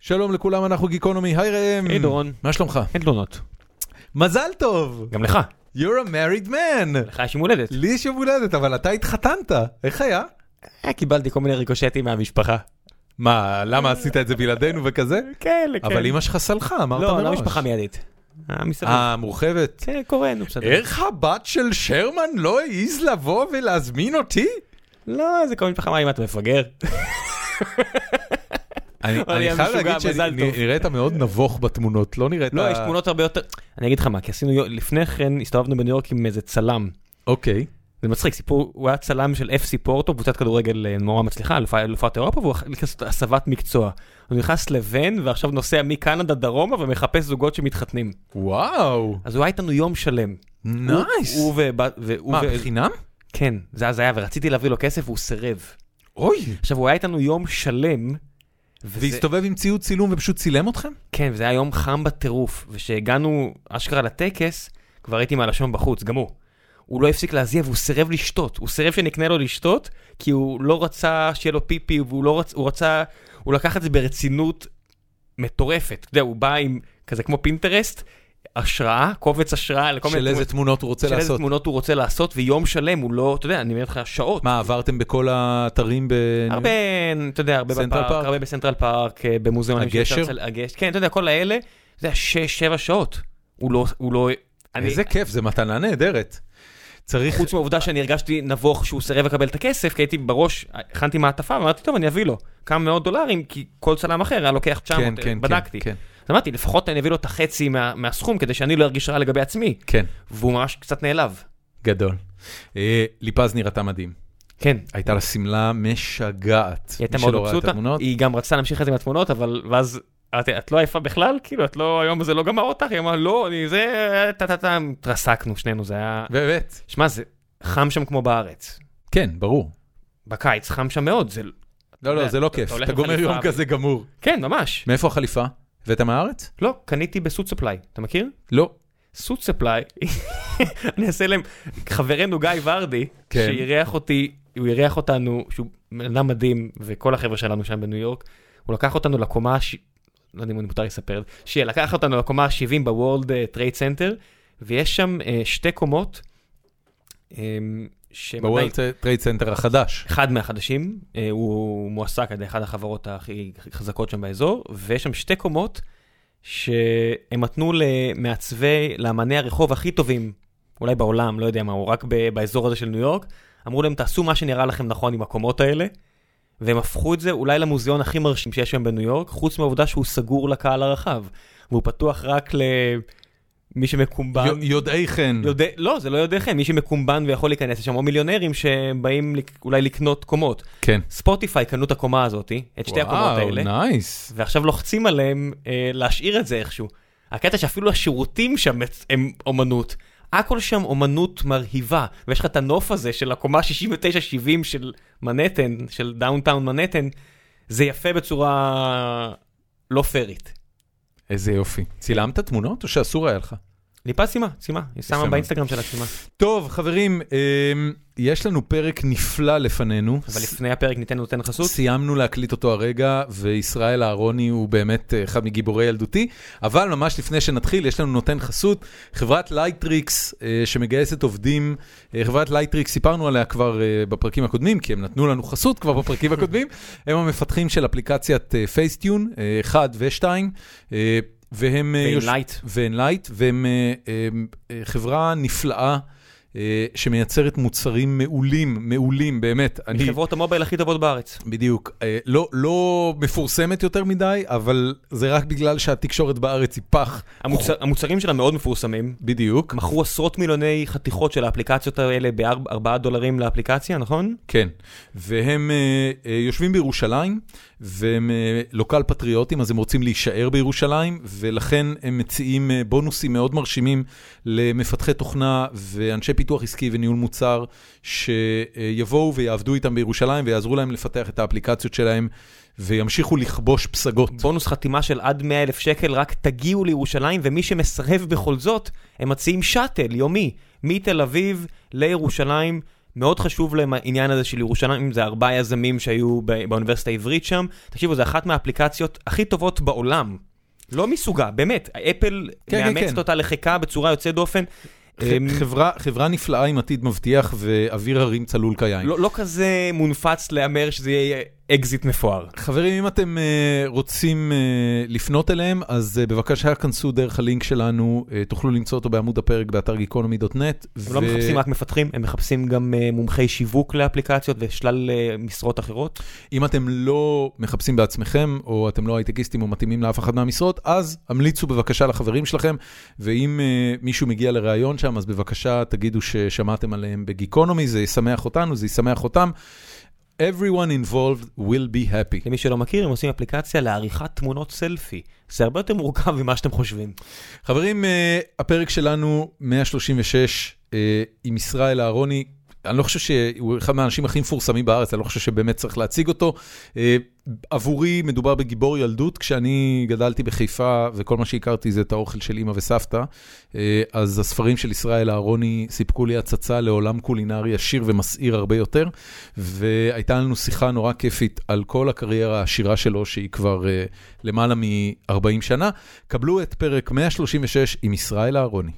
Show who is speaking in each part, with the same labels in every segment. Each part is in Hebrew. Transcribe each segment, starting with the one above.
Speaker 1: שלום לכולם, אנחנו גיקונומי, היי ראם.
Speaker 2: היי דורון.
Speaker 1: מה שלומך?
Speaker 2: אין תלונות.
Speaker 1: מזל טוב!
Speaker 2: גם לך.
Speaker 1: You're a married man!
Speaker 2: לך יש יום הולדת.
Speaker 1: לי יש יום הולדת, אבל אתה התחתנת, איך היה?
Speaker 2: אה, קיבלתי כל מיני ריקושטים מהמשפחה.
Speaker 1: מה, למה עשית את זה בלעדינו וכזה?
Speaker 2: כאלה, כאלה.
Speaker 1: אבל אמא שלך סלחה, אמרת מראש.
Speaker 2: כן. לא, לא משפחה מיידית. אה, מסביב.
Speaker 1: אה, מורחבת.
Speaker 2: כן, קורה, נו, בסדר.
Speaker 1: איך הבת של שרמן לא העז לבוא ולהזמין אותי?
Speaker 2: לא, זה כל משפחה מה, אם אתה מפגר.
Speaker 1: אני
Speaker 2: אבל היא
Speaker 1: אני חייב
Speaker 2: המשוגע,
Speaker 1: להגיד
Speaker 2: מזל טוב.
Speaker 1: שנראית מאוד נבוך בתמונות, לא נראית...
Speaker 2: לא, יש תמונות הרבה יותר... אני אגיד לך מה, כי עשינו... יו- לפני כן הסתובבנו בניו יורק עם איזה צלם.
Speaker 1: אוקיי.
Speaker 2: זה מצחיק, סיפור, הוא היה צלם של FC פורטו, קבוצת כדורגל אה, נורא מצליחה, אלופה- אלופת אירופה, והוא הח- נכנס לעשות הסבת מקצוע. הוא נכנס לוון, ועכשיו נוסע מקנדה דרומה ומחפש זוגות שמתחתנים.
Speaker 1: וואו.
Speaker 2: אז הוא היה איתנו יום שלם.
Speaker 1: נייס.
Speaker 2: הוא ובת... והוא
Speaker 1: מה,
Speaker 2: ו-
Speaker 1: בחינם?
Speaker 2: כן, זה הזיה, ורציתי להביא לו כסף והוא סירב.
Speaker 1: אוי.
Speaker 2: עכשיו, הוא היה איתנו יום שלם. וזה-
Speaker 1: והסתובב עם ציוד צילום ופשוט צילם אתכם?
Speaker 2: כן, וזה היה יום חם בטירוף, וכשהגענו אשכרה לטקס, כבר הייתי מהלשון בחוץ, גם הוא. הוא לא הפסיק להזיע והוא סירב לשתות, הוא סירב שנקנה לו לשתות, כי הוא לא רצה שיהיה לו פיפי, והוא לא רצ... הוא רצה, הוא לקח את זה ברצינות מטורפת. אתה יודע, הוא בא עם כזה כמו פינטרסט, השראה, קובץ השראה לכל מיני
Speaker 1: של איזה תמונות הוא רוצה
Speaker 2: של איזה
Speaker 1: לעשות?
Speaker 2: תמונות הוא רוצה לעשות, ויום שלם הוא לא, אתה יודע, אני אומר לך, שעות.
Speaker 1: מה, עברתם בכל האתרים ב...
Speaker 2: הרבה, אתה יודע, הרבה
Speaker 1: כן. סנטרל
Speaker 2: בפארק,
Speaker 1: פארק?
Speaker 2: הרבה בסנטרל פארק, אה, במוזיאונים.
Speaker 1: הגשר?
Speaker 2: שאפשר לצל- הגשר, כן, אתה יודע, כל האלה, זה היה שש, שבע שעות. הוא לא, הוא לא, אני,
Speaker 1: איזה כיף, זו מתנה נהדרת. צריך...
Speaker 2: חוץ מהעובדה שאני הרגשתי נבוך שהוא סירב לקבל את הכסף, כי הייתי בראש, הכנתי מעטפה, ואמרתי, טוב, אני אביא לו כמה מאות דולרים, כי כל צלם אחר היה לוקח 900,
Speaker 1: כן, כן,
Speaker 2: אה, בדקתי.
Speaker 1: כן,
Speaker 2: אז אמרתי, לפחות אני אביא לו את החצי מה- מהסכום, כדי שאני לא ארגיש רע לגבי עצמי,
Speaker 1: כן,
Speaker 2: והוא ממש קצת נעלב.
Speaker 1: גדול. אה, ליפז נראתה מדהים.
Speaker 2: כן.
Speaker 1: הייתה לה שמלה משגעת.
Speaker 2: היא הייתה
Speaker 1: מי
Speaker 2: מאוד
Speaker 1: שלא ראה את
Speaker 2: מבסוטה,
Speaker 1: התמונות.
Speaker 2: היא גם רצתה להמשיך את זה עם התמונות, אבל ואז אמרתי, את לא עייפה בכלל, כאילו, את לא, היום הזה לא גמר אותך, היא אמרה, לא, אני זה, טה טה טה, התרסקנו שנינו, זה היה...
Speaker 1: באמת.
Speaker 2: שמע, זה חם שם כמו בארץ.
Speaker 1: כן, ברור.
Speaker 2: בקיץ חם שם מאוד, זה...
Speaker 1: לא, לא,
Speaker 2: יודע,
Speaker 1: זה לא
Speaker 2: אתה-
Speaker 1: כיף.
Speaker 2: אתה הולך
Speaker 1: אתה
Speaker 2: עם
Speaker 1: גומר
Speaker 2: חליפה
Speaker 1: יום
Speaker 2: ו-
Speaker 1: כזה גמור.
Speaker 2: כן, ממש.
Speaker 1: מאיפה החליפה? הבאת מהארץ?
Speaker 2: לא, קניתי בסוט ספליי, אתה מכיר?
Speaker 1: לא.
Speaker 2: סוט ספליי, אני אעשה להם, חברנו גיא ורדי,
Speaker 1: כן.
Speaker 2: שאירח אותי, הוא אירח אותנו, שהוא בן אדם מדהים, וכל החבר'ה שלנו שם בניו יורק, הוא לקח אותנו לקומה, הש... לא יודע אם מותר לספר, שלקח אותנו לקומה ה-70 בוורלד אה, טרייד סנטר, ויש שם אה, שתי קומות, אה, שהם עדיין-
Speaker 1: בוורלד טרייד סנטר החדש.
Speaker 2: אחד מהחדשים, אה, הוא מועסק על ידי אחת החברות הכי חזקות שם באזור, ויש שם שתי קומות שהם נתנו למעצבי, לאמני הרחוב הכי טובים, אולי בעולם, לא יודע מה, או רק ב- באזור הזה של ניו יורק, אמרו להם, תעשו מה שנראה לכם נכון עם הקומות האלה, והם הפכו את זה אולי למוזיאון הכי מרשים שיש שם בניו יורק, חוץ מהעובדה שהוא סגור לקהל הרחב, והוא פתוח רק למי שמקומבן.
Speaker 1: י- יודעי חן.
Speaker 2: יודע, לא, זה לא יודעכם, מי שמקומבן ויכול להיכנס לשם, או מיליונרים שבאים לק- אולי לקנות קומות.
Speaker 1: כן.
Speaker 2: ספוטיפיי קנו את הקומה הזאת, את שתי הקומות האלה,
Speaker 1: וואו, נייס.
Speaker 2: ועכשיו לוחצים עליהם אה, להשאיר את זה איכשהו. הקטע שאפילו השירותים שם מצ- הם אומנות. הכל שם אומנות מרהיבה, ויש לך את הנוף הזה של הקומה 69-70 של מנהטן, של דאונטאון מנהטן, זה יפה בצורה לא פיירית.
Speaker 1: איזה יופי. צילמת תמונות או שאסור היה לך?
Speaker 2: ליפה סיימה, סיימה, היא שמה
Speaker 1: מאוד.
Speaker 2: באינסטגרם שלה סיימה.
Speaker 1: טוב, חברים, אמ, יש לנו פרק נפלא לפנינו.
Speaker 2: אבל לפני הפרק ניתן נותן חסות.
Speaker 1: סיימנו להקליט אותו הרגע, וישראל אהרוני הוא באמת אה, אחד מגיבורי ילדותי, אבל ממש לפני שנתחיל, יש לנו נותן חסות, חברת לייטריקס אה, שמגייסת עובדים, אה, חברת לייטריקס, סיפרנו עליה כבר אה, בפרקים הקודמים, כי הם נתנו לנו חסות כבר בפרקים הקודמים, הם המפתחים של אפליקציית אה, פייסטיון, 1 ו-2, והם... אה, יוש-
Speaker 2: לייט.
Speaker 1: ו-Enlight, והם אה, אה, אה, חברה נפלאה אה, שמייצרת מוצרים מעולים, מעולים, באמת. אני,
Speaker 2: מחברות המובייל הכי טובות בארץ.
Speaker 1: בדיוק. אה, לא, לא מפורסמת יותר מדי, אבל זה רק בגלל שהתקשורת בארץ היא פח.
Speaker 2: המוצר, המוצרים שלה מאוד מפורסמים.
Speaker 1: בדיוק.
Speaker 2: מכרו עשרות מיליוני חתיכות של האפליקציות האלה בארבעה דולרים לאפליקציה, נכון?
Speaker 1: כן. והם אה, אה, יושבים בירושלים, והם אה, לוקל פטריוטים, אז הם רוצים להישאר בירושלים, ולכן הם מציעים אה, בונוסים מאוד מרשימים למפתחי תוכנה ואנשי פיתוח עסקי וניהול מוצר, שיבואו ויעבדו איתם בירושלים ויעזרו להם לפתח את האפליקציות שלהם, וימשיכו לכבוש פסגות.
Speaker 2: בונוס חתימה של עד 100 אלף שקל, רק תגיעו לירושלים, ומי שמסרב בכל זאת, הם מציעים שאטל יומי, מתל אביב לירושלים. מאוד חשוב להם העניין הזה של ירושלים, זה ארבעה יזמים שהיו ב- באוניברסיטה העברית שם. תקשיבו, זו אחת מהאפליקציות הכי טובות בעולם. לא מסוגה, באמת. אפל
Speaker 1: כן, כן,
Speaker 2: מאמצת
Speaker 1: כן.
Speaker 2: אותה לחיקה בצורה יוצאת דופן. אמ,
Speaker 1: ח- חברה, חברה נפלאה עם עתיד מבטיח ואוויר הרים צלול כיין.
Speaker 2: לא לא כזה מונפץ להמר שזה יהיה אקזיט מפואר.
Speaker 1: חברים, אם אתם אה, רוצים אה, לפנות אליהם, אז אה, בבקשה כנסו דרך הלינק שלנו, אה, תוכלו למצוא אותו בעמוד הפרק באתר גיקונומי.נט.
Speaker 2: הם לא מחפשים רק מפתחים, הם מחפשים גם אה, מומחי שיווק לאפליקציות ושלל אה, משרות אחרות.
Speaker 1: אם אתם לא מחפשים בעצמכם, או אתם לא הייטקיסטים או מתאימים לאף אחד מהמשרות, אז המליצו בבקשה לחברים שלכם, ואם uh, מישהו מגיע לראיון שם, אז בבקשה תגידו ששמעתם עליהם בגיקונומי, זה ישמח אותנו, זה ישמח אותם. Everyone involved will be happy.
Speaker 2: למי שלא מכיר, הם עושים אפליקציה לעריכת תמונות סלפי. זה הרבה יותר מורכב ממה שאתם חושבים.
Speaker 1: חברים, אה, הפרק שלנו 136 אה, עם ישראל אהרוני. אני לא חושב שהוא אחד מהאנשים הכי מפורסמים בארץ, אני לא חושב שבאמת צריך להציג אותו. אה, עבורי מדובר בגיבור ילדות, כשאני גדלתי בחיפה וכל מה שהכרתי זה את האוכל של אימא וסבתא, אה, אז הספרים של ישראל אהרוני סיפקו לי הצצה לעולם קולינרי עשיר ומסעיר הרבה יותר, והייתה לנו שיחה נורא כיפית על כל הקריירה העשירה שלו, שהיא כבר אה, למעלה מ-40 שנה. קבלו את פרק 136 עם ישראל אהרוני.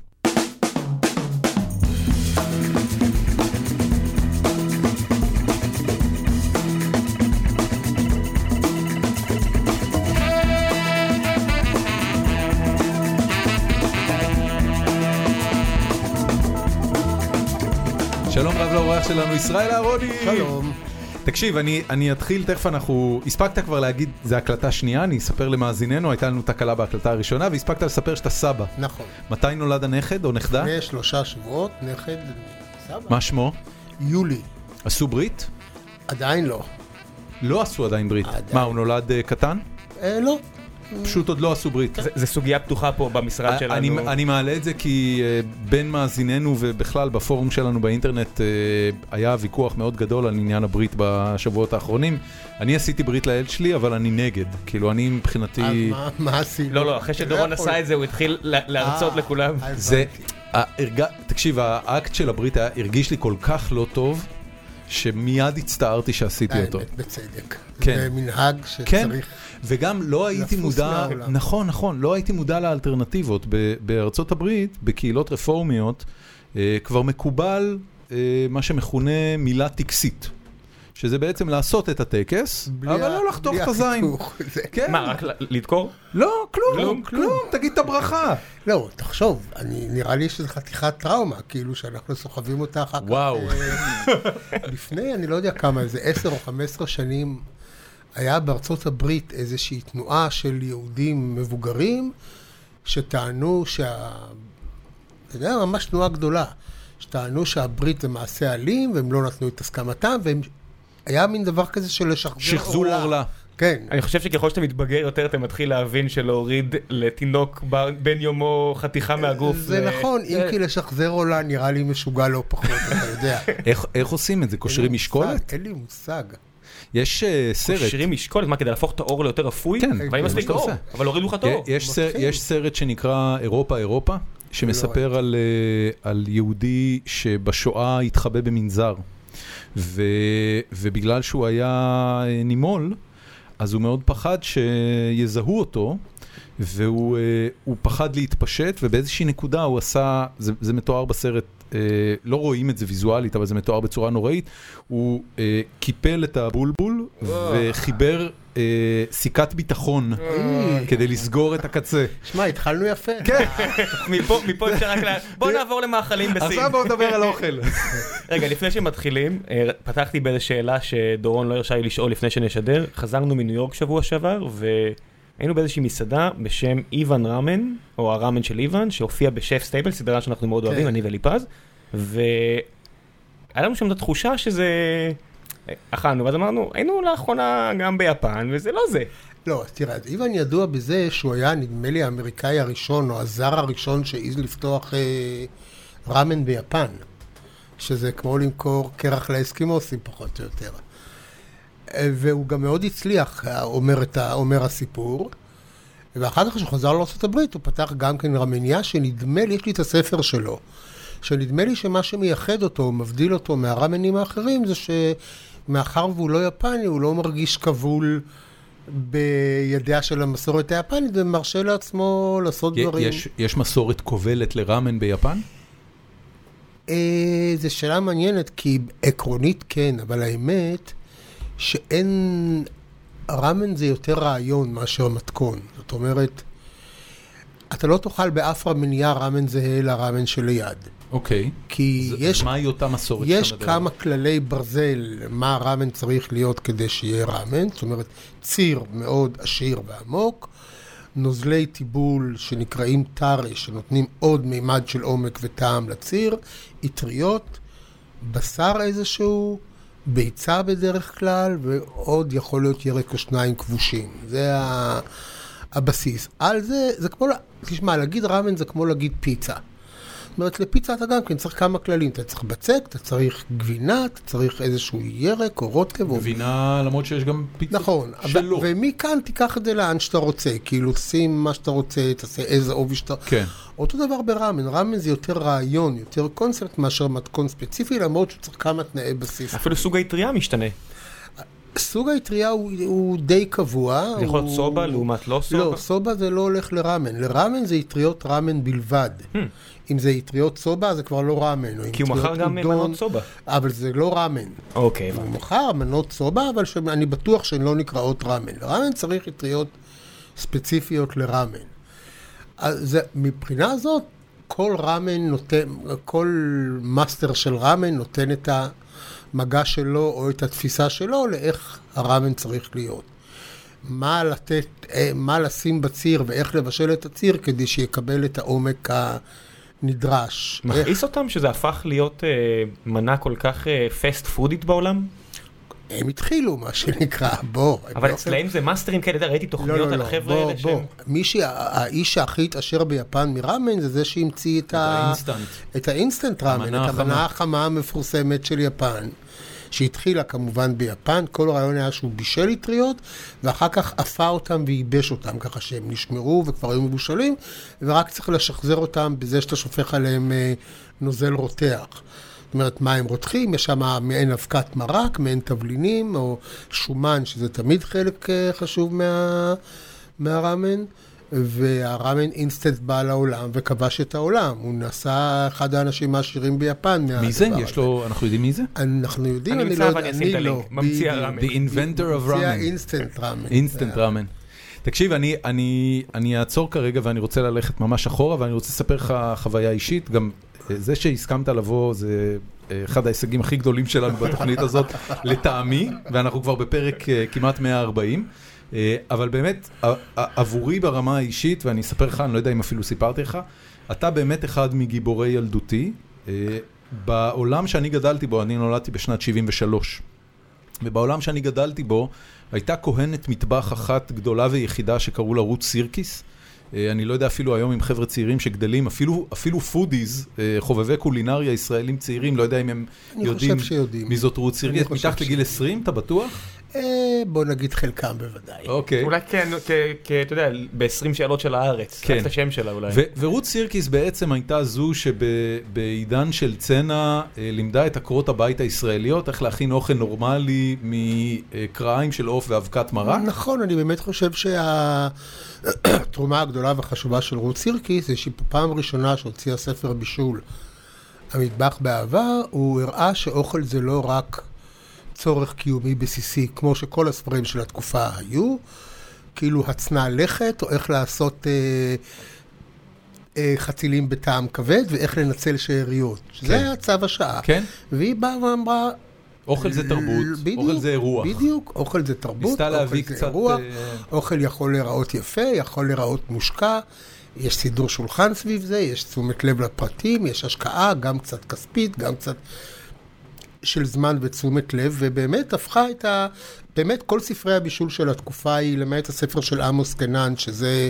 Speaker 1: שלום רב לאורח שלנו, ישראל אהרוני!
Speaker 3: שלום.
Speaker 1: תקשיב, אני, אני אתחיל, תכף אנחנו... הספקת כבר להגיד, זו הקלטה שנייה, אני אספר למאזיננו, הייתה לנו תקלה בהקלטה הראשונה, והספקת לספר שאתה סבא.
Speaker 3: נכון.
Speaker 1: מתי נולד הנכד או נכדה?
Speaker 3: לפני שלושה שבועות, נכד סבא.
Speaker 1: מה שמו?
Speaker 3: יולי.
Speaker 1: עשו ברית?
Speaker 3: עדיין לא.
Speaker 1: לא עשו עדיין ברית.
Speaker 3: עדיין.
Speaker 1: מה, הוא נולד אה, קטן?
Speaker 3: אה, לא.
Speaker 1: פשוט עוד לא עשו
Speaker 3: כן.
Speaker 1: ברית. אה,
Speaker 2: זו סוגיה פתוחה פה במשרד שלנו.
Speaker 1: אני, אני מעלה את זה כי אה, בין מאזיננו ובכלל בפורום שלנו באינטרנט אה, היה ויכוח מאוד גדול על עניין הברית בשבועות האחרונים. אני עשיתי ברית לילד שלי, אבל אני נגד. כאילו, אני
Speaker 3: אז
Speaker 1: מבחינתי...
Speaker 3: מה- מה עשינו?
Speaker 2: לא, לא, אחרי שדורון עשה את זה, הוא התחיל
Speaker 3: אה,
Speaker 2: לה- להרצות לכולם.
Speaker 1: זה... ההרג... תקשיב, האקט של הברית היה, הרגיש לי כל כך לא טוב, שמיד הצטערתי שעשיתי אותו.
Speaker 3: בצדק.
Speaker 1: כן.
Speaker 3: זה מנהג
Speaker 1: כן,
Speaker 3: שצריך...
Speaker 1: וגם לא הייתי
Speaker 3: לפוס
Speaker 1: מודע,
Speaker 3: מהעולם.
Speaker 1: נכון, נכון, לא הייתי מודע לאלטרנטיבות. ב- בארצות הברית, בקהילות רפורמיות, אה, כבר מקובל אה, מה שמכונה מילה טקסית, שזה בעצם לעשות את הטקס,
Speaker 3: בלי
Speaker 1: אבל
Speaker 3: ה-
Speaker 1: לא לחתוך
Speaker 3: בלי
Speaker 1: את הזין.
Speaker 3: החיתוך, זה-
Speaker 1: כן,
Speaker 2: מה, רק ל- לדקור?
Speaker 1: לא, כלום,
Speaker 2: כלום,
Speaker 1: כלום, תגיד את הברכה.
Speaker 3: לא, תחשוב, אני- נראה לי שזו חתיכת טראומה, כאילו שאנחנו סוחבים אותה אחר כך.
Speaker 1: וואו.
Speaker 3: אה, לפני, אני לא יודע כמה, איזה עשר או חמש עשרה שנים, היה בארצות הברית איזושהי תנועה של יהודים מבוגרים, שטענו שה... זה היה ממש תנועה גדולה, שטענו שהברית זה מעשה אלים, והם לא נתנו את הסכמתם, והם... היה מין דבר כזה של לשחזר
Speaker 1: שחזור עורלה.
Speaker 3: כן.
Speaker 2: אני חושב שככל שאתה מתבגר יותר, אתה מתחיל להבין שלהוריד לתינוק ב- בן יומו חתיכה מהגוף.
Speaker 3: אה, זה
Speaker 1: אה,
Speaker 3: נכון, אם
Speaker 1: כן.
Speaker 3: כי לשחזר עולה נראה לי משוגע לא פחות, אתה יודע.
Speaker 1: איך- איך עושים את זה? קושרים
Speaker 3: אין לי
Speaker 1: משקולת?
Speaker 3: מושג, אין לי מושג.
Speaker 1: יש אה, סרט.
Speaker 2: שירים משקולת, מה, כדי להפוך את האור ליותר אפוי?
Speaker 1: כן,
Speaker 2: אבל אם
Speaker 3: זה
Speaker 2: מספיק
Speaker 1: מה
Speaker 2: אור,
Speaker 1: שאתה עושה. אה,
Speaker 2: אבל הורידו לך את האור.
Speaker 1: כן, יש, סר,
Speaker 3: מתחיל.
Speaker 1: יש סרט שנקרא אירופה אירופה, שמספר על, אה, על יהודי שבשואה התחבא במנזר, ו, ובגלל שהוא היה אה, נימול, אז הוא מאוד פחד שיזהו אותו. והוא אה, הוא פחד להתפשט, ובאיזושהי נקודה הוא עשה, זה, זה מתואר בסרט, אה, לא רואים את זה ויזואלית, אבל זה מתואר בצורה נוראית, הוא אה, קיפל את הבולבול וחיבר אה, סיכת ביטחון כדי לסגור את הקצה.
Speaker 3: שמע, התחלנו יפה.
Speaker 1: כן, אה,
Speaker 2: מפה מפה אפשר רק ל... בוא נעבור למאכלים בסין.
Speaker 1: עכשיו בואו נדבר על אוכל.
Speaker 2: רגע, לפני שמתחילים, אה, פתחתי באיזו שאלה שדורון לא הרשה לי לשאול לפני שנשדר. חזרנו מניו יורק שבוע שעבר, והיינו באיזושהי מסעדה בשם איוון ראמן, או הראמן של איוון, שהופיע בשף סטייבל, סדרה שאנחנו מאוד
Speaker 3: כן.
Speaker 2: אוהבים, אני וליפז, והיה לנו שם את התחושה שזה... אה, אכלנו, ואז אמרנו, היינו לאחרונה גם ביפן, וזה לא זה.
Speaker 3: לא, אז תראה, אז איוון ידוע בזה שהוא היה, נדמה לי, האמריקאי הראשון, או הזר הראשון שהעז לפתוח אה, ראמן ביפן, שזה כמו למכור קרח לאסקימוסים, פחות או יותר. אה, והוא גם מאוד הצליח, אה, אומר, את ה, אומר הסיפור. ואחר כך, כשהוא חזר לארה"ב, הוא פתח גם כן רמניה, שנדמה לי, יש לי את הספר שלו, שנדמה לי שמה שמייחד אותו, מבדיל אותו מהרמנים האחרים, זה שמאחר והוא לא יפני, הוא לא מרגיש כבול בידיה של המסורת היפנית, ומרשה לעצמו לעשות
Speaker 1: י-
Speaker 3: דברים.
Speaker 1: יש, יש מסורת כובלת לראמן ביפן?
Speaker 3: אה, זו שאלה מעניינת, כי עקרונית כן, אבל האמת שאין... ראמן זה יותר רעיון מאשר מתכון. זאת אומרת, אתה לא תאכל באף רמניה ראמן זהה לראמן שליד.
Speaker 1: אוקיי.
Speaker 3: כי
Speaker 1: אז- אז
Speaker 3: יש,
Speaker 1: מהי אותה מסורת?
Speaker 3: יש
Speaker 1: שאתה מדבר
Speaker 3: כמה כללי ברזל מה ראמן צריך להיות כדי שיהיה ראמן, זאת אומרת, ציר מאוד עשיר ועמוק, נוזלי טיבול שנקראים טארי, שנותנים עוד מימד של עומק וטעם לציר, אטריות, בשר איזשהו, ביצה בדרך כלל, ועוד יכול להיות ירק או שניים כבושים. זה ה... הבסיס. על זה, זה כמו, ל- תשמע, להגיד ראמן זה כמו להגיד פיצה. זאת אומרת, לפיצה אתה גם כן צריך כמה כללים. אתה צריך בצק, אתה צריך גבינה, אתה צריך איזשהו ירק או רוטב. או...
Speaker 1: גבינה, למרות שיש גם פיצות
Speaker 3: נכון, אבל-
Speaker 1: שלא.
Speaker 3: ומכאן תיקח את זה לאן שאתה רוצה, כאילו שים מה שאתה רוצה, תעשה איזה עובי שאתה...
Speaker 1: כן.
Speaker 3: אותו דבר בראמן, ראמן זה יותר רעיון, יותר קונספט מאשר מתכון ספציפי, למרות שהוא צריך כמה תנאי בסיס.
Speaker 2: אפילו סוג האטריה משתנה.
Speaker 3: סוג האטריה הוא, הוא די קבוע.
Speaker 2: זה יכול להיות
Speaker 3: הוא-
Speaker 2: סובה לעומת לא סובה.
Speaker 3: לא, סובה זה לא הולך לראמן. לראמן זה אטריות ראמן בלבד. אם זה אטריות סובה, זה כבר לא ראמן. או אם
Speaker 2: Hmm. כי הוא מכר
Speaker 3: אטריות
Speaker 2: גם אה,
Speaker 3: אודון,
Speaker 2: מנות סובה.
Speaker 3: אבל זה לא ראמן.
Speaker 2: אוקיי,
Speaker 3: הוא מכר מנות סובה, אבל שאני בטוח שהן לא נקראות ראמן. לראמן צריך אטריות ספציפיות לראמן. אז זה- מבחינה זאת, כל ראמן נותן, כל מאסטר של ראמן נותן את המגע שלו או את התפיסה שלו לאיך הראמן צריך להיות. מה לתת, אה, מה לשים בציר ואיך לבשל את הציר כדי שיקבל את העומק הנדרש. איך-
Speaker 2: מכעיס אותם שזה הפך להיות אה, מנה כל כך פסט פודית בעולם?
Speaker 3: הם התחילו, מה שנקרא, בוא. הם
Speaker 2: אבל
Speaker 3: לא-
Speaker 2: אצלהם זה מאסטרים כאלה, אתה יודע, ראיתי
Speaker 1: לא,
Speaker 2: תוכניות על החבר'ה
Speaker 3: בוא,
Speaker 2: האלה
Speaker 3: בוא.
Speaker 2: שהם...
Speaker 3: מי שהאיש הכי התעשר ביפן מראמן זה זה שהמציא את, ה...
Speaker 1: האינסטנט.
Speaker 3: את האינסטנט ראמן,
Speaker 1: המנה
Speaker 3: את
Speaker 1: החמה.
Speaker 3: המנה החמה המפורסמת של יפן, שהתחילה כמובן ביפן, כל הרעיון היה שהוא בישל אטריות, ואחר כך אפר אותם וייבש אותם, ככה שהם נשמרו וכבר היו מבושלים, ורק צריך לשחזר אותם בזה שאתה שופך עליהם אה, נוזל רותח. זאת אומרת, מה הם רותחים? יש שם מעין אבקת מרק, מעין תבלינים, או שומן, שזה תמיד חלק אה, חשוב מה... מהראמן, והראמן אינסטנט בא לעולם וכבש את העולם. הוא נעשה אחד האנשים העשירים ביפן מהדבר
Speaker 1: מי זה?
Speaker 3: הזה.
Speaker 1: יש לו, אנחנו יודעים מי זה?
Speaker 3: אנחנו יודעים,
Speaker 2: אני
Speaker 3: אני,
Speaker 2: אמצא
Speaker 3: לא
Speaker 2: ואני
Speaker 3: יודע,
Speaker 2: אשים את
Speaker 3: אני לא.
Speaker 2: הלינק. ממציא
Speaker 3: בדיוק.
Speaker 2: הראמן.
Speaker 1: The inventor of
Speaker 3: ממציא
Speaker 1: ramen.
Speaker 3: האינסטנט ראמן.
Speaker 1: אינסטנט ראמן. תקשיב, אני, אני, אני אעצור כרגע ואני רוצה ללכת ממש אחורה ואני רוצה לספר לך חוויה אישית. גם אה, זה שהסכמת לבוא זה אה, אחד ההישגים הכי גדולים שלנו בתוכנית הזאת, לטעמי, ואנחנו כבר בפרק אה, כמעט 140. אה, אבל באמת, ע- ע- עבורי ברמה האישית, ואני אספר לך, אני לא יודע אם אפילו סיפרתי לך, אתה באמת אחד מגיבורי ילדותי. אה, בעולם שאני גדלתי בו, אני נולדתי בשנת 73. ובעולם שאני גדלתי בו, הייתה כהנת מטבח אחת גדולה ויחידה שקראו לה רות סירקיס. אה, אני לא יודע אפילו היום אם חבר'ה צעירים שגדלים, אפילו, אפילו פודיז, אה, חובבי קולינריה ישראלים צעירים, לא יודע אם הם
Speaker 3: אני
Speaker 1: יודעים
Speaker 3: חושב שיודעים.
Speaker 1: מי זאת רות סירקיס.
Speaker 3: אני חושב
Speaker 1: מתחת לגיל
Speaker 3: שיודעים.
Speaker 1: 20, אתה בטוח?
Speaker 3: אה, בוא נגיד חלקם בוודאי.
Speaker 1: אוקיי.
Speaker 2: אולי כן, כ- כ- אתה יודע, ב-20 שאלות של הארץ.
Speaker 1: כן.
Speaker 2: רק את השם שלה אולי.
Speaker 1: ו- ורות סירקיס בעצם הייתה זו שבעידן של צנע אה, לימדה את עקרות הבית הישראליות איך להכין אוכל נורמלי מקרעיים של עוף ואבקת מרק.
Speaker 3: נכון, אני באמת חושב שהתרומה הגדולה והחשובה של רות סירקיס זה שהיא פעם ראשונה שהוציאה ספר בישול המטבח בעבר, הוא הראה שאוכל זה לא רק צורך קיומי בסיסי, כמו שכל הספרים של התקופה היו, כאילו הצנע לכת, או איך לעשות אה, אה, חצילים בטעם כבד, ואיך לנצל שאריות.
Speaker 1: כן.
Speaker 3: זה היה צו השעה.
Speaker 1: כן?
Speaker 3: והיא באה ואמרה,
Speaker 1: אוכל זה תרבות,
Speaker 3: אה, בדיוק,
Speaker 1: אוכל זה אירוח.
Speaker 3: בדיוק, אוכל זה תרבות,
Speaker 1: ניסתה להביא
Speaker 3: אוכל
Speaker 1: קצת,
Speaker 3: זה אירוח,
Speaker 1: אה,
Speaker 3: אוכל יכול להיראות יפה, יכול להיראות מושקע, יש סידור שולחן סביב זה, יש תשומת לב לפרטים, יש השקעה, גם קצת כספית, גם קצת של זמן ותשומת לב, ובאמת הפכה את ה... באמת כל ספרי הבישול של התקופה היא, למעט הספר של עמוס קנן, שזה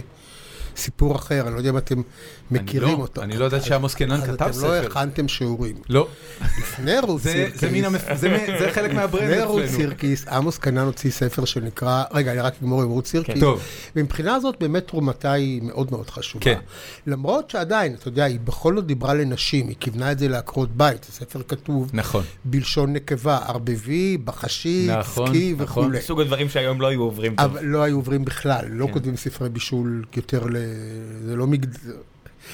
Speaker 3: סיפור אחר, אני לא יודע אם אתם מכירים
Speaker 1: לא,
Speaker 3: אותו.
Speaker 1: אני לא יודע
Speaker 3: אז-
Speaker 1: שעמוס קינן כתב
Speaker 3: אז אתם לא
Speaker 1: ספר.
Speaker 3: הכנתם שיעורים.
Speaker 1: לא,
Speaker 3: לפני כן. רות
Speaker 1: זה-
Speaker 3: סירקיס,
Speaker 1: זה מן המפ- זה מ- זה חלק מהברנד
Speaker 3: לפני רות
Speaker 1: אצלנו.
Speaker 3: סירקיס, עמוס קנן הוציא ספר שנקרא, רגע, אני רק אגמור עם רות סירקיס.
Speaker 1: טוב.
Speaker 3: ומבחינה הזאת באמת תרומתה היא מאוד מאוד חשובה.
Speaker 1: כן.
Speaker 3: למרות שעדיין, אתה יודע, היא בכל זאת דיברה לנשים, היא כיוונה את זה לעקרות בית, זה ספר כתוב
Speaker 1: נכון.
Speaker 3: בלשון נקבה, ערבבי, בחשי,
Speaker 1: נכון,
Speaker 3: צקי
Speaker 1: נכון.
Speaker 3: וכולי.
Speaker 2: סוג הדברים שהיום לא היו עוברים טוב.
Speaker 3: אבל לא היו עוברים בכלל, לא
Speaker 2: כן.
Speaker 3: כותבים ספרי בישול יותר ל... זה לא מגד...
Speaker 1: אה.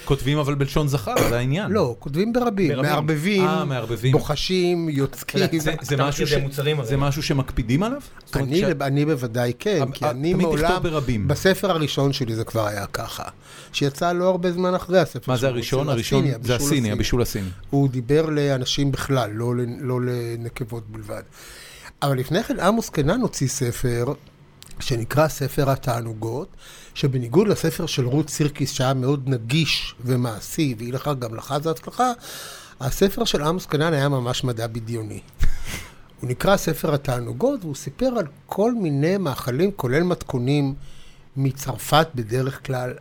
Speaker 1: כותבים אבל בלשון זכר, זה העניין.
Speaker 3: לא, כותבים ברבים,
Speaker 2: ברבים.
Speaker 3: מערבבים,
Speaker 1: אה, מערבבים.
Speaker 3: בוחשים,
Speaker 2: אתה יודע,
Speaker 3: יוצקים.
Speaker 1: זה- זה
Speaker 2: אתה
Speaker 1: משהו
Speaker 2: מכיר את
Speaker 1: ש-
Speaker 2: המוצרים הרי.
Speaker 1: זה משהו שמקפידים עליו? זאת אומרת,
Speaker 3: אני,
Speaker 1: שה-
Speaker 3: אני בוודאי כן,
Speaker 1: אבל- אה,
Speaker 3: כי אני
Speaker 1: תמיד
Speaker 3: מעולם,
Speaker 1: תכתוב ברבים.
Speaker 3: בספר הראשון שלי זה כבר היה ככה, שיצא לא הרבה זמן אחרי הספר.
Speaker 1: מה זה
Speaker 3: של
Speaker 1: הראשון?
Speaker 3: רוטשילד,
Speaker 1: הראשון זה הסיני, הבישול הסיני.
Speaker 3: הוא דיבר לאנשים בכלל, לא, ל- לא לנקבות בלבד. אבל לפני כן עמוס קנן הוציא ספר שנקרא ספר התענוגות, שבניגוד לספר של רות סירקיס, שהיה מאוד נגיש ומעשי, והיא לך גם לך זה הצלחה, הספר של עמוס קנן היה ממש מדע בדיוני. הוא נקרא ספר התענוגות, והוא סיפר על כל מיני מאכלים, כולל מתכונים מצרפת בדרך כלל,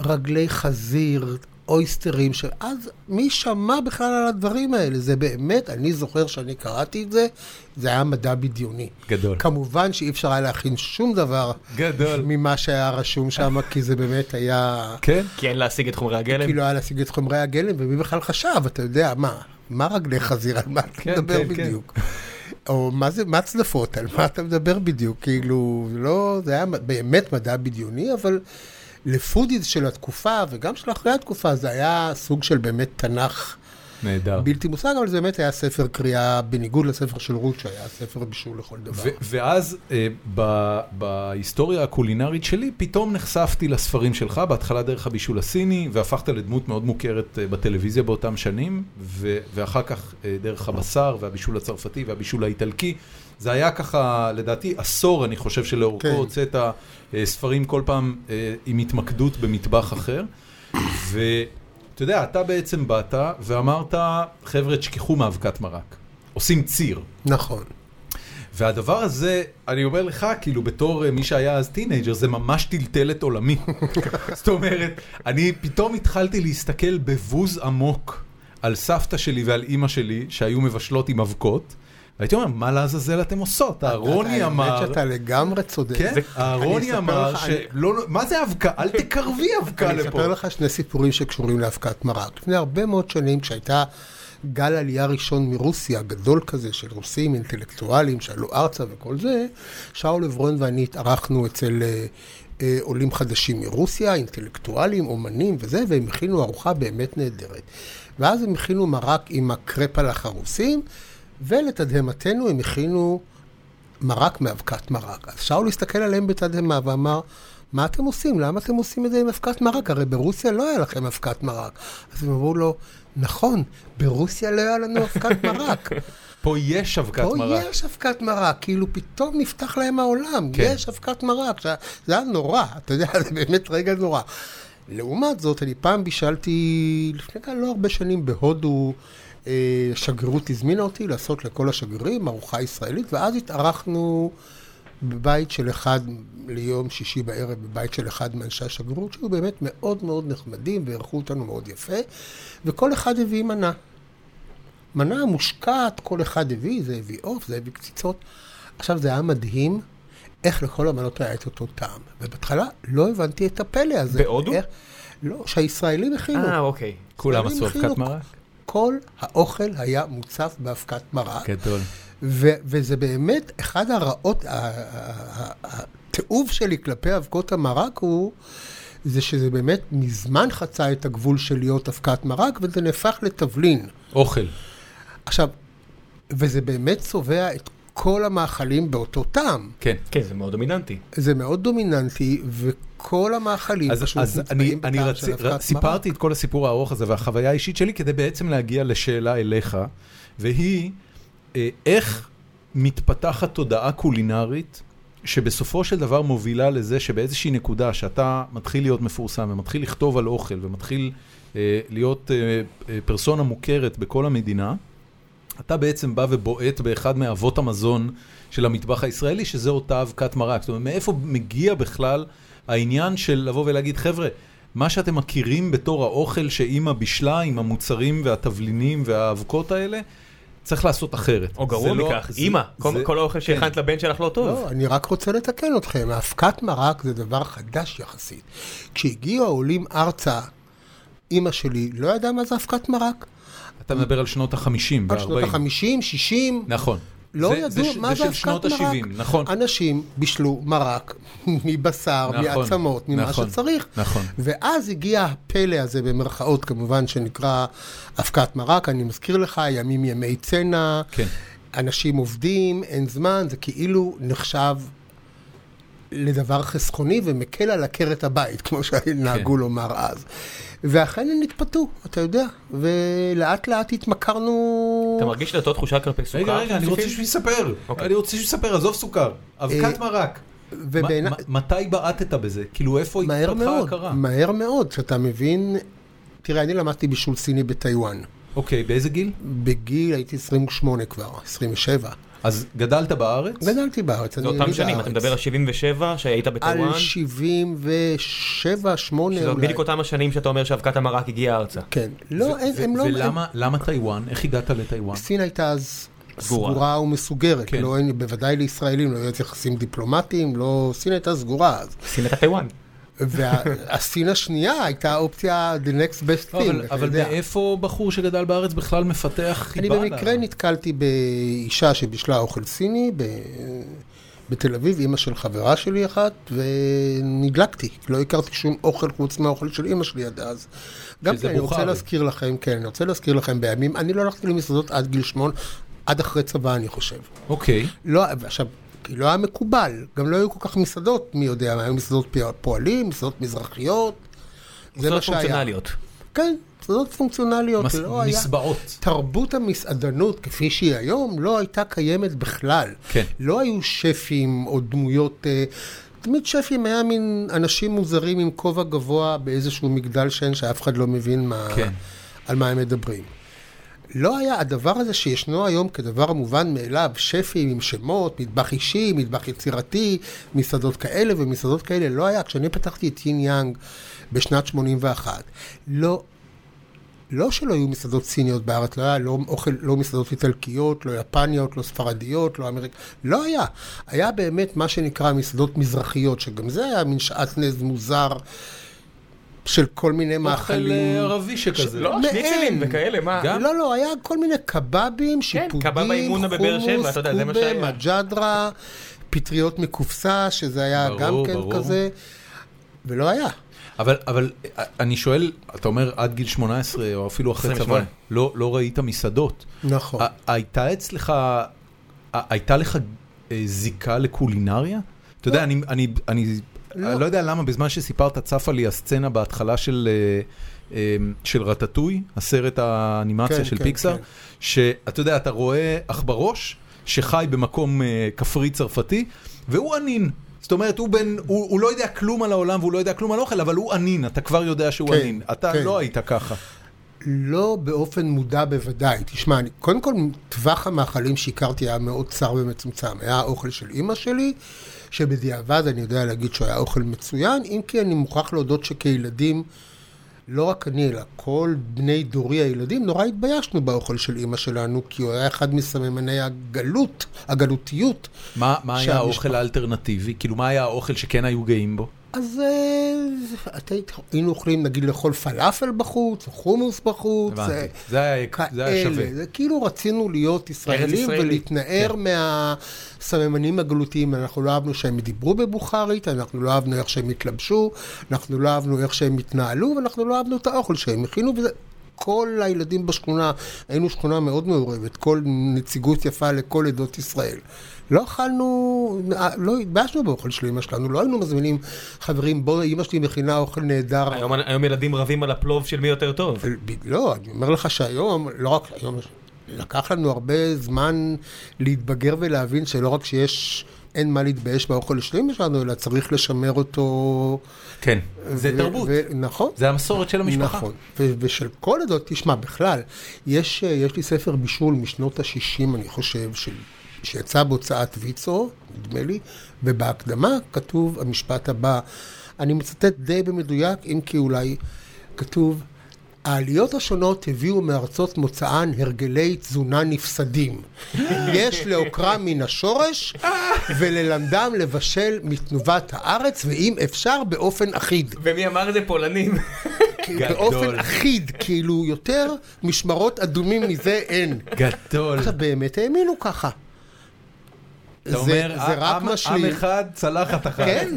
Speaker 3: רגלי חזיר, אויסטרים, שאז מי שמע בכלל על הדברים האלה? זה באמת, אני זוכר שאני קראתי את זה, זה היה מדע בדיוני.
Speaker 1: גדול.
Speaker 3: כמובן שאי אפשר היה להכין שום דבר
Speaker 1: גדול.
Speaker 3: ממה שהיה רשום שם, כי זה באמת היה...
Speaker 1: כן?
Speaker 2: כי אין להשיג את חומרי הגלם.
Speaker 3: כאילו היה להשיג את חומרי הגלם, ומי בכלל חשב, אתה יודע, מה, מה רגלי חזיר, על מה אתה
Speaker 1: כן,
Speaker 3: מדבר
Speaker 1: כן, כן.
Speaker 3: בדיוק? או מה זה, מה צדפות, על מה אתה מדבר בדיוק? כאילו, לא, זה היה באמת מדע בדיוני, אבל לפודיז של התקופה, וגם של אחרי התקופה, זה היה סוג של באמת תנ"ך
Speaker 1: נהדר.
Speaker 3: בלתי מושג, אבל זה באמת היה ספר קריאה, בניגוד לספר של רות, שהיה ספר בישול לכל דבר.
Speaker 1: ו- ואז אה, ב- בהיסטוריה הקולינרית שלי, פתאום נחשפתי לספרים שלך, בהתחלה דרך הבישול הסיני, והפכת לדמות מאוד מוכרת אה, בטלוויזיה באותם שנים, ו- ואחר כך אה, דרך הבשר והבישול הצרפתי והבישול האיטלקי. זה היה ככה, לדעתי, עשור, אני חושב, שלאורכו
Speaker 3: כן.
Speaker 1: הוצאת אה, ספרים כל פעם אה, עם התמקדות במטבח אחר. ואתה יודע, אתה בעצם באת ואמרת, חבר'ה, תשכחו מאבקת מרק. עושים ציר.
Speaker 3: נכון.
Speaker 1: והדבר הזה, אני אומר לך, כאילו, בתור אה, מי שהיה אז טינג'ר, זה ממש טלטל את עולמי. זאת אומרת, אני פתאום התחלתי להסתכל בבוז עמוק על סבתא שלי ועל אימא שלי, שהיו מבשלות עם אבקות, והייתי אומר, מה לעזאזל אתם עושות? אהרוני
Speaker 3: אתה-
Speaker 1: אמר...
Speaker 3: האמת שאתה לגמרי צודק.
Speaker 1: כן,
Speaker 3: אני
Speaker 1: אהרוני
Speaker 3: אספר
Speaker 1: אמר
Speaker 3: לך,
Speaker 1: ש...
Speaker 3: אני-
Speaker 1: לא, לא, מה זה אבקה? אל תקרבי אבקה
Speaker 3: אני
Speaker 1: לפה.
Speaker 3: אספר לך שני סיפורים שקשורים לאבקת מרק. לפני הרבה מאוד שנים, כשהייתה גל עלייה ראשון מרוסיה, גדול כזה, של רוסים אינטלקטואלים, שעלו ארצה וכל זה, שאול עברון ואני התארחנו אצל אה, אה, עולים חדשים מרוסיה, אינטלקטואלים, אומנים וזה, והם הכינו ארוחה באמת נהדרת. ואז הם הכינו מרק עם הקרפלח הרוסים, ולתדהמתנו הם הכינו מרק מאבקת מרק. אז שאול הסתכל עליהם בתדהמה ואמר, מה אתם עושים? למה אתם עושים את זה עם אבקת מרק? הרי ברוסיה לא היה לכם אבקת מרק. אז הם אמרו לו, נכון, ברוסיה לא היה לנו אבקת מרק.
Speaker 1: פה יש אבקת
Speaker 3: פה
Speaker 1: מרק.
Speaker 3: יש אבקת מרק, כאילו פתאום נפתח להם העולם,
Speaker 1: כן.
Speaker 3: כן. יש אבקת מרק, זה- זה היה נורא, אתה יודע, זה באמת רגע נורא. לעומת זאת, אני פעם בישלתי, לפני כאן לא הרבה שנים בהודו, אה, שגרירות הזמינה אותי לעשות לכל השגרירים ארוחה ישראלית, ואז התארחנו בבית של אחד, ליום שישי בערב, בבית של אחד מאנשי השגרירות, שהיו באמת מאוד מאוד נחמדים, ואירחו אותנו מאוד יפה, וכל אחד הביא מנה. מנה מושקעת, כל אחד הביא, זה הביא עוף, זה הביא קציצות. עכשיו, זה היה מדהים איך לכל המנות היה את אותו טעם. ובהתחלה לא הבנתי את הפלא הזה.
Speaker 2: בהודו?
Speaker 3: איך... לא, שהישראלים הכינו.
Speaker 2: אה,
Speaker 1: כאילו.
Speaker 2: אוקיי.
Speaker 1: כולם
Speaker 3: ישראלים
Speaker 1: עשו אבקת
Speaker 3: הכינו-
Speaker 1: מרק?
Speaker 3: כל האוכל היה מוצף באבקת מרק.
Speaker 1: גדול.
Speaker 3: ו- וזה באמת, אחד הרעות, ה- ה- ה- התיעוב שלי כלפי אבקות המרק הוא, זה שזה באמת מזמן חצה את הגבול של להיות אבקת מרק, וזה נהפך לתבלין.
Speaker 1: אוכל.
Speaker 3: עכשיו, וזה באמת צובע את כל המאכלים באותו טעם.
Speaker 1: כן.
Speaker 2: כן, זה מאוד דומיננטי.
Speaker 3: זה מאוד דומיננטי, וכל המאכלים
Speaker 1: אז,
Speaker 3: פשוט
Speaker 1: אז אני,
Speaker 3: מוצבעים
Speaker 1: אני
Speaker 3: בטעם
Speaker 1: רצי,
Speaker 3: של אבקת
Speaker 1: ר,
Speaker 3: מרק.
Speaker 1: סיפרתי את כל הסיפור הארוך הזה והחוויה האישית שלי כדי בעצם להגיע לשאלה אליך, והיא אה, איך מתפתחת תודעה קולינרית שבסופו של דבר מובילה לזה שבאיזושהי נקודה שאתה מתחיל להיות מפורסם ומתחיל לכתוב על אוכל ומתחיל אה, להיות אה, אה, פרסונה מוכרת בכל המדינה, אתה בעצם בא ובועט באחד מאבות המזון של המטבח הישראלי, שזה אותה אבקת מרק. זאת אומרת, מאיפה מגיע בכלל העניין של לבוא ולהגיד, חבר'ה, מה שאתם מכירים בתור האוכל שאימא בישלה עם המוצרים והתבלינים והאבקות האלה, צריך לעשות אחרת.
Speaker 2: או
Speaker 1: זה
Speaker 2: גרוע
Speaker 1: לא-
Speaker 2: מכך,
Speaker 1: זה-
Speaker 2: אימא, כל-
Speaker 1: זה-
Speaker 2: כל האוכל
Speaker 1: כן.
Speaker 2: שהכנת לבן שלך לא טוב.
Speaker 3: לא, אני רק רוצה לתקן אתכם. האבקת מרק זה דבר חדש יחסית. כשהגיעו העולים ארצה, אימא שלי לא ידעה מה זה אבקת מרק.
Speaker 1: אתה מדבר על שנות ה-50
Speaker 3: עד שנות
Speaker 1: וה-40.
Speaker 3: ה-50, 60,
Speaker 1: נכון.
Speaker 3: לא
Speaker 1: זה- זה
Speaker 3: ידעו
Speaker 1: ש-
Speaker 3: מה זה
Speaker 1: של שנות
Speaker 3: אבקת
Speaker 1: ה-70,
Speaker 3: מרק.
Speaker 1: נכון.
Speaker 3: אנשים בישלו מרק מבשר,
Speaker 1: נכון,
Speaker 3: מעצמות, ממה
Speaker 1: נכון,
Speaker 3: שצריך.
Speaker 1: נכון.
Speaker 3: ואז הגיע הפלא הזה, במרכאות כמובן, שנקרא אבקת מרק. אני מזכיר לך, ימים ימי צנע,
Speaker 1: כן.
Speaker 3: אנשים עובדים, אין זמן, זה כאילו נחשב לדבר חסכוני ומקל על עקרת הבית, כמו שנהגו
Speaker 1: כן.
Speaker 3: כן. לומר אז. ואכן הם נתפתו, אתה יודע, ולאט לאט התמכרנו...
Speaker 2: אתה מרגיש את אותה תחושה כלפי סוכר?
Speaker 1: לא. רגע, רגע, אני רוצה שהוא יספר. אני רוצה שהוא יספר, עזוב סוכר. אבקת
Speaker 3: אה,
Speaker 1: מרק.
Speaker 3: ובעיני-
Speaker 1: מה- מה- מתי בעטת בזה? כאילו, איפה
Speaker 3: מהר
Speaker 1: התפתחה
Speaker 3: מאוד,
Speaker 1: ההכרה?
Speaker 3: מהר מאוד, שאתה מבין... תראה, אני למדתי בישול סיני בטיוואן.
Speaker 1: אוקיי, באיזה גיל?
Speaker 3: בגיל הייתי 28 כבר, 27.
Speaker 1: אז גדלת בארץ?
Speaker 3: גדלתי בארץ,
Speaker 2: זה
Speaker 3: אני
Speaker 2: אותם
Speaker 3: יליד
Speaker 2: שנים,
Speaker 3: הארץ.
Speaker 2: אתה מדבר על 77, שהיית
Speaker 3: על
Speaker 2: בטוואן,
Speaker 3: 77, 8
Speaker 2: שזה
Speaker 3: אולי.
Speaker 2: בדיוק אותם השנים שאתה אומר שאבקת המרק הגיעה ארצה.
Speaker 3: כן. לא,
Speaker 1: ו-
Speaker 3: הם הם
Speaker 1: ו-
Speaker 3: לא... הם-
Speaker 1: ולמה למה טיוואן? איך הגעת לטיוואן?
Speaker 3: סין הייתה אז
Speaker 2: סגורה.
Speaker 3: סגורה, סגורה ומסוגרת,
Speaker 1: כן.
Speaker 3: כן. לא, אין- בוודאי לישראלים, לא היו יחסים דיפלומטיים, לא, סין הייתה סגורה אז.
Speaker 2: שים את הטיוואן.
Speaker 3: והסין השנייה הייתה האופציה the next best
Speaker 1: לא,
Speaker 3: thing,
Speaker 1: אבל-
Speaker 3: אתה
Speaker 1: אבל
Speaker 3: יודע.
Speaker 1: מאיפה בחור שגדל בארץ בכלל מפתח חיבה?
Speaker 3: אני במקרה
Speaker 1: ל-
Speaker 3: נתקלתי באישה שבישלה אוכל סיני ב... בתל אביב, אימא של חברה שלי אחת, ונדלקתי. לא הכרתי שום אוכל חוץ מהאוכל של אימא שלי עד אז. גם
Speaker 1: שזה
Speaker 3: כן, אני
Speaker 1: בוכרי.
Speaker 3: רוצה להזכיר לכם, כן, אני רוצה להזכיר לכם בימים, אני לא הלכתי למסעדות עד גיל שמונה, עד אחרי צבא, אני חושב.
Speaker 1: אוקיי.
Speaker 3: לא, עכשיו, כי לא היה מקובל, גם לא היו כל כך מסעדות, מי יודע, היו מסעדות פי- פועלים, מסעדות מזרחיות, זה מה
Speaker 2: סוכר
Speaker 3: שהיה.
Speaker 2: פונקציונליות.
Speaker 3: כן, מסעדות פונקציונליות,
Speaker 1: מס-
Speaker 3: זה לא היה.
Speaker 1: מסבעות.
Speaker 3: תרבות המסעדנות כפי שהיא היום לא הייתה קיימת בכלל.
Speaker 1: כן.
Speaker 3: לא היו שפים או דמויות... אה, תמיד שפים היה מין אנשים מוזרים עם כובע גבוה באיזשהו מגדל שן שאף אחד לא מבין מה,
Speaker 1: כן.
Speaker 3: על מה הם מדברים. לא היה הדבר הזה שישנו היום כדבר מובן מאליו, שפים עם שמות, מטבח אישי, מטבח יצירתי, מסעדות כאלה ומסעדות כאלה, לא היה. כשאני פתחתי את יין יאנג בשנת 81, לא לא שלא היו מסעדות סיניות בארץ, לא היה לא אוכל, לא מסעדות איטלקיות, לא יפניות, לא ספרדיות, לא אמריקאיות, לא היה. היה באמת מה שנקרא מסעדות מזרחיות, שגם זה היה מין שעטנז מוזר של כל מיני
Speaker 1: אוכל
Speaker 3: מאכלים.
Speaker 1: אה, ערבי שכזה.
Speaker 2: לא,
Speaker 3: מעין.
Speaker 2: שניצלים וכאלה, מה?
Speaker 1: גם?
Speaker 3: לא, לא, היה כל מיני קבבים,
Speaker 2: כן, קבב
Speaker 3: שיפודים,
Speaker 2: האימונה בבאר שבע,
Speaker 3: חומוס,
Speaker 2: אתה יודע, זה מה
Speaker 3: קובה,
Speaker 2: שהיה.
Speaker 3: מג'דרה, פטריות מקופסה, שזה היה
Speaker 1: ברור,
Speaker 3: גם כן
Speaker 1: ברור.
Speaker 3: כזה, ולא היה.
Speaker 1: אבל, אבל אה, אני שואל, אתה אומר עד גיל 18 או אפילו אחרי
Speaker 2: 28.
Speaker 1: צבא, לא, לא ראית מסעדות.
Speaker 3: נכון.
Speaker 1: ה- הייתה אצלך, ה- הייתה לך אה, זיקה לקולינריה? אתה יודע, אני, אני, אני,
Speaker 3: לא.
Speaker 1: אני לא יודע למה, בזמן שסיפרת צפה לי הסצנה בהתחלה של, אה, אה, של רטטוי, הסרט האנימציה
Speaker 3: כן,
Speaker 1: של
Speaker 3: כן,
Speaker 1: פיקסאר,
Speaker 3: כן.
Speaker 1: שאתה יודע, אתה רואה עכברוש שחי במקום אה, כפרי צרפתי, והוא ענין. זאת אומרת, הוא, בן, הוא, הוא לא יודע כלום על העולם והוא לא יודע כלום על אוכל, אבל הוא ענין, אתה כבר יודע שהוא
Speaker 3: כן,
Speaker 1: ענין. אתה
Speaker 3: כן.
Speaker 1: לא היית ככה.
Speaker 3: לא באופן מודע בוודאי. תשמע, אני, קודם כל, טווח המאכלים שהכרתי היה מאוד צר ומצומצם. היה האוכל של אימא שלי, שבדיעבד אני יודע להגיד שהוא היה אוכל מצוין, אם כי אני מוכרח להודות שכילדים, לא רק אני, אלא כל בני דורי הילדים, נורא התביישנו באוכל של אימא שלנו, כי הוא היה אחד מסממני הגלות, הגלותיות.
Speaker 1: מה, מה היה
Speaker 3: שהמשפחה-
Speaker 1: האוכל האלטרנטיבי? כאילו, מה היה האוכל שכן היו גאים בו?
Speaker 3: אז אה, אתה, היית- היינו אוכלים, נגיד, לאכול פלאפל בחוץ, או חומוס בחוץ.
Speaker 1: הבנתי.
Speaker 3: אה,
Speaker 1: זה היה, זה היה שווה. כן.
Speaker 3: כאלה. זה כאילו רצינו להיות ישראלים
Speaker 2: ישראלי.
Speaker 3: ולהתנער מהסממנים הגלותיים. אנחנו לא אהבנו שהם דיברו בבוכרית, אנחנו לא אהבנו איך שהם התלבשו, אנחנו לא אהבנו איך שהם התנהלו, ואנחנו לא אהבנו את האוכל שהם הכינו. וזה... כל הילדים בשכונה, היינו שכונה מאוד מעורבת, כל נציגות יפה לכל עדות ישראל. לא אכלנו, לא התביישנו באוכל של אמא שלנו, לא היינו מזמינים חברים, בוא, אמא שלי מכינה אוכל נהדר.
Speaker 2: היום- היום ילדים רבים על הפלוב של מי יותר טוב.
Speaker 3: ב- לא, אני אומר לך שהיום, לא רק היום, לקח לנו הרבה זמן להתבגר ולהבין שלא רק שיש, אין מה להתבייש באוכל השלים שלנו, אלא צריך לשמר אותו.
Speaker 1: כן. זה
Speaker 3: ו-
Speaker 1: תרבות.
Speaker 3: ו- נכון.
Speaker 1: זה המסורת של המשפחה.
Speaker 3: נכון, ו- ושל כל עדות, תשמע, בכלל, יש, אה, יש לי ספר בישול משנות ה-60, אני חושב, של, שיצא בהוצאת ויצו, נדמה לי, ובהקדמה כתוב המשפט הבא, אני מצטט די במדויק, אם כי אולי כתוב, העליות השונות הביאו מארצות מוצאן הרגלי תזונה נפסדים. יש לעוקרם מן השורש וללמדם לבשל מתנובת הארץ, ואם אפשר, באופן אחיד.
Speaker 4: ומי אמר את זה? פולנים.
Speaker 1: גדול.
Speaker 3: באופן אחיד, כאילו יותר משמרות אדומים מזה אין.
Speaker 1: גדול.
Speaker 3: עכשיו, באמת האמינו ככה.
Speaker 1: אתה
Speaker 3: זה-
Speaker 1: אומר,
Speaker 3: זה רק
Speaker 1: עם- עם
Speaker 3: משלים.
Speaker 1: אחד, צלחת אחת.
Speaker 3: כן,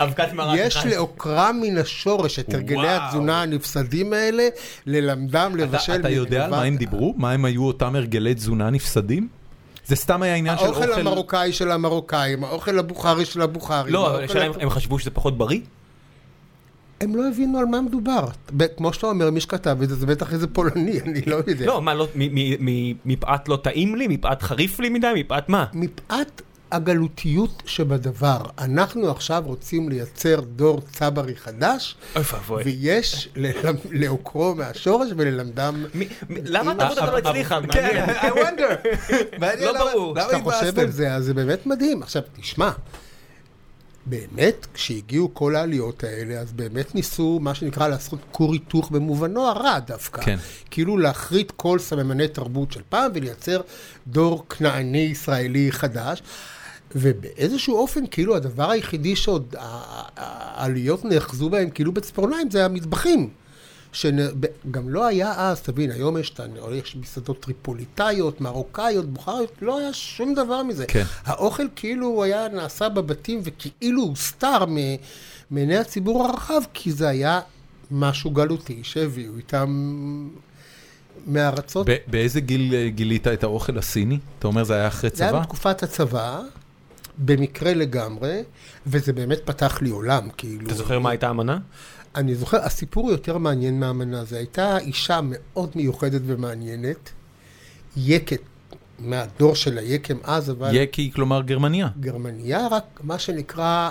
Speaker 4: אבקת מרק.
Speaker 3: יש לעוקרם מן השורש את הרגלי
Speaker 1: וואו.
Speaker 3: התזונה הנפסדים האלה, ללמדם
Speaker 1: אתה-
Speaker 3: לבשל...
Speaker 1: אתה יודע על מה הם
Speaker 3: מתגובת-
Speaker 1: דיברו? מה הם היו אותם הרגלי תזונה נפסדים? זה סתם היה עניין של אוכל...
Speaker 3: האוכל המרוקאי של המרוקאים, האוכל הבוכרי של הבוכרים.
Speaker 2: לא, אבל
Speaker 3: האוכל
Speaker 2: השאלה
Speaker 3: ה-
Speaker 2: אם הם חשבו שזה פחות בריא?
Speaker 3: כן. הם לא הבינו על מה מדובר. ב- כמו שאתה אומר, מי שכתב את זה, זה בטח איזה פולני, אני לא יודע.
Speaker 2: לא, מה, לא- מ- מ- מ- מפאת לא טעים לי? מפאת חריף לי מדי? מפאת מה?
Speaker 3: מפאת הגלותיות שבדבר, אנחנו עכשיו רוצים לייצר דור צברי חדש,
Speaker 2: אוי ואבוי.
Speaker 3: ויש ללמ- לעוקרו מהשורש וללמדם...
Speaker 2: מי- מי- למה אתה
Speaker 1: אה,
Speaker 2: לא
Speaker 1: אה,
Speaker 2: הצליחה?
Speaker 1: כן,
Speaker 2: מעניין.
Speaker 1: I wonder. מעניין
Speaker 2: לא
Speaker 1: למה-
Speaker 2: ברור.
Speaker 1: למה
Speaker 3: כשאתה חושב
Speaker 1: התבאסתם?
Speaker 3: על זה, אז זה באמת מדהים. עכשיו, תשמע, באמת, כשהגיעו כל העליות האלה, אז באמת ניסו, מה שנקרא, לעשות כור היתוך במובנו הרע דווקא.
Speaker 1: כן.
Speaker 3: כאילו להחריט כל סממני תרבות של פעם ולייצר דור כנעני ישראלי חדש. ובאיזשהו אופן, כאילו, הדבר היחידי שעוד ה- ה- העליות נאחזו בהם, כאילו בציפורניים, זה המטבחים. שגם לא היה אז, תבין, היום יש, את ה- יש מסעדות טריפוליטאיות, מרוקאיות, בוכריות, לא היה שום דבר מזה.
Speaker 1: כן.
Speaker 3: האוכל כאילו היה נעשה בבתים וכאילו הוסתר מ- מעיני הציבור הרחב, כי זה היה משהו גלותי שהביאו איתם מארצות.
Speaker 1: ב- באיזה גיל אה, גילית את האוכל הסיני? אתה אומר זה היה אחרי
Speaker 3: זה היה
Speaker 1: צבא?
Speaker 3: בתקופת הצבא, במקרה לגמרי, וזה באמת פתח לי עולם, כאילו.
Speaker 2: אתה זוכר מה הייתה האמנה?
Speaker 3: אני זוכר, הסיפור יותר מעניין מהאמנה. זו הייתה אישה מאוד מיוחדת ומעניינת, יקת, מהדור של היקם אז, אבל...
Speaker 1: יקי, כלומר גרמניה.
Speaker 3: גרמניה, רק מה שנקרא,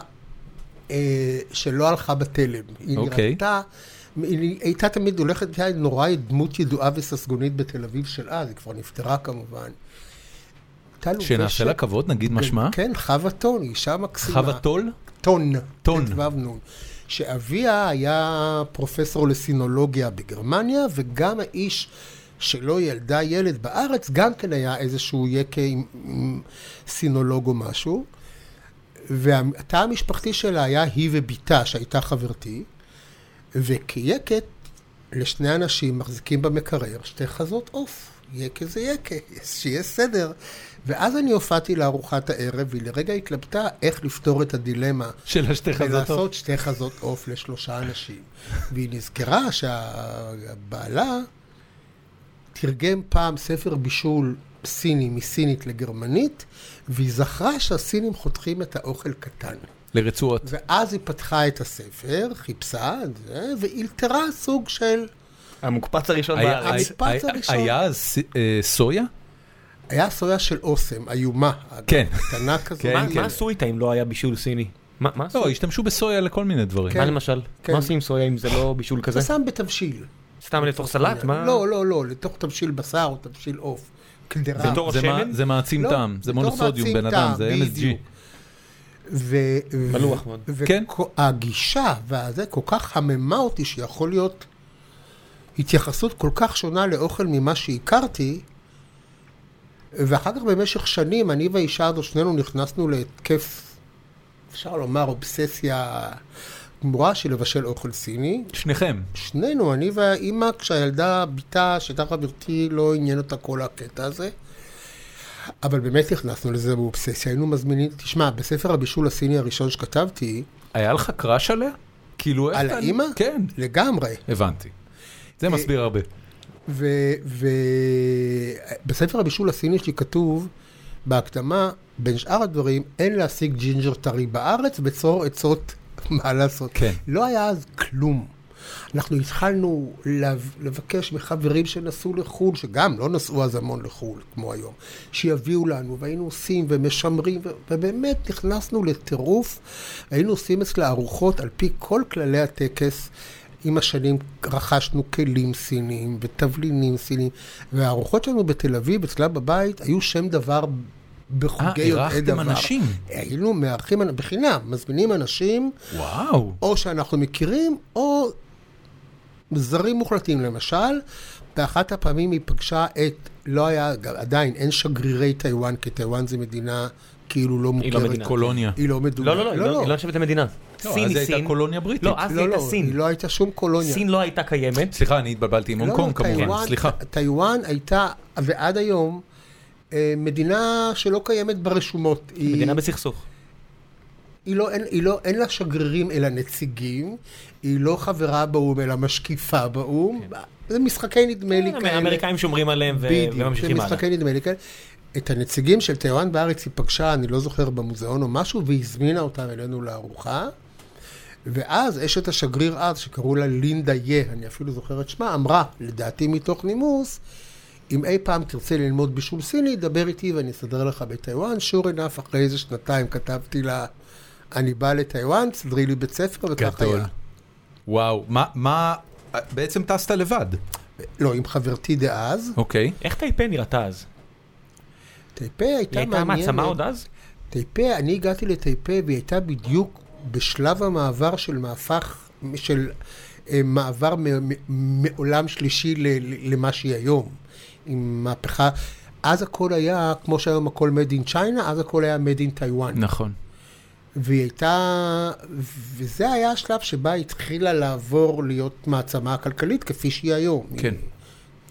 Speaker 3: אה, שלא הלכה בתלם. היא
Speaker 1: אוקיי.
Speaker 3: נראתה, היא הייתה תמיד הולכת, הייתה נורא דמות ידועה וססגונית בתל אביב של אז, היא כבר נפטרה כמובן. הייתה לובשת-
Speaker 1: שנעשה לה כבוד, נגיד מה שמה?
Speaker 3: כן, חווה טון, היא אישה מקסימה.
Speaker 1: חווה טול?
Speaker 3: טון.
Speaker 1: טון.
Speaker 3: ט"ו נון. שאביה היה פרופסור לסינולוגיה בגרמניה, וגם האיש שלא ילדה ילד בארץ, גם כן היה איזשהו יקה עם, עם סינולוג או משהו. והתא המשפחתי שלה היה היא ובתה, שהייתה חברתי, וכיקת, לשני אנשים מחזיקים במקרר שתי חזות עוף. יקה זה יקה, שיהיה סדר. ואז אני הופעתי לארוחת הערב, והיא לרגע התלבטה איך לפתור את הדילמה
Speaker 1: של השתי חזתות.
Speaker 3: ולעשות שתי חזות עוף לשלושה אנשים. והיא נזכרה שהבעלה תרגם פעם ספר בישול סיני מסינית לגרמנית, והיא זכרה שהסינים חותכים את האוכל קטן.
Speaker 1: לרצועות.
Speaker 3: ואז היא פתחה את הספר, חיפשה, את זה, ואילתרה סוג של...
Speaker 4: המוקפץ הראשון
Speaker 1: היה-
Speaker 4: בארץ.
Speaker 3: המקפץ
Speaker 1: היה-
Speaker 3: הראשון.
Speaker 1: היה אז ס- אה, סויה?
Speaker 3: היה סויה של אוסם, איומה.
Speaker 1: כן.
Speaker 3: קטנה כזאת.
Speaker 1: כן,
Speaker 2: מה
Speaker 1: כן.
Speaker 2: מה עשו איתה אם לא היה בישול סיני? מה מה עשו?
Speaker 1: לא, השתמשו בסויה לכל מיני דברים.
Speaker 2: מה למשל?
Speaker 3: כן.
Speaker 2: מה עושים עם סויה אם זה לא בישול כזה?
Speaker 3: זה שם בתבשיל.
Speaker 2: סתם לתוך סלט? מה?
Speaker 3: לא, לא, לא, לתוך תבשיל בשר או תבשיל עוף. קדרה.
Speaker 2: בתור
Speaker 1: זה
Speaker 2: השמן?
Speaker 1: מה- זה מעצים
Speaker 3: לא,
Speaker 1: טעם, זה
Speaker 3: בתור
Speaker 1: מונוסודיום
Speaker 3: מעצים
Speaker 1: בן אדם,
Speaker 3: טעם,
Speaker 1: זה
Speaker 3: בדיוק.
Speaker 1: MSG.
Speaker 3: ו...
Speaker 2: מלוח מאוד.
Speaker 1: כן.
Speaker 3: והגישה והזה כל כך חממה אותי שיכול להיות התייחסות כל כך שונה לאוכל ממה שהכרתי. ואחר כך במשך שנים, אני והאישה הזו, שנינו נכנסנו להתקף, אפשר לומר, אובססיה גמורה של לבשל אוכל סיני.
Speaker 1: שניכם.
Speaker 3: שנינו, אני והאימא, כשהילדה, בתה, שהייתה חברתי, לא עניין אותה כל הקטע הזה. אבל באמת נכנסנו לזה באובססיה, היינו מזמינים, תשמע, בספר הבישול הסיני הראשון שכתבתי,
Speaker 1: היה לך קראש עליה? כאילו, איך
Speaker 3: על
Speaker 1: אתה-
Speaker 3: האימא? אה,
Speaker 1: כן,
Speaker 3: לגמרי.
Speaker 1: הבנתי. זה מסביר הרבה.
Speaker 3: ובספר הבישול הסיני שלי כתוב, בהקדמה, בין שאר הדברים, אין להשיג ג'ינג'ר טרי בארץ, בצור עצות מה לעשות.
Speaker 1: כן.
Speaker 3: לא היה אז כלום. אנחנו התחלנו לב- לבקש מחברים שנסעו לחו"ל, שגם לא נסעו אז המון לחו"ל, כמו היום, שיביאו לנו, והיינו עושים ומשמרים, ו- ובאמת נכנסנו לטירוף. היינו עושים אצלה ארוחות על פי כל כללי הטקס. עם השנים רכשנו כלים סיניים ותבלינים סיניים, והארוחות שלנו בתל אביב, אצלה בבית, היו שם דבר
Speaker 1: אה,
Speaker 3: בחוגי יודעי דבר.
Speaker 1: אירחתם אנשים.
Speaker 3: היינו מארחים אנ- בחינם, מזמינים אנשים,
Speaker 1: וואו.
Speaker 3: או שאנחנו מכירים, או זרים מוחלטים. למשל, באחת הפעמים היא פגשה את, לא היה, גם עדיין אין שגרירי טיוואן, כי טיוואן זו מדינה כאילו לא מוכרת.
Speaker 2: היא לא מדינה.
Speaker 1: קולוניה.
Speaker 3: היא לא מדומה.
Speaker 2: לא, לא, לא, היא לא- היא לא נחשבת למדינה.
Speaker 1: לא,
Speaker 2: סין
Speaker 1: אז
Speaker 2: היא
Speaker 1: הייתה
Speaker 2: סין.
Speaker 1: קולוניה בריטית.
Speaker 2: לא, אז היא
Speaker 3: לא,
Speaker 2: הייתה
Speaker 3: לא, היא
Speaker 2: סין.
Speaker 3: לא הייתה שום קולוניה.
Speaker 2: סין לא הייתה קיימת.
Speaker 1: סליחה, אני התבלבלתי עם הונג
Speaker 3: לא,
Speaker 1: קונג כמובן,
Speaker 3: טיוואן-
Speaker 1: סליחה.
Speaker 3: טיוואן הייתה, ועד היום, אה, מדינה שלא קיימת ברשומות. היא-
Speaker 2: מדינה בסכסוך.
Speaker 3: היא לא, אין, היא לא, אין לה שגרירים אלא נציגים, היא לא חברה באו"ם אלא משקיפה באו"ם. זה משחקי נדמה
Speaker 2: כן,
Speaker 3: לי כאלה.
Speaker 2: האמריקאים שומרים עליהם ו-
Speaker 3: בדיוק, זה
Speaker 2: וממשיכים הלאה.
Speaker 3: משחקי נדמה לי כאלה. את הנציגים של טהרן בארץ היא פגשה, אני לא זוכר, במוזיאון או משהו, והזמינה אותם אלינו לארוחה. ואז אשת השגריר אז, שקראו לה לינדה יה, אני אפילו זוכר את שמה, אמרה, לדעתי מתוך נימוס, אם אי פעם תרצה ללמוד בישול סיני, דבר איתי ואני אסדר לך בטיוואן. Sure enough, אחרי איזה שנתיים כתבתי לה, אני בא לטיוואן, סדרי לי בית ספר, וכך
Speaker 1: גדול.
Speaker 3: היה.
Speaker 1: וואו, מה, מה, בעצם טסת לבד.
Speaker 3: לא, עם חברתי דאז,
Speaker 1: אוקיי.
Speaker 2: איך טייפה נראתה אז?
Speaker 3: טייפה הייתה
Speaker 2: היא הייתה
Speaker 3: מעניינת.
Speaker 2: מעצמה עוד אז?
Speaker 3: טייפה, אני הגעתי לטייפה והיא הייתה בדיוק בשלב המעבר של מהפך, של אה, מעבר מ- מ- מעולם שלישי ל- ל- למה שהיא היום. עם מהפכה, אז הכל היה, כמו שהיום הכל made in China, אז הכל היה made in Taiwan.
Speaker 1: נכון.
Speaker 3: והיא הייתה, וזה היה השלב שבה היא התחילה לעבור להיות מעצמה כלכלית כפי שהיא היום.
Speaker 1: כן.
Speaker 3: היא-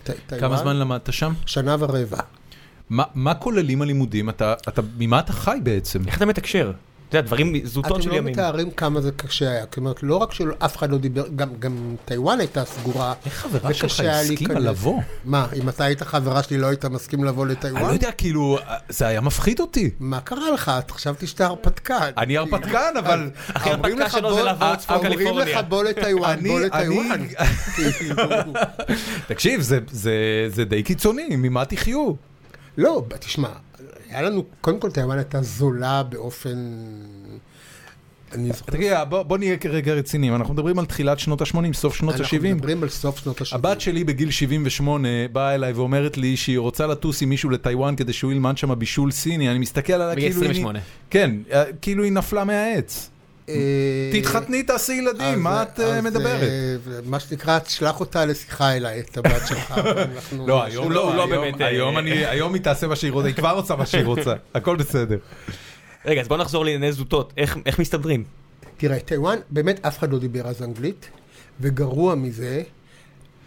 Speaker 3: ט-
Speaker 1: כמה
Speaker 3: טיוואן,
Speaker 1: זמן למדת שם?
Speaker 3: שנה ורבע.
Speaker 1: מה, מה כוללים הלימודים? אתה, אתה, ממה אתה חי בעצם?
Speaker 2: איך אתה מתקשר? אתה יודע, דברים זוטות של
Speaker 3: אתם לא
Speaker 2: ימים.
Speaker 3: מתארים כמה זה קשה היה. כלומר, לא רק שאף אחד לא דיבר, גם, גם טיוואן הייתה סגורה.
Speaker 1: איך חברה
Speaker 3: וקשה
Speaker 1: שלך
Speaker 3: היה
Speaker 1: הסכימה
Speaker 3: להיכנס.
Speaker 1: לבוא?
Speaker 3: מה, אם אתה היית חברה שלי, לא היית מסכים לבוא
Speaker 1: אני לא
Speaker 3: לטיוואן?
Speaker 1: יודע, כאילו, זה היה מפחיד אותי.
Speaker 3: מה קרה לך? את חשבתי שאתה הרפתקן.
Speaker 1: אני הרפתקן, אבל...
Speaker 2: הכי
Speaker 3: אומרים
Speaker 2: הרפתקה
Speaker 3: לך,
Speaker 2: שלו זה
Speaker 3: בוא-
Speaker 2: לעבור לצפון
Speaker 3: אומרים
Speaker 2: קליפורניה.
Speaker 3: לך בוא לטיוואן,
Speaker 1: אני-
Speaker 3: בוא
Speaker 1: אני-
Speaker 3: לטיוואן. כאילו,
Speaker 1: תקשיב, זה- זה- זה די קיצוני, ממה תחיו?
Speaker 3: לא, תשמע, היה לנו, קודם כל טיוואן הייתה זולה באופן... אני זוכר.
Speaker 1: תגיד, בוא בוא נהיה כרגע רציניים, אנחנו מדברים על תחילת שנות ה-80, סוף שנות
Speaker 3: אנחנו
Speaker 1: ה-70.
Speaker 3: מדברים על סוף שנות ה-70.
Speaker 1: הבת שלי בגיל 78 באה אליי ואומרת לי שהיא רוצה לטוס עם מישהו לטיוואן כדי שהוא ילמד שם בישול סיני, אני מסתכל עליה
Speaker 2: בגיל
Speaker 1: כאילו היא...
Speaker 2: 28.
Speaker 1: כן, אה, כאילו היא נפלה מהעץ.
Speaker 3: אה,
Speaker 1: תתחתני, תעשי ילדים, מה את אה, מדברת?
Speaker 3: מה שנקרא, תשלח אותה לשיחה אליי, את הבת שלך. אנחנו-
Speaker 1: לא, היום
Speaker 2: הוא
Speaker 1: לא,
Speaker 2: לא
Speaker 1: היום-
Speaker 2: באמת, אה,
Speaker 1: היום אני- היום היא תעשה מה שהיא רוצה, היא כבר עושה מה שהיא רוצה, הכל בסדר.
Speaker 2: רגע, אז בוא נחזור לענייני זוטות. איך- איך מסתדרים?
Speaker 3: תראה, טיוואן, באמת אף אחד לא דיבר אז אנגלית, וגרוע מזה,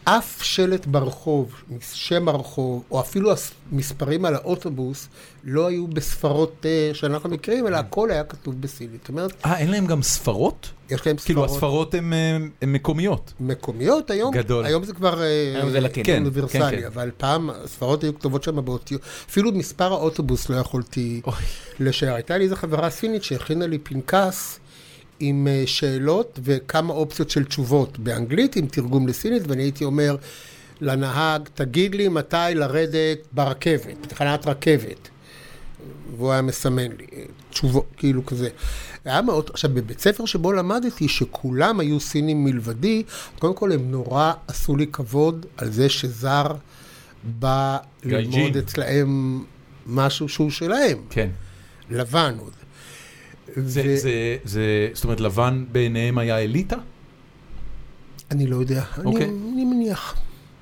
Speaker 3: אף שלט ברחוב, שם הרחוב, או אפילו המספרים על האוטובוס, לא היו בספרות אה, שאנחנו מכירים,
Speaker 1: כן.
Speaker 3: אלא הכל היה כתוב בסינית. זאת אומרת,
Speaker 1: אה, אין להם גם ספרות?
Speaker 3: יש להם ספרות...
Speaker 1: כאילו, הספרות הן אה, הן מקומיות.
Speaker 3: מקומיות היום,
Speaker 1: גדול.
Speaker 3: היום זה כבר אה,
Speaker 2: היום זה לטין.
Speaker 1: כן,
Speaker 3: אוניברסלי,
Speaker 1: כן, כן.
Speaker 3: אבל פעם הספרות היו כתובות שם באותיות, אפילו מספר האוטובוס לא יכולתי
Speaker 1: אוי.
Speaker 3: לשער. הייתה לי איזו חברה סינית שהכינה לי פנקס עם אה, שאלות וכמה אופציות של תשובות באנגלית עם תרגום לסינית, ואני הייתי אומר לנהג, תגיד לי מתי לרדת ברכבת, בתחנת רכבת. והוא היה מסמן לי, אה, תשובות, כאילו כזה. היה מאוד, עכשיו, בבית ספר שבו למדתי, שכולם היו סינים מלבדי, קודם כל הם נורא עשו לי כבוד על זה שזר בא
Speaker 1: גייג'ין.
Speaker 3: ללמוד אצלהם משהו שהוא שלהם,
Speaker 1: כן.
Speaker 3: לבן עוד.
Speaker 1: זה,
Speaker 3: ו-
Speaker 1: זה, זה, זאת אומרת, לבן בעיניהם היה אליטה?
Speaker 3: אני לא יודע, אני,
Speaker 1: אוקיי.
Speaker 3: אני מניח.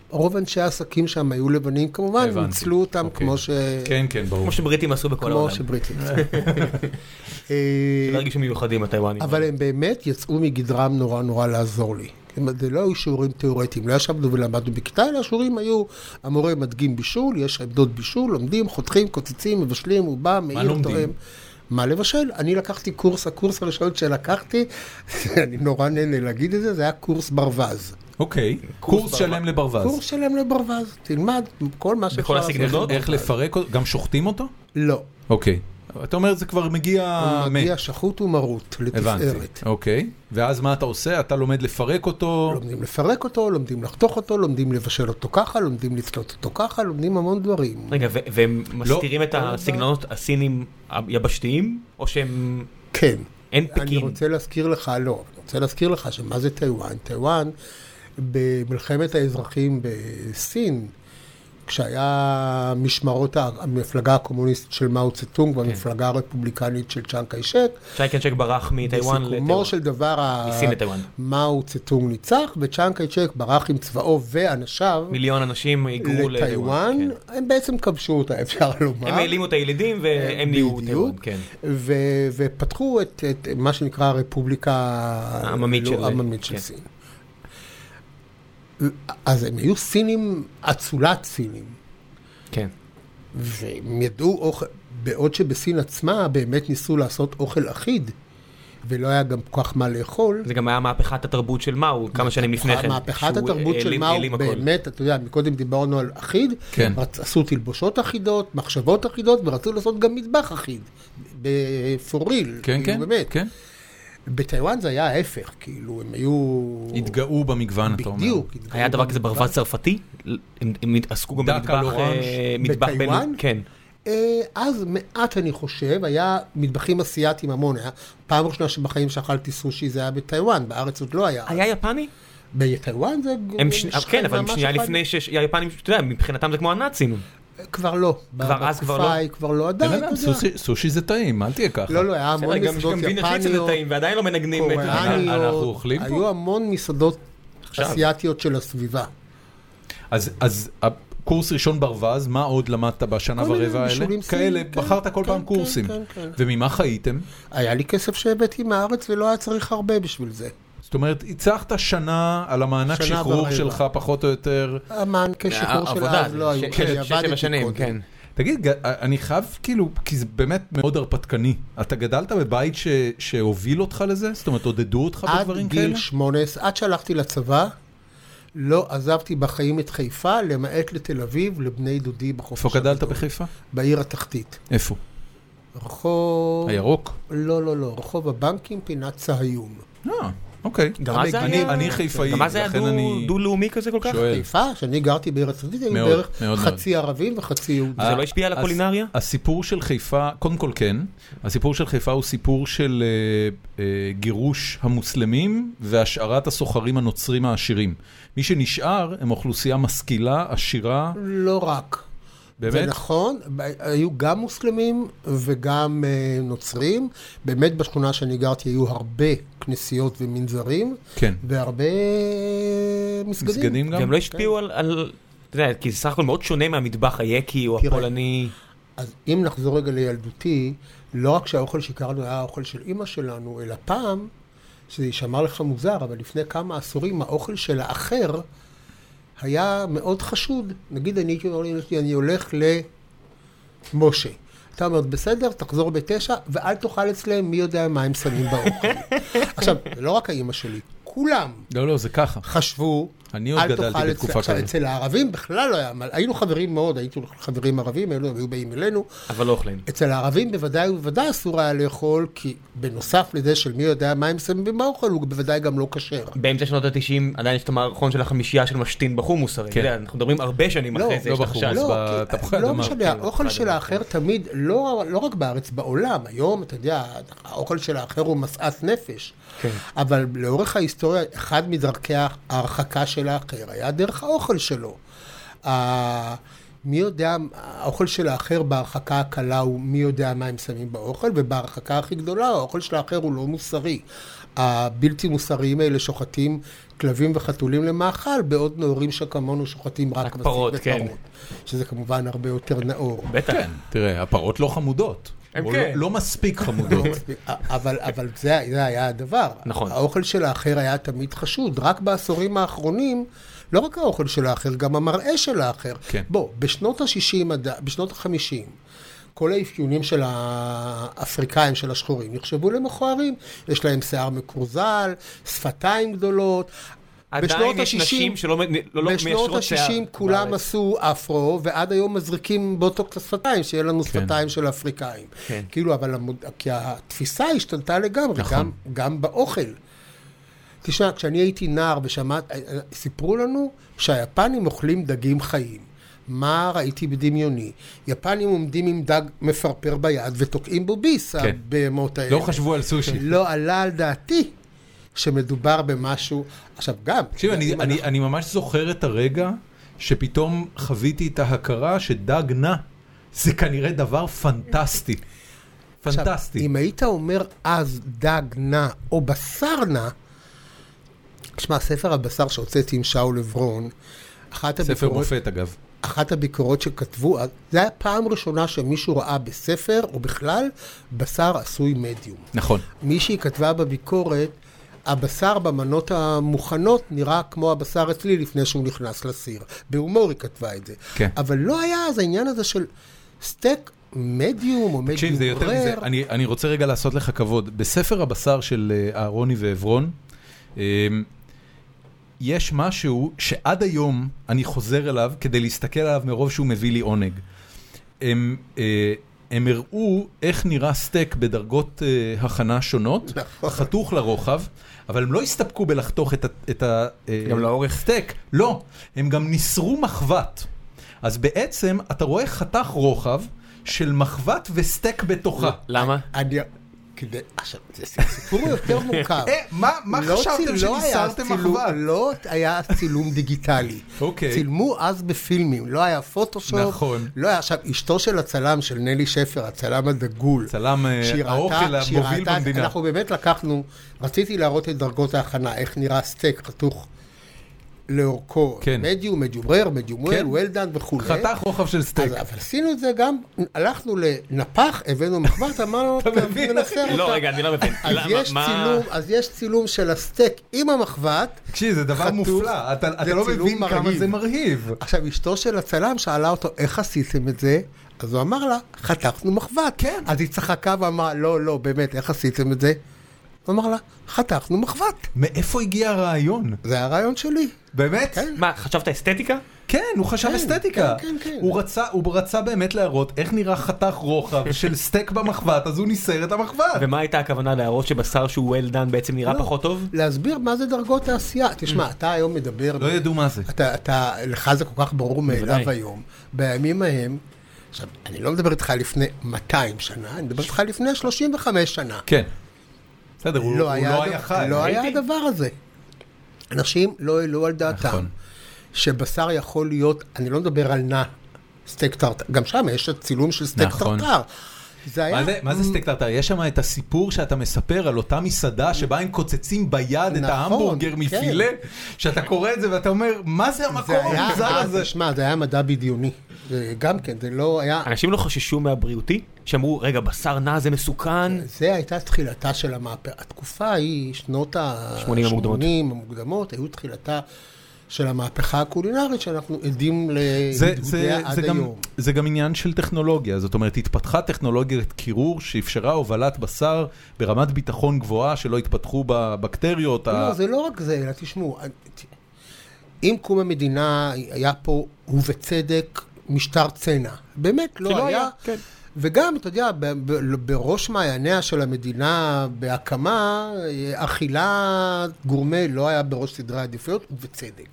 Speaker 3: רוב אנשי העסקים שם היו לבנים, כמובן,
Speaker 1: הבנתי.
Speaker 3: ניצלו אותם
Speaker 1: אוקיי.
Speaker 3: כמו, ש...
Speaker 1: כן, כן, ברור.
Speaker 2: כמו שבריטים עשו בכל
Speaker 3: כמו
Speaker 2: העולם.
Speaker 3: שבריטים. אה,
Speaker 2: לא הרגישו מיוחדים הטיוואנים.
Speaker 3: אבל הם באמת יצאו מגדרם נורא נורא לעזור לי. כלומר, זה לא היו שיעורים תיאורטיים, לא ישבנו ולמדנו בכיתה, אלא השיעורים היו, המורה מדגים בישול, יש עמדות בישול, לומדים, חותכים, קוצצים, מבשלים, הוא בא, מעיר,
Speaker 1: לומדים?
Speaker 3: תורם. מה לבשל? אני לקחתי קורס, הקורס הראשון שלקחתי, אני נורא נהנה להגיד את זה, זה היה קורס ברווז.
Speaker 1: אוקיי, קורס שלם
Speaker 3: קורס
Speaker 1: לברווז.
Speaker 3: שלם לברווז, תלמד כל מה שאפשר. לעשות.
Speaker 1: איך-
Speaker 2: הסגנונות?
Speaker 1: איך לפרק אותו? גם שוחטים אותו?
Speaker 3: לא,
Speaker 1: אוקיי. אתה אומר, זה כבר מגיע...
Speaker 3: הוא מגיע
Speaker 1: מת.
Speaker 3: שחוט ומרוט, לתפארת.
Speaker 1: אה, הבנתי, אוקיי. ואז מה אתה עושה? אתה לומד לפרק אותו?
Speaker 3: לומדים לפרק אותו, לומדים לחתוך אותו, לומדים לבשל אותו ככה, לומדים לצלות אותו ככה, לומדים המון דברים.
Speaker 2: רגע, ו- והם
Speaker 3: לא.
Speaker 2: מסתירים את הסגנונות הסינים היבשתיים? או שהם...
Speaker 3: כן.
Speaker 2: אין
Speaker 3: אני
Speaker 2: פקין?
Speaker 3: רוצה להזכיר לך, לא, אני רוצה להזכיר לך שמה זה טיוואן? טיוואן, במלחמת האזרחים בסין, כשהיה משמרות ה- המפלגה הקומוניסטית של מאו צטונג והמפלגה הרפובליקנית של צ'אן קיישק,
Speaker 2: צ'יי קנצ'ק ברח מטיוואן לטיוואן.
Speaker 3: בסיכומו של דבר ה-
Speaker 2: מסין לטיוואן.
Speaker 3: מאו צטונג ניצח, וצ'אן קיישק ברח עם צבאו ואנשיו
Speaker 2: מיליון אנשים היגרו לטיוואן.
Speaker 3: לטיוואן,
Speaker 2: כן.
Speaker 3: הם בעצם כבשו אותה, אפשר לומר.
Speaker 2: הם העלימו את הילידים והם נהיו
Speaker 3: אה, בדיוק.
Speaker 2: טיוואן, כן.
Speaker 3: ו- ופתחו את, את מה שנקרא הרפובליקה
Speaker 2: העממית של-
Speaker 3: העממית של
Speaker 2: כן.
Speaker 3: סין. אז הם היו סינים, אצולת סינים,
Speaker 2: כן.
Speaker 3: והם ידעו אוכל, בעוד שבסין עצמה באמת ניסו לעשות אוכל אחיד, ולא היה גם כל כך מה לאכול.
Speaker 2: זה גם היה מהפכת התרבות של מאו כמה שנים לפני כן.
Speaker 3: מהפכת
Speaker 2: שהוא
Speaker 3: התרבות של
Speaker 2: העלים-
Speaker 3: מאו,
Speaker 2: העלים הכל.
Speaker 3: באמת, אתה יודע, מקודם דיברנו על אחיד,
Speaker 1: כן.
Speaker 3: רצ- עשו תלבושות אחידות, מחשבות אחידות, ורצו לעשות גם מטבח אחיד, בפוריל,
Speaker 1: כן, כן,
Speaker 3: באמת.
Speaker 1: כן.
Speaker 3: בטיוואן זה היה ההפך, כאילו, הם היו...
Speaker 1: התגאו במגוון, אתה אומר.
Speaker 3: בדיוק. התגאו
Speaker 2: היה דבר כזה
Speaker 3: במטבח.
Speaker 2: ברווז צרפתי? הם הם עסקו גם
Speaker 1: דק על
Speaker 2: במטבח...
Speaker 1: אורנג'.
Speaker 2: אה, מטבח בין-
Speaker 3: בטיוואן?
Speaker 2: כן.
Speaker 3: אה, אז מעט, אני חושב, היה מטבחים אסייתים המון. היה פעם ראשונה שבחיים שאכלתי סושי זה היה בטיוואן, בארץ עוד לא היה.
Speaker 2: היה יפני?
Speaker 3: בטיוואן זה...
Speaker 2: הם ש- כן, אבל הם
Speaker 3: אה, ממש
Speaker 2: שנייה
Speaker 3: אחד-
Speaker 2: לפני שהיפנים, אתה יודע, מבחינתם זה כמו הנאצים.
Speaker 3: כבר לא.
Speaker 2: כבר אז כבר
Speaker 3: בתקופה
Speaker 2: לא?
Speaker 3: ההיא כבר לא
Speaker 1: בן
Speaker 3: עדיין.
Speaker 1: אדם, סושי- סושי זה טעים, אל תהיה ככה.
Speaker 3: לא, לא, היה
Speaker 2: בסדר,
Speaker 3: המון
Speaker 2: גם
Speaker 3: מסעדות
Speaker 2: גם וינר שניצל זה
Speaker 3: יפניות,
Speaker 2: טעים, ועדיין לא מנגנים את
Speaker 1: אנחנו- אנחנו
Speaker 3: קוריאניות,
Speaker 1: אוכלים פה?
Speaker 3: היו המון מסעדות
Speaker 2: עכשיו.
Speaker 3: אסייתיות של הסביבה.
Speaker 1: אז- אז קורס ראשון ברווז, מה עוד למדת בשנה
Speaker 3: כל מיני
Speaker 1: ורבע האלה?
Speaker 3: בישולים סינים,
Speaker 1: כאלה,
Speaker 3: כן,
Speaker 1: בחרת כל
Speaker 3: כן,
Speaker 1: פעם
Speaker 3: כן,
Speaker 1: קורסים.
Speaker 3: כן, כן.
Speaker 1: וממה חייתם?
Speaker 3: היה לי כסף שהבאתי מהארץ ולא היה צריך הרבה בשביל זה.
Speaker 1: זאת אומרת, הצלחת שנה על המענק
Speaker 3: שנה
Speaker 1: שחרור
Speaker 3: ברבע.
Speaker 1: שלך, פחות או יותר.
Speaker 3: המן
Speaker 1: אה,
Speaker 3: כשחרור של
Speaker 2: העבודה,
Speaker 3: אז לא היו,
Speaker 2: ש-
Speaker 3: אני
Speaker 2: שש- שבע
Speaker 3: עבדתי
Speaker 2: שנים,
Speaker 3: קודם.
Speaker 2: כן.
Speaker 1: תגיד, ג- אני חייב כאילו, כי זה באמת מאוד הרפתקני. אתה גדלת בבית ש- שהוביל אותך לזה? זאת אומרת, עודדו אותך
Speaker 3: עד
Speaker 1: בדברים כאלה?
Speaker 3: גיל 18, עד שהלכתי לצבא, לא עזבתי בחיים את חיפה, למעט לתל אביב, לבני דודי בחופש.
Speaker 1: איפה גדלת
Speaker 3: הגדול,
Speaker 1: בחיפה?
Speaker 3: בעיר התחתית.
Speaker 1: איפה?
Speaker 3: רחוב...
Speaker 1: הירוק?
Speaker 3: לא, לא, לא, רחוב הבנקים, פינת צהיום.
Speaker 1: אה, אוקיי.
Speaker 2: גם אז זה
Speaker 1: אני-
Speaker 2: היה...
Speaker 1: אני חיפאי,
Speaker 2: גם אז זה היה
Speaker 1: לכן
Speaker 2: דו-
Speaker 1: אני
Speaker 2: דו-לאומי כזה
Speaker 3: לא
Speaker 2: כל כך?
Speaker 1: שואל.
Speaker 3: חיפה, שאני גרתי בעיר התחתית, היו
Speaker 1: מאוד,
Speaker 3: בערך
Speaker 1: מאוד, אה? מאוד.
Speaker 3: חצי ערבים וחצי יהודים.
Speaker 2: זה לא השפיע על
Speaker 1: הס-
Speaker 2: הקולינריה?
Speaker 1: הסיפור של חיפה, קודם כל כן, הסיפור של חיפה הוא סיפור של אה, אה, גירוש המוסלמים והשארת הסוחרים הנוצרים העשירים. מי שנשאר הם אוכלוסייה משכילה, עשירה,
Speaker 3: לא רק. זה
Speaker 1: באמת.
Speaker 3: נכון, ב- היו גם מוסלמים וגם אה, נוצרים. באמת בשכונה שאני גרתי היו הרבה כנסיות ומנזרים,
Speaker 1: כן.
Speaker 3: והרבה אה, מסגדים.
Speaker 1: מסגדים גם?
Speaker 2: והם לא השפיעו על- על... אתה יודע, כי זה סך הכל מאוד שונה מהמטבח היקי או
Speaker 3: תראה.
Speaker 2: הפולני.
Speaker 3: אז אם נחזור רגע לילדותי, לא רק שהאוכל שהכרנו היה האוכל של אימא שלנו, אלא פעם, שזה יישמע לך מוזר, אבל לפני כמה עשורים האוכל של האחר היה מאוד חשוד. נגיד אני הייתי אומר לאמא שלי, אני הולך למשה. אתה אומר, בסדר, תחזור בתשע, ואל תאכל אצלם מי יודע מה הם שמים באוכל. עכשיו, זה לא רק האימא שלי, כולם
Speaker 1: לא, לא, זה ככה.
Speaker 3: חשבו,
Speaker 1: אני עוד
Speaker 3: אל
Speaker 1: גדלתי
Speaker 3: תאכל
Speaker 1: בתקופה
Speaker 3: אצל, עכשיו,
Speaker 1: כזאת.
Speaker 3: אצל הערבים בכלל לא היה, מה- היינו חברים מאוד, היינו חברים ערבים, היו, היו באים אלינו,
Speaker 2: אבל לא אוכלים.
Speaker 3: אצל הערבים בוודאי ובוודאי אסור היה לאכול, כי בנוסף לזה של מי יודע מה הם שמים באוכל, הוא בוודאי גם לא כשר.
Speaker 2: באמצע שנות ה-90 עדיין יש את המערכון של החמישייה של משתין בחומוס הרי,
Speaker 1: כן.
Speaker 2: אתה יודע, אנחנו מדברים הרבה שנים
Speaker 3: לא,
Speaker 2: אחרי זה,
Speaker 1: לא
Speaker 2: יש לך
Speaker 1: בחומוס.
Speaker 2: שאז.
Speaker 1: אז
Speaker 3: לא,
Speaker 1: בתפוחי
Speaker 3: כי, לא
Speaker 1: אדמה,
Speaker 3: משנה,
Speaker 2: כאילו,
Speaker 3: האוכל
Speaker 2: אחד
Speaker 3: של
Speaker 2: הדבר.
Speaker 3: האחר תמיד, לא, לא רק בארץ, בעולם, היום, אתה יודע, האוכל של האחר הוא משאת נפש.
Speaker 2: כן.
Speaker 3: אבל לאורך ההיסטוריה, אחד מדרכי ההרחקה של האחר היה דרך האוכל שלו. ה- מי יודע, האוכל של האחר בהרחקה הקלה הוא מי יודע מה הם שמים באוכל, ובהרחקה הכי גדולה האוכל של האחר הוא לא מוסרי. הבלתי מוסריים האלה שוחטים כלבים וחתולים למאכל, בעוד נאורים שכמונו שוחטים רק
Speaker 2: רק
Speaker 3: בסיס
Speaker 2: פרות, כן.
Speaker 3: ופרות. שזה כמובן הרבה יותר נאור.
Speaker 2: בטח.
Speaker 1: תראה, הפרות לא חמודות.
Speaker 2: הם
Speaker 1: או
Speaker 2: כן.
Speaker 1: לא- לא מספיק חמודות.
Speaker 3: אבל, אבל זה, זה היה הדבר.
Speaker 2: נכון.
Speaker 3: האוכל של האחר היה תמיד חשוד. רק בעשורים האחרונים, לא רק האוכל של האחר, גם המראה של האחר.
Speaker 1: כן.
Speaker 3: בוא, בשנות ה-60, בשנות ה-50, כל האפיונים של האפריקאים, של השחורים, נחשבו למכוערים. יש להם שיער מקורזל, שפתיים גדולות. בשנות
Speaker 2: עדיין יש
Speaker 3: ה- 60,
Speaker 2: נשים שלא מ- לא- לא
Speaker 3: בשנות
Speaker 2: מיישרות שיער.
Speaker 3: ה-60 כולם
Speaker 2: בארץ.
Speaker 3: עשו אפרו, ועד היום מזריקים בוטוקס לשפתיים, שיהיה לנו
Speaker 1: כן.
Speaker 3: שפתיים של אפריקאים.
Speaker 2: כן.
Speaker 3: כאילו, אבל המוד... כי התפיסה השתנתה לגמרי,
Speaker 1: נכון.
Speaker 3: גם, גם באוכל. תשמע, כשאני הייתי נער ושמעת, אה, סיפרו לנו שהיפנים אוכלים דגים חיים. מה ראיתי בדמיוני? יפנים עומדים עם דג מפרפר ביד ותוקעים בו ביס,
Speaker 1: כן.
Speaker 3: הבהמות האלה.
Speaker 1: לא חשבו על סושי.
Speaker 3: לא עלה על דעתי שמדובר במשהו... עכשיו, גם...
Speaker 1: תקשיב, אני,
Speaker 3: אם
Speaker 1: אני, אני ממש זוכר את הרגע שפתאום חוויתי את ההכרה שדג נע זה כנראה דבר פנטסטי. פנטסטי.
Speaker 3: עכשיו, אם היית אומר אז דג נע או בשר נע, תשמע, ספר הבשר שהוצאתי עם שאול עברון, אחת
Speaker 1: ספר
Speaker 3: הביקורות,
Speaker 1: מופת אגב.
Speaker 3: אחת הביקורות שכתבו, אז- זה היה פעם ראשונה שמישהו ראה בספר, או בכלל, בשר עשוי מדיום.
Speaker 1: נכון.
Speaker 3: מישהי כתבה בביקורת, הבשר במנות המוכנות נראה כמו הבשר אצלי לפני שהוא נכנס לסיר. בהומור היא כתבה את זה.
Speaker 1: כן.
Speaker 3: אבל לא היה אז העניין הזה של סטייק מדיום או מדיום רר.
Speaker 1: תקשיב, זה יותר מזה, אני, אני רוצה רגע לעשות לך כבוד. בספר הבשר של אה, אהרוני ועברון, אה, יש משהו שעד היום אני חוזר אליו כדי להסתכל עליו מרוב שהוא מביא לי עונג. הם, אה, הם הראו איך נראה סטייק בדרגות אה, הכנה שונות,
Speaker 3: נכון.
Speaker 1: חתוך לרוחב, אבל הם לא הסתפקו בלחתוך את ה... את ה אה,
Speaker 2: גם לאורך?
Speaker 1: סטייק, לא, הם גם ניסרו מחבת. אז בעצם אתה רואה חתך רוחב של מחבת וסטייק בתוכה.
Speaker 3: לא.
Speaker 2: למה?
Speaker 3: אני... כדי... עכשיו, זה סיפור יותר מורכב.
Speaker 1: אה, מה, מה
Speaker 3: לא
Speaker 1: חשבתם
Speaker 3: צי- לא היה
Speaker 1: שניסרתם
Speaker 3: צילום-
Speaker 1: מחבת?
Speaker 3: לא היה צילום דיגיטלי.
Speaker 1: אוקיי.
Speaker 3: צילמו אז בפילמים, לא היה פוטושופ.
Speaker 1: נכון.
Speaker 3: לא היה, עכשיו, אשתו של הצלם, של נלי שפר, הצלם הדגול.
Speaker 1: צלם אה,
Speaker 3: שהיא ראתה-
Speaker 1: האוכל
Speaker 3: שהיא
Speaker 1: המוביל
Speaker 3: ראתה-
Speaker 1: במדינה.
Speaker 3: אנחנו באמת לקחנו, רציתי להראות את דרגות ההכנה, איך נראה סטייק חתוך לאורכו.
Speaker 1: כן.
Speaker 3: מדיום, מדיום רר, מדיום
Speaker 1: כן.
Speaker 3: וויל, וולדן וכולי.
Speaker 1: חתך רוחב של סטייק.
Speaker 3: אז אבל עשינו את זה גם, הלכנו לנפח, הבאנו מחבת, אמרנו,
Speaker 1: אתה מבין,
Speaker 3: ננסר אותה.
Speaker 2: לא, רגע, אני לא מבין.
Speaker 3: אז
Speaker 2: למה-
Speaker 3: יש
Speaker 2: מה-
Speaker 3: צילום, אז יש צילום של הסטייק עם המחבת.
Speaker 1: תקשיב, זה דבר
Speaker 3: חתוך,
Speaker 1: מופלא, אתה אתה
Speaker 3: זה
Speaker 1: לא
Speaker 3: צילום
Speaker 1: מבין כמה
Speaker 3: מרהיב.
Speaker 1: זה מרהיב.
Speaker 3: עכשיו, אשתו של הצלם שאלה אותו, איך עשיתם את זה? אז הוא אמר לה, חתכנו מחבת.
Speaker 1: כן.
Speaker 3: אז היא צחקה ואמרה, לא, לא, באמת, איך עשיתם את זה? הוא אמר לה, חתכנו מחבת.
Speaker 1: מאיפה הגיע הרעיון?
Speaker 3: זה הרעיון שלי.
Speaker 1: באמת?
Speaker 3: כן.
Speaker 2: מה, חשבת אסתטיקה?
Speaker 1: כן, הוא חשב
Speaker 3: כן,
Speaker 1: אסתטיקה.
Speaker 3: כן, כן, כן.
Speaker 1: הוא רצה- הוא רצה באמת להראות איך נראה חתך רוחב של סטייק במחבת, אז הוא ניסר את המחבת.
Speaker 2: ומה הייתה הכוונה להראות שבשר שהוא well done בעצם נראה
Speaker 3: לא.
Speaker 2: פחות טוב?
Speaker 3: להסביר מה זה דרגות העשייה. תשמע, אתה היום מדבר...
Speaker 1: Mm. לא ידעו מה זה.
Speaker 3: אתה, אתה, לך זה כל כך ברור מאליו
Speaker 2: בוודאי.
Speaker 3: היום. בימים ההם, עכשיו, אני לא מדבר איתך לפני 200 שנה, אני מדבר איתך לפני 35 שנה.
Speaker 1: כן. בסדר, הוא הוא לא
Speaker 3: הד-
Speaker 1: היה חי.
Speaker 3: לא היה
Speaker 2: ראיתי.
Speaker 3: הדבר הזה. אנשים לא העלו על דעתם
Speaker 1: נכון.
Speaker 3: שבשר יכול להיות, אני לא מדבר על נע, סטייק טרטר, גם שם יש צילום של סטייק
Speaker 1: נכון.
Speaker 3: טרטר. זה היה...
Speaker 1: מה זה- מה זה סטייק טרטר? יש שם את הסיפור שאתה מספר על אותה מסעדה שבה הם קוצצים ביד את
Speaker 3: נכון,
Speaker 1: ההמבורגר
Speaker 3: כן.
Speaker 1: מפילה, שאתה קורא את זה ואתה אומר, מה זה המקום
Speaker 3: זה היה, אה,
Speaker 1: המוזר הזה?
Speaker 3: תשמע, זה היה מדע בדיוני. זה גם כן, זה לא היה...
Speaker 2: אנשים לא חששו מהבריאותי? שאמרו, רגע, בשר נע זה מסוכן?
Speaker 3: זה הייתה תחילתה של המהפכה. התקופה ההיא, שנות ה-80
Speaker 2: 80 המוקדמות.
Speaker 3: המוקדמות, היו תחילתה של המהפכה הקולינרית שאנחנו עדים
Speaker 1: זה, זה,
Speaker 3: לידודיה
Speaker 1: זה,
Speaker 3: עד
Speaker 1: גם,
Speaker 3: היום.
Speaker 1: זה גם עניין של טכנולוגיה, זאת אומרת, התפתחה טכנולוגיית קירור שאפשרה הובלת בשר ברמת ביטחון גבוהה שלא התפתחו בבקטריות.
Speaker 3: לא, זה לא רק זה, אלא תשמעו, ת- עם קום המדינה היה פה, ובצדק, משטר צנע. באמת, לא
Speaker 2: שלא
Speaker 3: היה.
Speaker 2: היה, כן.
Speaker 3: וגם, אתה יודע, ב- ב- בראש מעייניה של המדינה בהקמה, אה, אכילה גורמה לא היה בראש סדרי העדיפויות, ובצדק.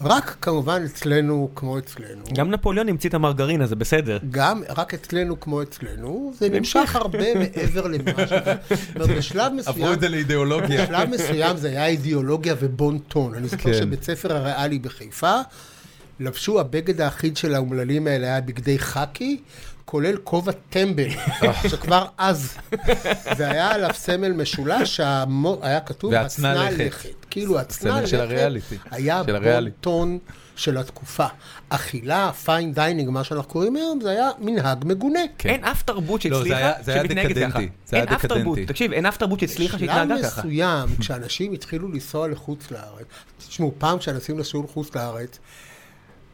Speaker 3: רק כמובן אצלנו כמו אצלנו.
Speaker 2: גם נפוליאון המציא את המרגרינה, זה בסדר.
Speaker 3: גם רק אצלנו כמו אצלנו, זה נמשך הרבה מעבר למה שזה. זאת אומרת, בשלב
Speaker 1: עברו
Speaker 3: מסוים
Speaker 1: את זה לאידיאולוגיה.
Speaker 3: בשלב מסוים זה היה אידיאולוגיה ובון טון. אני זוכר
Speaker 1: כן.
Speaker 3: שבית ספר הריאלי בחיפה, לבשו הבגד האחיד של האומללים האלה היה בגדי חאקי, כולל כובע טמבל,
Speaker 1: אה.
Speaker 3: שכבר אז. זה היה עליו סמל משולש, שהיה כתוב,
Speaker 1: והצנע
Speaker 3: "הצנע
Speaker 1: לכת".
Speaker 3: כאילו, הצנע
Speaker 1: הסמל של
Speaker 3: לכת
Speaker 1: הריאליטי,
Speaker 3: היה
Speaker 1: של
Speaker 3: בון
Speaker 1: הריאלי.
Speaker 3: טון של התקופה. אכילה, פיין דיינינג, מה שאנחנו קוראים היום, זה היה מנהג מגונה.
Speaker 1: כן.
Speaker 2: אין אף תרבות
Speaker 1: לא, זה
Speaker 2: שהצליחה
Speaker 1: היה- זה היה
Speaker 2: שמתנהגת ככה.
Speaker 1: דקדנטי, זה היה
Speaker 2: אין אף תרבות,
Speaker 1: דקדנטי.
Speaker 2: תקשיב, אין אף תרבות שהצליחה שהתנהגה
Speaker 3: בשלב
Speaker 2: ככה.
Speaker 3: מסוים, כשאנשים התחילו לנסוע לחוץ לארץ, תשמעו, פעם כשאנשים נסעו לחוץ לארץ,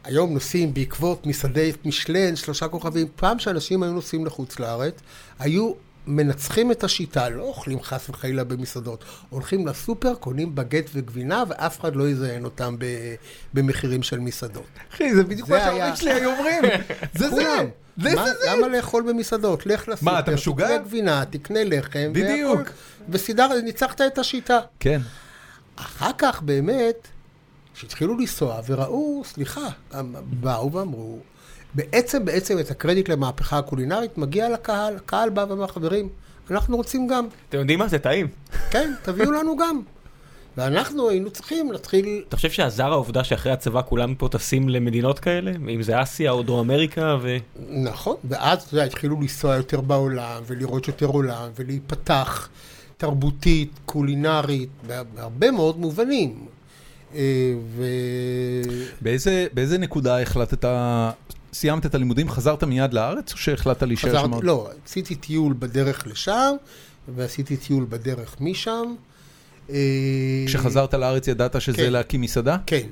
Speaker 3: היום נוסעים בעקבות מסעדי משלן, שלושה כוכבים, פעם כשאנשים היו נוסעים לחוץ לארץ, היו מנצחים את השיטה, לא אוכלים חס וחלילה במסעדות, הולכים לסופר, קונים בגט וגבינה, ואף אחד לא יזיין אותם ב- במחירים של מסעדות.
Speaker 1: אחי, זה בדיוק
Speaker 3: זה
Speaker 1: מה שההורים
Speaker 3: היה.
Speaker 1: שלי היו אומרים. זה זה.
Speaker 3: כולם.
Speaker 1: זה
Speaker 3: מה-
Speaker 1: זה זה.
Speaker 3: למה לאכול במסעדות? לך לסופר,
Speaker 1: אתה משוגע?
Speaker 3: תקנה גבינה, תקנה לחם,
Speaker 1: בדיוק.
Speaker 3: והכל. וסידר, ניצחת את השיטה.
Speaker 1: כן.
Speaker 3: אחר כך באמת, כשהתחילו לנסוע וראו, סליחה, הם באו ואמרו, בעצם, בעצם את הקרדיט למהפכה הקולינרית מגיע לקהל, הקהל בא ואמר, חברים, אנחנו רוצים גם,
Speaker 2: אתם יודעים מה? זה טעים.
Speaker 3: כן, תביאו לנו גם. ואנחנו היינו צריכים להתחיל,
Speaker 2: אתה חושב שעזר העובדה שאחרי הצבא כולם פה טסים למדינות כאלה? אם זה אסיה או דרום אמריקה ו...
Speaker 3: נכון, ואז אתה יודע, התחילו לנסוע יותר בעולם, ולראות יותר עולם, ולהיפתח תרבותית, קולינרית, בה- בהרבה מאוד מובנים. אה, ו...
Speaker 1: באיזה, באיזה נקודה החלטת, סיימת את הלימודים, חזרת מיד לארץ, או שהחלטת להישאר שם?
Speaker 3: חזרתי,
Speaker 1: עוד?
Speaker 3: לא, עשיתי טיול בדרך לשם, ועשיתי טיול בדרך משם. אה,
Speaker 1: כשחזרת לארץ ידעת שזה
Speaker 3: כן.
Speaker 1: להקים מסעדה?
Speaker 3: כן.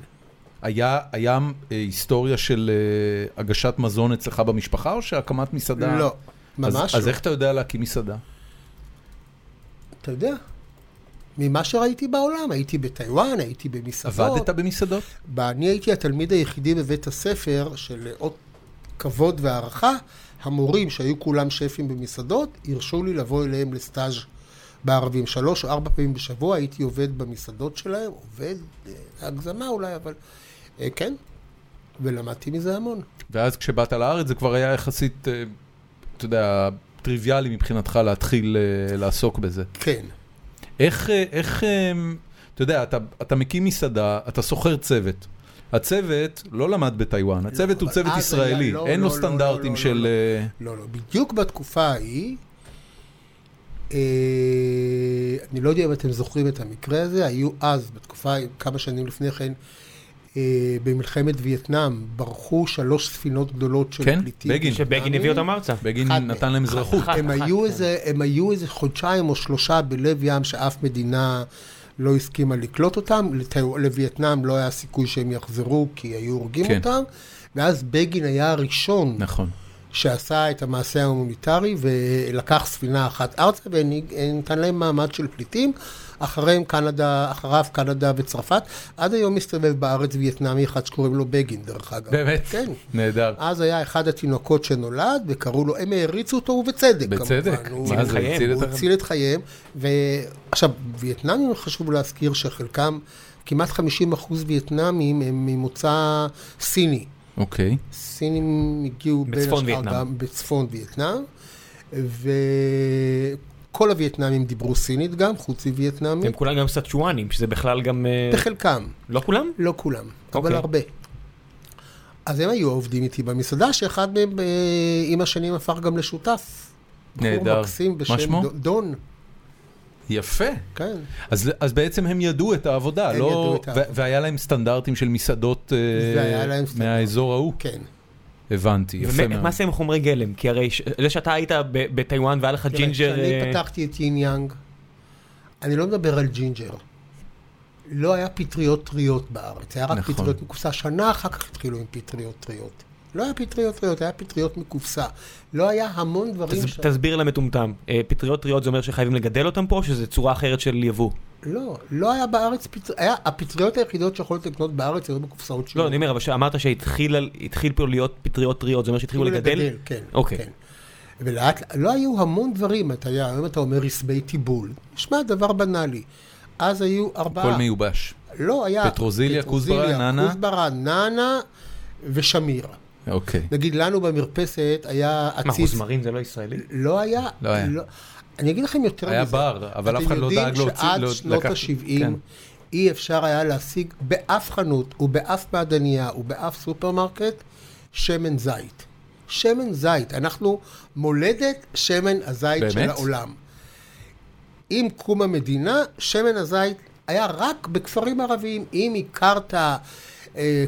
Speaker 1: היה, היה אה, היסטוריה של אה, הגשת מזון אצלך במשפחה, או שהקמת מסעדה?
Speaker 3: לא, ממש
Speaker 1: אז,
Speaker 3: לא.
Speaker 1: אז איך אתה יודע להקים מסעדה?
Speaker 3: אתה יודע, ממה שראיתי בעולם, הייתי בטיוואן, הייתי במסעדות.
Speaker 1: עבדת במסעדות?
Speaker 3: בה- אני הייתי התלמיד היחידי בבית הספר של אות כבוד והערכה. המורים, שהיו כולם שפים במסעדות, הרשו לי לבוא אליהם לסטאז' בערבים. שלוש או ארבע פעמים בשבוע הייתי עובד במסעדות שלהם, עובד, אה, הגזמה אולי, אבל אה, כן, ולמדתי מזה המון.
Speaker 1: ואז כשבאת לארץ זה כבר היה יחסית, אה, אתה יודע, טריוויאלי מבחינתך להתחיל אה, לעסוק בזה.
Speaker 3: כן.
Speaker 1: איך, אה, איך, אה, אתה יודע, אתה, אתה מקים מסעדה, אתה שוכר צוות. הצוות לא למד בטיוואן, הצוות הוא
Speaker 3: אבל
Speaker 1: צוות
Speaker 3: אז
Speaker 1: ישראלי,
Speaker 3: היה- לא,
Speaker 1: אין
Speaker 3: לא,
Speaker 1: לו
Speaker 3: לא,
Speaker 1: סטנדרטים
Speaker 3: לא, לא,
Speaker 1: של...
Speaker 3: לא.
Speaker 1: אה,
Speaker 3: לא, לא, בדיוק בתקופה ההיא, אה, אני לא יודע אם אתם זוכרים את המקרה הזה, היו אז, בתקופה, כמה שנים לפני כן, אה, במלחמת וייטנאם, ברחו שלוש ספינות גדולות של
Speaker 1: כן,
Speaker 3: פליטים.
Speaker 1: בגין.
Speaker 2: שבגין הביא אותם ארצה.
Speaker 1: בגין
Speaker 3: אחד
Speaker 1: נתן
Speaker 3: מהם.
Speaker 1: להם אזרחות.
Speaker 4: אחת,
Speaker 3: הם
Speaker 4: אחת,
Speaker 3: היו,
Speaker 4: כן.
Speaker 3: איזה, הם היו איזה חודשיים או שלושה בלב ים שאף מדינה לא הסכימה לקלוט אותם. לטי- לווייטנאם לא היה סיכוי שהם יחזרו כי היו הורגים
Speaker 1: כן.
Speaker 3: אותם. ואז בגין היה הראשון
Speaker 1: נכון.
Speaker 3: שעשה את המעשה ההומניטרי ולקח ספינה אחת ארצה ונתן להם מעמד של פליטים. אחריהם קנדה, אחריו קנדה וצרפת. עד היום מסתובב בארץ וייטנאמי אחד שקוראים לו בגין, דרך אגב.
Speaker 1: באמת?
Speaker 3: כן.
Speaker 1: נהדר.
Speaker 3: אז היה אחד התינוקות שנולד, וקראו לו, הם העריצו אותו, ובצדק,
Speaker 1: בצדק.
Speaker 3: כמובן.
Speaker 1: מה זה,
Speaker 2: חייהם,
Speaker 1: הציל
Speaker 3: הוא
Speaker 1: את החיים?
Speaker 3: הציל את חייהם. ועכשיו, וייטנאמים חשוב להזכיר שחלקם, כמעט 50 אחוז וייטנאמים הם ממוצא סיני.
Speaker 1: אוקיי.
Speaker 3: הסינים הגיעו בין
Speaker 2: בצפון
Speaker 3: השאר
Speaker 2: וייטנאם.
Speaker 3: גם בצפון וייטנאם, וכל הווייטנאמים דיברו סינית גם, חוץ
Speaker 2: הם
Speaker 3: מווייטנאמים,
Speaker 2: כולם גם סצ'ואנים, שזה בכלל גם... אה,
Speaker 3: בחלקם.
Speaker 2: לא כולם?
Speaker 3: לא כולם, אבל
Speaker 2: אוקיי.
Speaker 3: הרבה. אז הם היו עובדים איתי במסעדה, שאחד מהם אה, עם השנים הפך גם לשותף. בחור
Speaker 1: נהדר.
Speaker 3: מקסים
Speaker 1: מה
Speaker 3: בשם
Speaker 1: שמו?
Speaker 3: דו- דון,
Speaker 1: יפה.
Speaker 3: כן.
Speaker 1: אז, אז בעצם הם ידעו את העבודה,
Speaker 3: הם
Speaker 1: לא...
Speaker 3: ידעו את העבודה.
Speaker 1: ו- והיה להם סטנדרטים של מסעדות אה,
Speaker 3: והיה להם סטנדרט.
Speaker 1: מהאזור ההוא?
Speaker 3: כן.
Speaker 1: הבנתי, יפה
Speaker 2: ומה
Speaker 1: מאוד.
Speaker 2: מה זה עם חומרי גלם? כי הרי ש- זה שאתה היית ב- בטיוואן והיה לך
Speaker 1: כן,
Speaker 3: תראה,
Speaker 2: ג'ינג'ר...
Speaker 3: כשאני
Speaker 2: אה,
Speaker 3: פתחתי את יין יאנג, אני לא מדבר על ג'ינג'ר. לא היה פטריות טריות בארץ, היה רק
Speaker 1: נכון.
Speaker 3: פטריות מקופסה. שנה אחר כך התחילו עם פטריות טריות. לא היה פטריות טריות, היה פטריות מקופסה. לא היה המון דברים
Speaker 2: תס-
Speaker 3: ש...
Speaker 2: תסביר למטומטם, אה, פטריות טריות זה אומר שחייבים לגדל אותם פה, או שזה צורה אחרת של יבוא?
Speaker 3: לא, לא היה בארץ פטריות. הפטריות היחידות שיכולת לקנות בארץ היו בקופסאות
Speaker 2: לא,
Speaker 3: שיעור.
Speaker 2: אני אומר, אבל שאמרת שהתחיל על- התחיל פה להיות פטריות טריות, זה אומר שהתחילו לגדל?
Speaker 3: כן.
Speaker 2: אוקיי.
Speaker 3: כן. ולאט, לא היו המון דברים, אתה יודע, היום אתה אומר רסבי טיבול. נשמע דבר בנאלי. אז היו ארבעה.
Speaker 1: הכל מיובש.
Speaker 3: לא, היה...
Speaker 1: פטרוזיליה, כוסברה, נענה.
Speaker 3: כוסברה, נאנה ושמיר.
Speaker 1: אוקיי.
Speaker 3: נגיד, לנו במרפסת היה
Speaker 2: מה,
Speaker 3: עציץ...
Speaker 2: רוזמרין זה לא ישראלי?
Speaker 3: לא היה...
Speaker 1: לא היה.
Speaker 3: אני אגיד לכם יותר
Speaker 1: היה
Speaker 3: מזה.
Speaker 1: בר, אבל אף אחד לא דאג להוציא-
Speaker 3: אתם
Speaker 1: לא-
Speaker 3: יודעים שעד שנות
Speaker 1: לקח-
Speaker 3: ה-70
Speaker 1: כן.
Speaker 3: אי אפשר היה להשיג באף חנות ובאף מעדניה ובאף סופרמרקט שמן זית. שמן זית. אנחנו מולדת שמן הזית של
Speaker 1: באמת?
Speaker 3: העולם. עם קום המדינה, שמן הזית היה רק בכפרים ערביים. אם הכרת אה,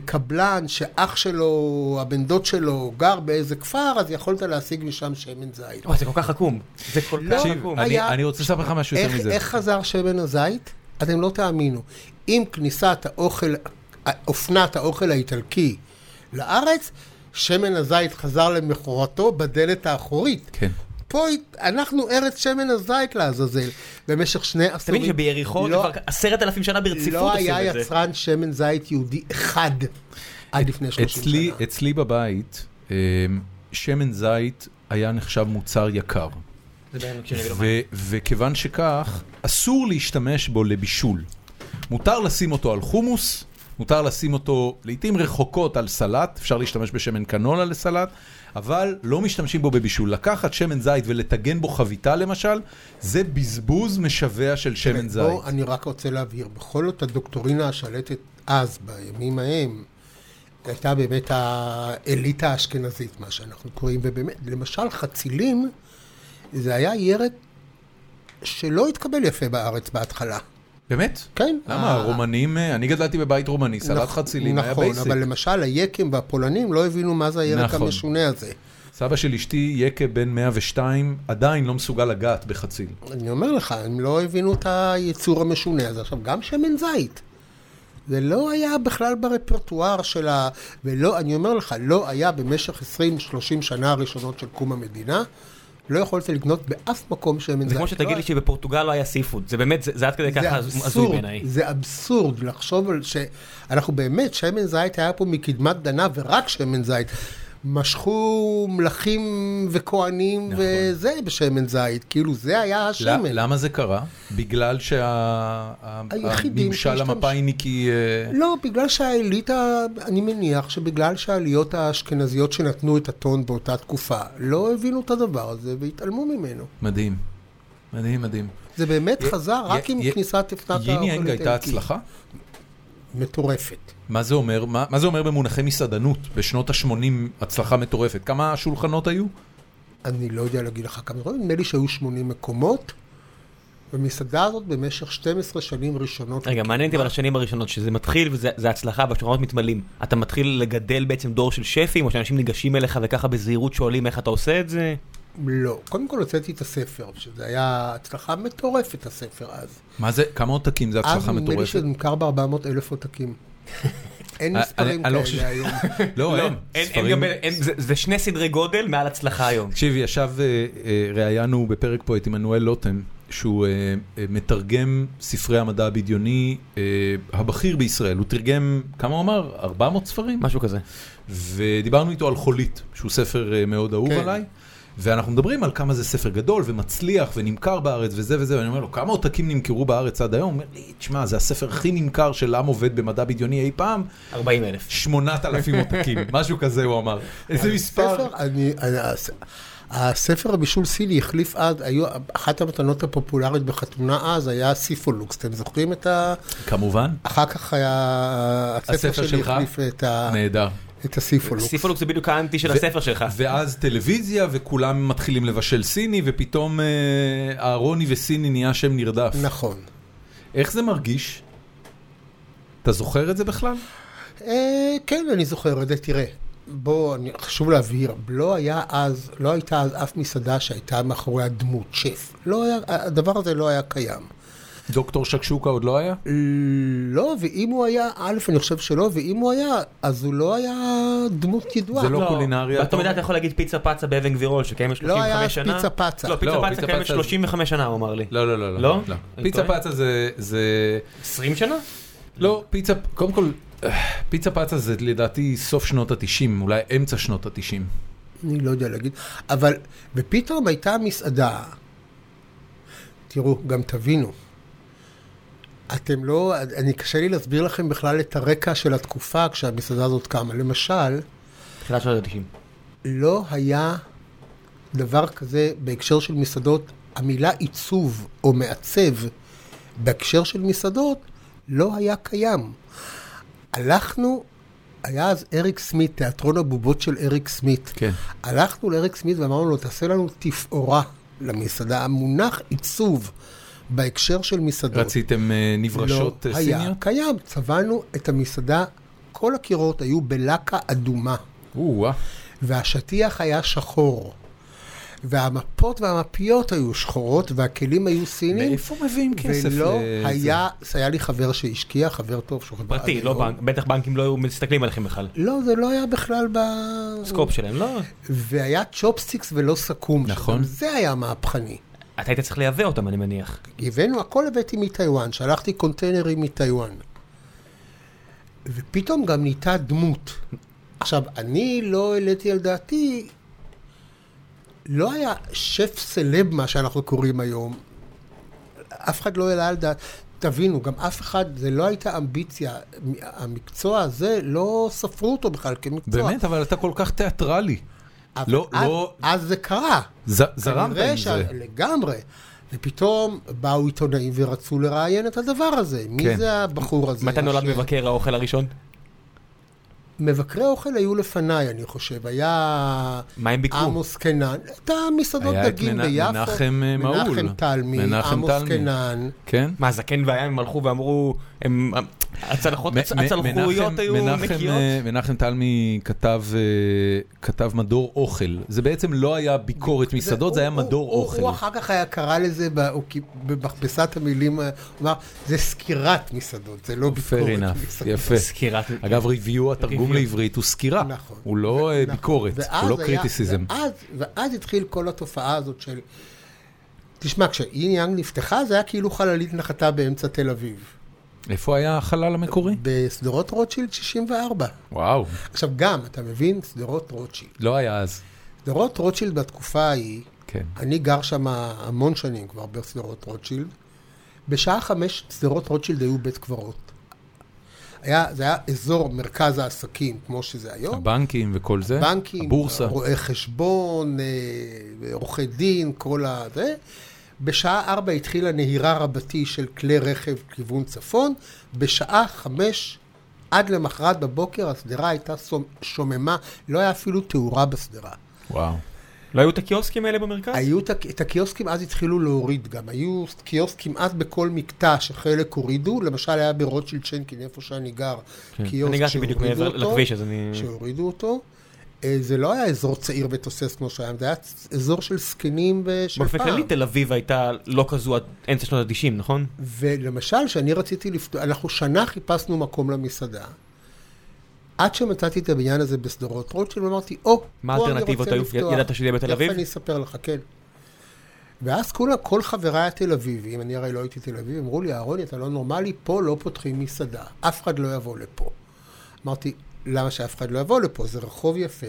Speaker 3: קבלן שאח שלו, הבן דוד שלו, גר באיזה כפר, אז יכולת להשיג משם שמן זית.
Speaker 2: וואי, זה כל כך עקום. זה כל
Speaker 3: לא,
Speaker 2: כך
Speaker 1: תקשיב,
Speaker 2: עקום.
Speaker 1: אני-
Speaker 3: היה-
Speaker 1: אני רוצה לספר לך משהו יותר
Speaker 3: איך,
Speaker 1: מזה.
Speaker 3: איך חזר שמן הזית? אתם לא תאמינו. עם כניסת האוכל, אופנת האוכל האיטלקי לארץ, שמן הזית חזר למכורתו בדלת האחורית.
Speaker 1: כן.
Speaker 3: פה הת- אנחנו ארץ שמן הזית לעזאזל. במשך שני
Speaker 2: אתה
Speaker 3: עשורים...
Speaker 2: מבין שביריחו זה
Speaker 3: לא-
Speaker 2: כבר עשרת אלפים שנה ברציפות
Speaker 3: לא
Speaker 2: עושים
Speaker 3: היה
Speaker 2: את זה.
Speaker 3: יצרן שמן זית יהודי אחד עד לפני 30
Speaker 1: אצלי,
Speaker 3: שנה.
Speaker 1: אצלי בבית, אה, שמן זית היה נחשב מוצר יקר.
Speaker 4: זה בעיניי כשאני
Speaker 2: כאילו-
Speaker 4: אגיד לו מה.
Speaker 1: ו- וכיוון שכך, אסור להשתמש בו לבישול. מותר לשים אותו על חומוס, מותר לשים אותו לעיתים רחוקות על סלט, אפשר להשתמש בשמן קנולה לסלט, אבל לא משתמשים בו בבישול. לקחת שמן זית ולטגן בו חביתה למשל, זה בזבוז משווע של שמן כן, זית.
Speaker 3: בוא, אני רק רוצה להבהיר, בכל זאת הדוקטורינה השלטת אז, בימים ההם, הייתה באמת האליטה האשכנזית, מה שאנחנו קוראים, ובאמת, למשל חצילים, זה היה ירק שלא התקבל יפה בארץ בהתחלה.
Speaker 1: באמת?
Speaker 3: כן.
Speaker 1: למה?
Speaker 3: ה-
Speaker 1: הרומנים, אה, אני גדלתי בבית רומני, סלט
Speaker 3: נכ-
Speaker 1: חצילים היה
Speaker 3: נכון,
Speaker 1: בייסיק.
Speaker 3: אבל למשל היקם והפולנים לא הבינו מה זה הירק
Speaker 1: נכון.
Speaker 3: המשונה הזה.
Speaker 1: סבא של אשתי, יקה בן 102, עדיין לא מסוגל לגעת בחציל.
Speaker 3: אני אומר לך, הם לא הבינו את היצור המשונה הזה. עכשיו, גם שמן זית. זה לא היה בכלל ברפרטואר של ה... ולא, אני אומר לך, לא היה במשך 20-30 שנה הראשונות של קום המדינה, לא יכולת לקנות באף מקום שמן זית.
Speaker 2: זה כמו
Speaker 3: לא
Speaker 2: שתגיד לי
Speaker 3: היה-
Speaker 2: שבפורטוגל לא היה סיפוד, זה באמת, זה זה עד כדי
Speaker 3: זה
Speaker 2: ככה הזוי
Speaker 3: אבסורד,
Speaker 2: בעיניי.
Speaker 3: זה אבסורד לחשוב על ש... אנחנו באמת, שמן זית היה פה מקדמת דנא ורק שמן זית. משכו מלכים וכהנים
Speaker 2: נכון.
Speaker 3: וזה בשמן זית, כאילו זה היה השמן.
Speaker 1: ל- למה זה קרה? בגלל
Speaker 3: היחידים
Speaker 1: שהממשל
Speaker 3: שהשתמש-
Speaker 1: המפאיניקי... אה,
Speaker 3: לא, בגלל שהאליטה, אני מניח שבגלל שהעליות האשכנזיות שנתנו את הטון באותה תקופה, לא הבינו את הדבר הזה והתעלמו ממנו.
Speaker 1: מדהים. מדהים, מדהים.
Speaker 3: זה באמת
Speaker 1: י-
Speaker 3: חזר רק
Speaker 1: י-
Speaker 3: עם
Speaker 1: י-
Speaker 3: כניסת אפנת
Speaker 1: ייני יאנג הייתה
Speaker 3: האלקית.
Speaker 1: הצלחה?
Speaker 3: מטורפת.
Speaker 1: מה זה אומר? מה מה זה אומר במונחי מסעדנות? בשנות ה-80 הצלחה מטורפת. כמה שולחנות היו?
Speaker 3: אני לא יודע להגיד לך כמה דברים, נדמה לי שהיו 80 מקומות, במסעדה הזאת במשך 12 שנים ראשונות.
Speaker 2: רגע, מעניין אותי אבל השנים הראשונות, שזה מתחיל וזה זה הצלחה והשולחנות מתמלאים. אתה מתחיל לגדל בעצם דור של שפים, או שאנשים ניגשים אליך וככה בזהירות שואלים איך אתה עושה את זה?
Speaker 3: לא, קודם כל הוצאתי את הספר, שזה היה הצלחה מטורפת הספר אז.
Speaker 1: מה זה? כמה עותקים זה
Speaker 3: אז
Speaker 1: הצלחה
Speaker 3: אה, נדמה לי
Speaker 1: מטורפת?
Speaker 3: שנמכר ב-400 אלף עותקים. אין
Speaker 1: אה,
Speaker 3: מספרים
Speaker 1: אני לא חושב-
Speaker 3: כאלה היום.
Speaker 1: לא, אין. ספרים-
Speaker 2: זה שני סדרי גודל מעל הצלחה היום.
Speaker 1: תקשיב, ישב, אה, אה, ראיינו בפרק פה את עמנואל לוטם, שהוא אה, אה, מתרגם ספרי המדע הבדיוני אה, הבכיר בישראל. הוא תרגם, כמה הוא אמר? 400 ספרים?
Speaker 2: משהו כזה.
Speaker 1: ודיברנו איתו על חולית, שהוא ספר אה, מאוד אהוב
Speaker 3: כן.
Speaker 1: עליי. ואנחנו מדברים על כמה זה ספר גדול ומצליח ונמכר בארץ וזה וזה, ואני אומר לו, כמה עותקים נמכרו בארץ עד היום? הוא אומר לי, תשמע, זה הספר הכי נמכר של עם עובד במדע בדיוני אי פעם,
Speaker 2: 40 אלף.
Speaker 1: 8,000 עותקים, משהו כזה הוא אמר.
Speaker 3: אה,
Speaker 1: איזה מספר.
Speaker 3: הספר, אני, אני- הס- הספר הבישול סיני החליף אז, היו, אחת המתנות הפופולריות בחתונה אז היה סיפולוקס, אתם זוכרים את ה...
Speaker 1: כמובן,
Speaker 3: אחר כך היה, הספר
Speaker 1: הספר
Speaker 3: שלי
Speaker 1: שלך?
Speaker 3: החליף את, ה,
Speaker 1: נהדר.
Speaker 3: את הסיפולוקס.
Speaker 2: סיפולוק זה בדיוק האנטי של הספר שלך.
Speaker 1: ואז טלוויזיה, וכולם מתחילים לבשל סיני, ופתאום אה, אהרוני וסיני נהיה שם נרדף.
Speaker 3: נכון.
Speaker 1: איך זה מרגיש? אתה זוכר את זה בכלל?
Speaker 3: אה, כן, אני זוכר את זה, תראה. בוא, אני, חשוב להבהיר, לא היה אז, לא הייתה אז אף מסעדה שהייתה מאחוריה דמות, שף. לא היה, הדבר הזה לא היה קיים.
Speaker 1: דוקטור שקשוקה עוד לא היה?
Speaker 3: לא, ואם הוא היה, א', אני חושב שלא, ואם הוא היה, אז הוא לא היה דמות ידועה.
Speaker 1: זה לא קולינריה, אתה
Speaker 2: באותה מידה
Speaker 1: אומר?
Speaker 2: אתה יכול להגיד פיצה פצה באבן גבירול שקיימת
Speaker 3: לא היה
Speaker 2: 35 שנה.
Speaker 3: פיצה פצה.
Speaker 2: לא, פיצה
Speaker 1: לא,
Speaker 2: פצה
Speaker 1: פיצה
Speaker 2: קיימת
Speaker 1: פצה-
Speaker 2: 35 שנה הוא אמר לי.
Speaker 1: לא, לא, לא.
Speaker 2: לא? אני
Speaker 1: פיצה
Speaker 2: טועה?
Speaker 1: פצה זה- זה...
Speaker 2: 20 שנה?
Speaker 1: לא, פיצה... קודם כל, אה, פיצה פצה זה לדעתי סוף שנות ה-90, אולי אמצע שנות ה-90.
Speaker 3: אני לא יודע להגיד, אבל, ופתאום הייתה מסעדה. תראו, גם תבינו. אתם לא, אני קשה לי להסביר לכם בכלל את הרקע של התקופה כשהמסעדה הזאת קמה. למשל,
Speaker 2: תחילת שנות ה-90.
Speaker 3: לא היה דבר כזה בהקשר של מסעדות, המילה עיצוב או מעצב בהקשר של מסעדות לא היה קיים. הלכנו, היה אז אריק סמית, תיאטרון הבובות של אריק סמית.
Speaker 1: כן.
Speaker 3: הלכנו לאריק סמית ואמרנו לו, תעשה לנו תפאורה למסעדה. המונח עיצוב בהקשר של מסעדות.
Speaker 1: רציתם אה, נברשות אה,
Speaker 3: לא היה
Speaker 1: סיניות?
Speaker 3: קיים. צבענו את המסעדה, כל הקירות היו בלקה אדומה.
Speaker 1: או-אה.
Speaker 3: והשטיח היה שחור. והמפות והמפיות היו שחורות, והכלים היו סינים.
Speaker 1: מאיפה מביאים כסף?
Speaker 3: ולא
Speaker 1: לזה?
Speaker 3: היה, היה לי חבר שהשקיע, חבר טוב, שהוא חבר...
Speaker 2: פרטי,
Speaker 3: עד
Speaker 2: לא
Speaker 3: היום.
Speaker 2: בנק, בטח בנקים לא היו מסתכלים עליכם בכלל.
Speaker 3: לא, זה לא היה בכלל ב...
Speaker 2: סקופ שלהם, לא.
Speaker 3: והיה צ'ופסטיקס ולא סכו"ם.
Speaker 1: נכון.
Speaker 3: שגם זה היה מהפכני.
Speaker 2: אתה היית צריך לייבא אותם, אני מניח.
Speaker 3: הבאנו, הכל הבאתי מטיוואן, שלחתי קונטיינרים מטיוואן. ופתאום גם נהייתה דמות. עכשיו, אני לא העליתי על דעתי, לא היה שף סלב, מה שאנחנו קוראים היום. אף אחד לא העלה על דעת. תבינו, גם אף אחד, זה לא הייתה אמביציה. מ- המקצוע הזה, לא ספרו אותו בכלל כמקצוע.
Speaker 1: באמת, אבל אתה כל כך תיאטרלי.
Speaker 3: אבל
Speaker 1: לא-
Speaker 3: אז,
Speaker 1: לא-
Speaker 3: אז זה קרה.
Speaker 1: ז- זרמת
Speaker 3: כנראה
Speaker 1: עם זה.
Speaker 3: שה- לגמרי. ופתאום באו עיתונאים ורצו לראיין את הדבר הזה. מי
Speaker 1: כן.
Speaker 3: זה לא. הבחור הזה?
Speaker 2: מתי נולד
Speaker 3: ש-
Speaker 2: מבקר האוכל הראשון?
Speaker 3: מבקרי אוכל היו לפניי, אני חושב. היה
Speaker 2: מה הם ביקרו?
Speaker 3: עמוס קנן, הייתה מסעדות
Speaker 1: היה את
Speaker 3: דגים
Speaker 1: מנה-
Speaker 3: ביפו.
Speaker 1: מנחם, אה, מעול.
Speaker 3: מנחם תלמי,
Speaker 1: מנחם
Speaker 3: עמוס
Speaker 1: תלמי.
Speaker 3: קנן.
Speaker 1: כן?
Speaker 2: מה, הזקן והים הם הלכו ואמרו, הם... הצלחות,
Speaker 1: מ- מ-
Speaker 2: הצלחויות
Speaker 1: מנחם-
Speaker 2: היו
Speaker 1: מנחם,
Speaker 2: נקיות?
Speaker 1: אה, מנחם תלמי כתב, אה, כתב מדור אוכל. זה בעצם לא היה ביקורת מסעדות, זה היה
Speaker 3: הוא- הוא-
Speaker 1: מדור
Speaker 3: הוא-
Speaker 1: אוכל.
Speaker 3: הוא אחר כך היה קרא לזה ב- הוא כי- במכבסת המילים, אה, הוא אמר, זה סקירת מסעדות, זה לא ביקורת
Speaker 1: Fair enough,
Speaker 3: מסעדות.
Speaker 1: יפה.
Speaker 2: סקירת...
Speaker 1: אגב, ריוויו, התרגום
Speaker 2: Review.
Speaker 1: לעברית הוא סקירה.
Speaker 3: נכון.
Speaker 1: הוא לא אה,
Speaker 3: נכון.
Speaker 1: ביקורת,
Speaker 3: ואז
Speaker 1: הוא לא
Speaker 3: היה-
Speaker 1: קריטיסיזם.
Speaker 3: ואז, ואז התחיל כל התופעה הזאת של... תשמע, כשאין יאנג נפתחה, זה היה כאילו חללית נחתה באמצע תל אביב.
Speaker 1: איפה היה החלל המקורי?
Speaker 3: בשדרות רוטשילד 64.
Speaker 1: וואו,
Speaker 3: עכשיו גם, אתה מבין? שדרות רוטשילד.
Speaker 1: לא היה אז.
Speaker 3: שדרות רוטשילד בתקופה ההיא,
Speaker 1: כן.
Speaker 3: אני גר שם המון שנים כבר בשדרות רוטשילד. בשעה חמש שדרות רוטשילד היו בית קברות. היה, זה היה אזור מרכז העסקים, כמו שזה היום.
Speaker 1: הבנקים וכל זה.
Speaker 3: בנקים,
Speaker 1: כן. הבורסה.
Speaker 3: רואי חשבון, אה, עורכי דין, כל ה... זה. בשעה ארבע התחילה נהירה רבתי של כלי רכב כיוון צפון, בשעה חמש עד למחרת בבוקר השדרה הייתה סומ- שוממה, לא היה אפילו תאורה בשדרה.
Speaker 1: וואו.
Speaker 2: לא היו את הקיוסקים האלה במרכז?
Speaker 3: היו את הק- את הקיוסקים, אז התחילו להוריד גם. היו קיוסקים אז בכל מקטע שחלק הורידו, למשל היה ברוטשילד צ'נקין, איפה שאני גר,
Speaker 2: אני
Speaker 3: קיוסק
Speaker 2: הגעתי בדיוק
Speaker 3: שהורידו
Speaker 2: מעבר
Speaker 3: אותו,
Speaker 2: לכביש, אז אני...
Speaker 3: שהורידו אותו. אה, זה לא היה אזור צעיר ותוסס כמו שהיה, זה היה אזור של זקנים אה, של
Speaker 2: באופן
Speaker 3: פעם.
Speaker 2: כללי תל אביב הייתה לא כזו עד אמצע שנות ה-90, נכון?
Speaker 3: ולמשל, כשאני רציתי לפתוח, אנחנו שנה חיפשנו מקום למסעדה. עד שמצאתי את הבניין הזה בשדרות רוטשילד, אמרתי, או,
Speaker 2: מה
Speaker 3: פה אני
Speaker 2: האלטרנטיבות
Speaker 3: רוצה
Speaker 2: היו?
Speaker 3: לפתוח."
Speaker 2: ידעת שזה יהיה בתל אביב?
Speaker 3: תכף אני אספר לך, כן. ואז כולה, כל חבריי התל אביבים, אני הרי לא הייתי תל אביב, אמרו לי, אהרוני, אתה לא נורמלי, פה לא פותחים מסעדה, אף אחד לא יבוא לפה. אמרתי, למה שאף אחד לא יבוא לפה? זה רחוב יפה,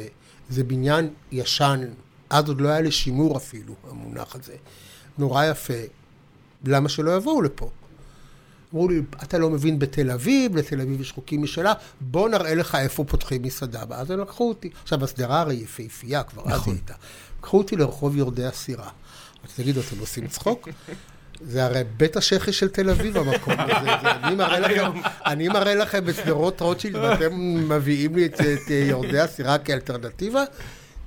Speaker 3: זה בניין ישן, אז עוד לא היה לשימור אפילו, המונח הזה. נורא יפה, למה שלא יבואו לפה? אמרו לי, אתה לא מבין בתל אביב, לתל אביב יש חוקים משלה, בוא נראה לך איפה פותחים מסעדה. ואז הם לקחו אותי. עכשיו, השדרה הרי יפהפייה, כבר אז היא הייתה. לקחו אותי לרחוב יורדי הסירה. אז תגידו, אתם עושים צחוק? זה הרי בית השחי של תל אביב המקום הזה. זה- אני מראה לכם- אני מראה לכם את שדרות רוטשילד, ואתם מביאים לי את את יורדי הסירה כאלטרנטיבה.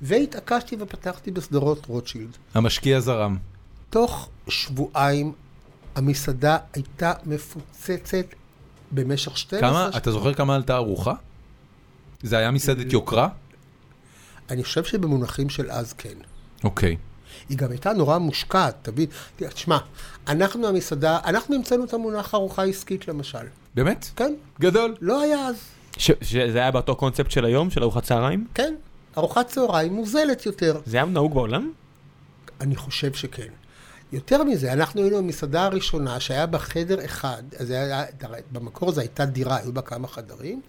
Speaker 3: והתעקשתי ופתחתי בשדרות רוטשילד.
Speaker 1: המשקיע זרם.
Speaker 3: תוך שבועיים המסעדה הייתה מפוצצת במשך 12
Speaker 1: כמה, אתה זוכר כמה עלתה ארוחה? זה היה מסעדת יוקרה?
Speaker 3: אני חושב שבמונחים של אז כן.
Speaker 1: אוקיי.
Speaker 3: היא גם הייתה נורא מושקעת, תבין. תשמע, אנחנו המסעדה, אנחנו המצאנו את המונח ארוחה עסקית למשל.
Speaker 1: באמת?
Speaker 3: כן,
Speaker 1: גדול.
Speaker 3: לא היה אז.
Speaker 2: ש- שזה היה באותו קונספט של היום, של ארוחת צהריים?
Speaker 3: כן, ארוחת צהריים מוזלת יותר.
Speaker 2: זה היה נהוג בעולם?
Speaker 3: אני חושב שכן. יותר מזה, אנחנו היינו המסעדה הראשונה שהיה בה חדר אחד, אז זה היה, במקור זו הייתה דירה, היו בה כמה חדרים,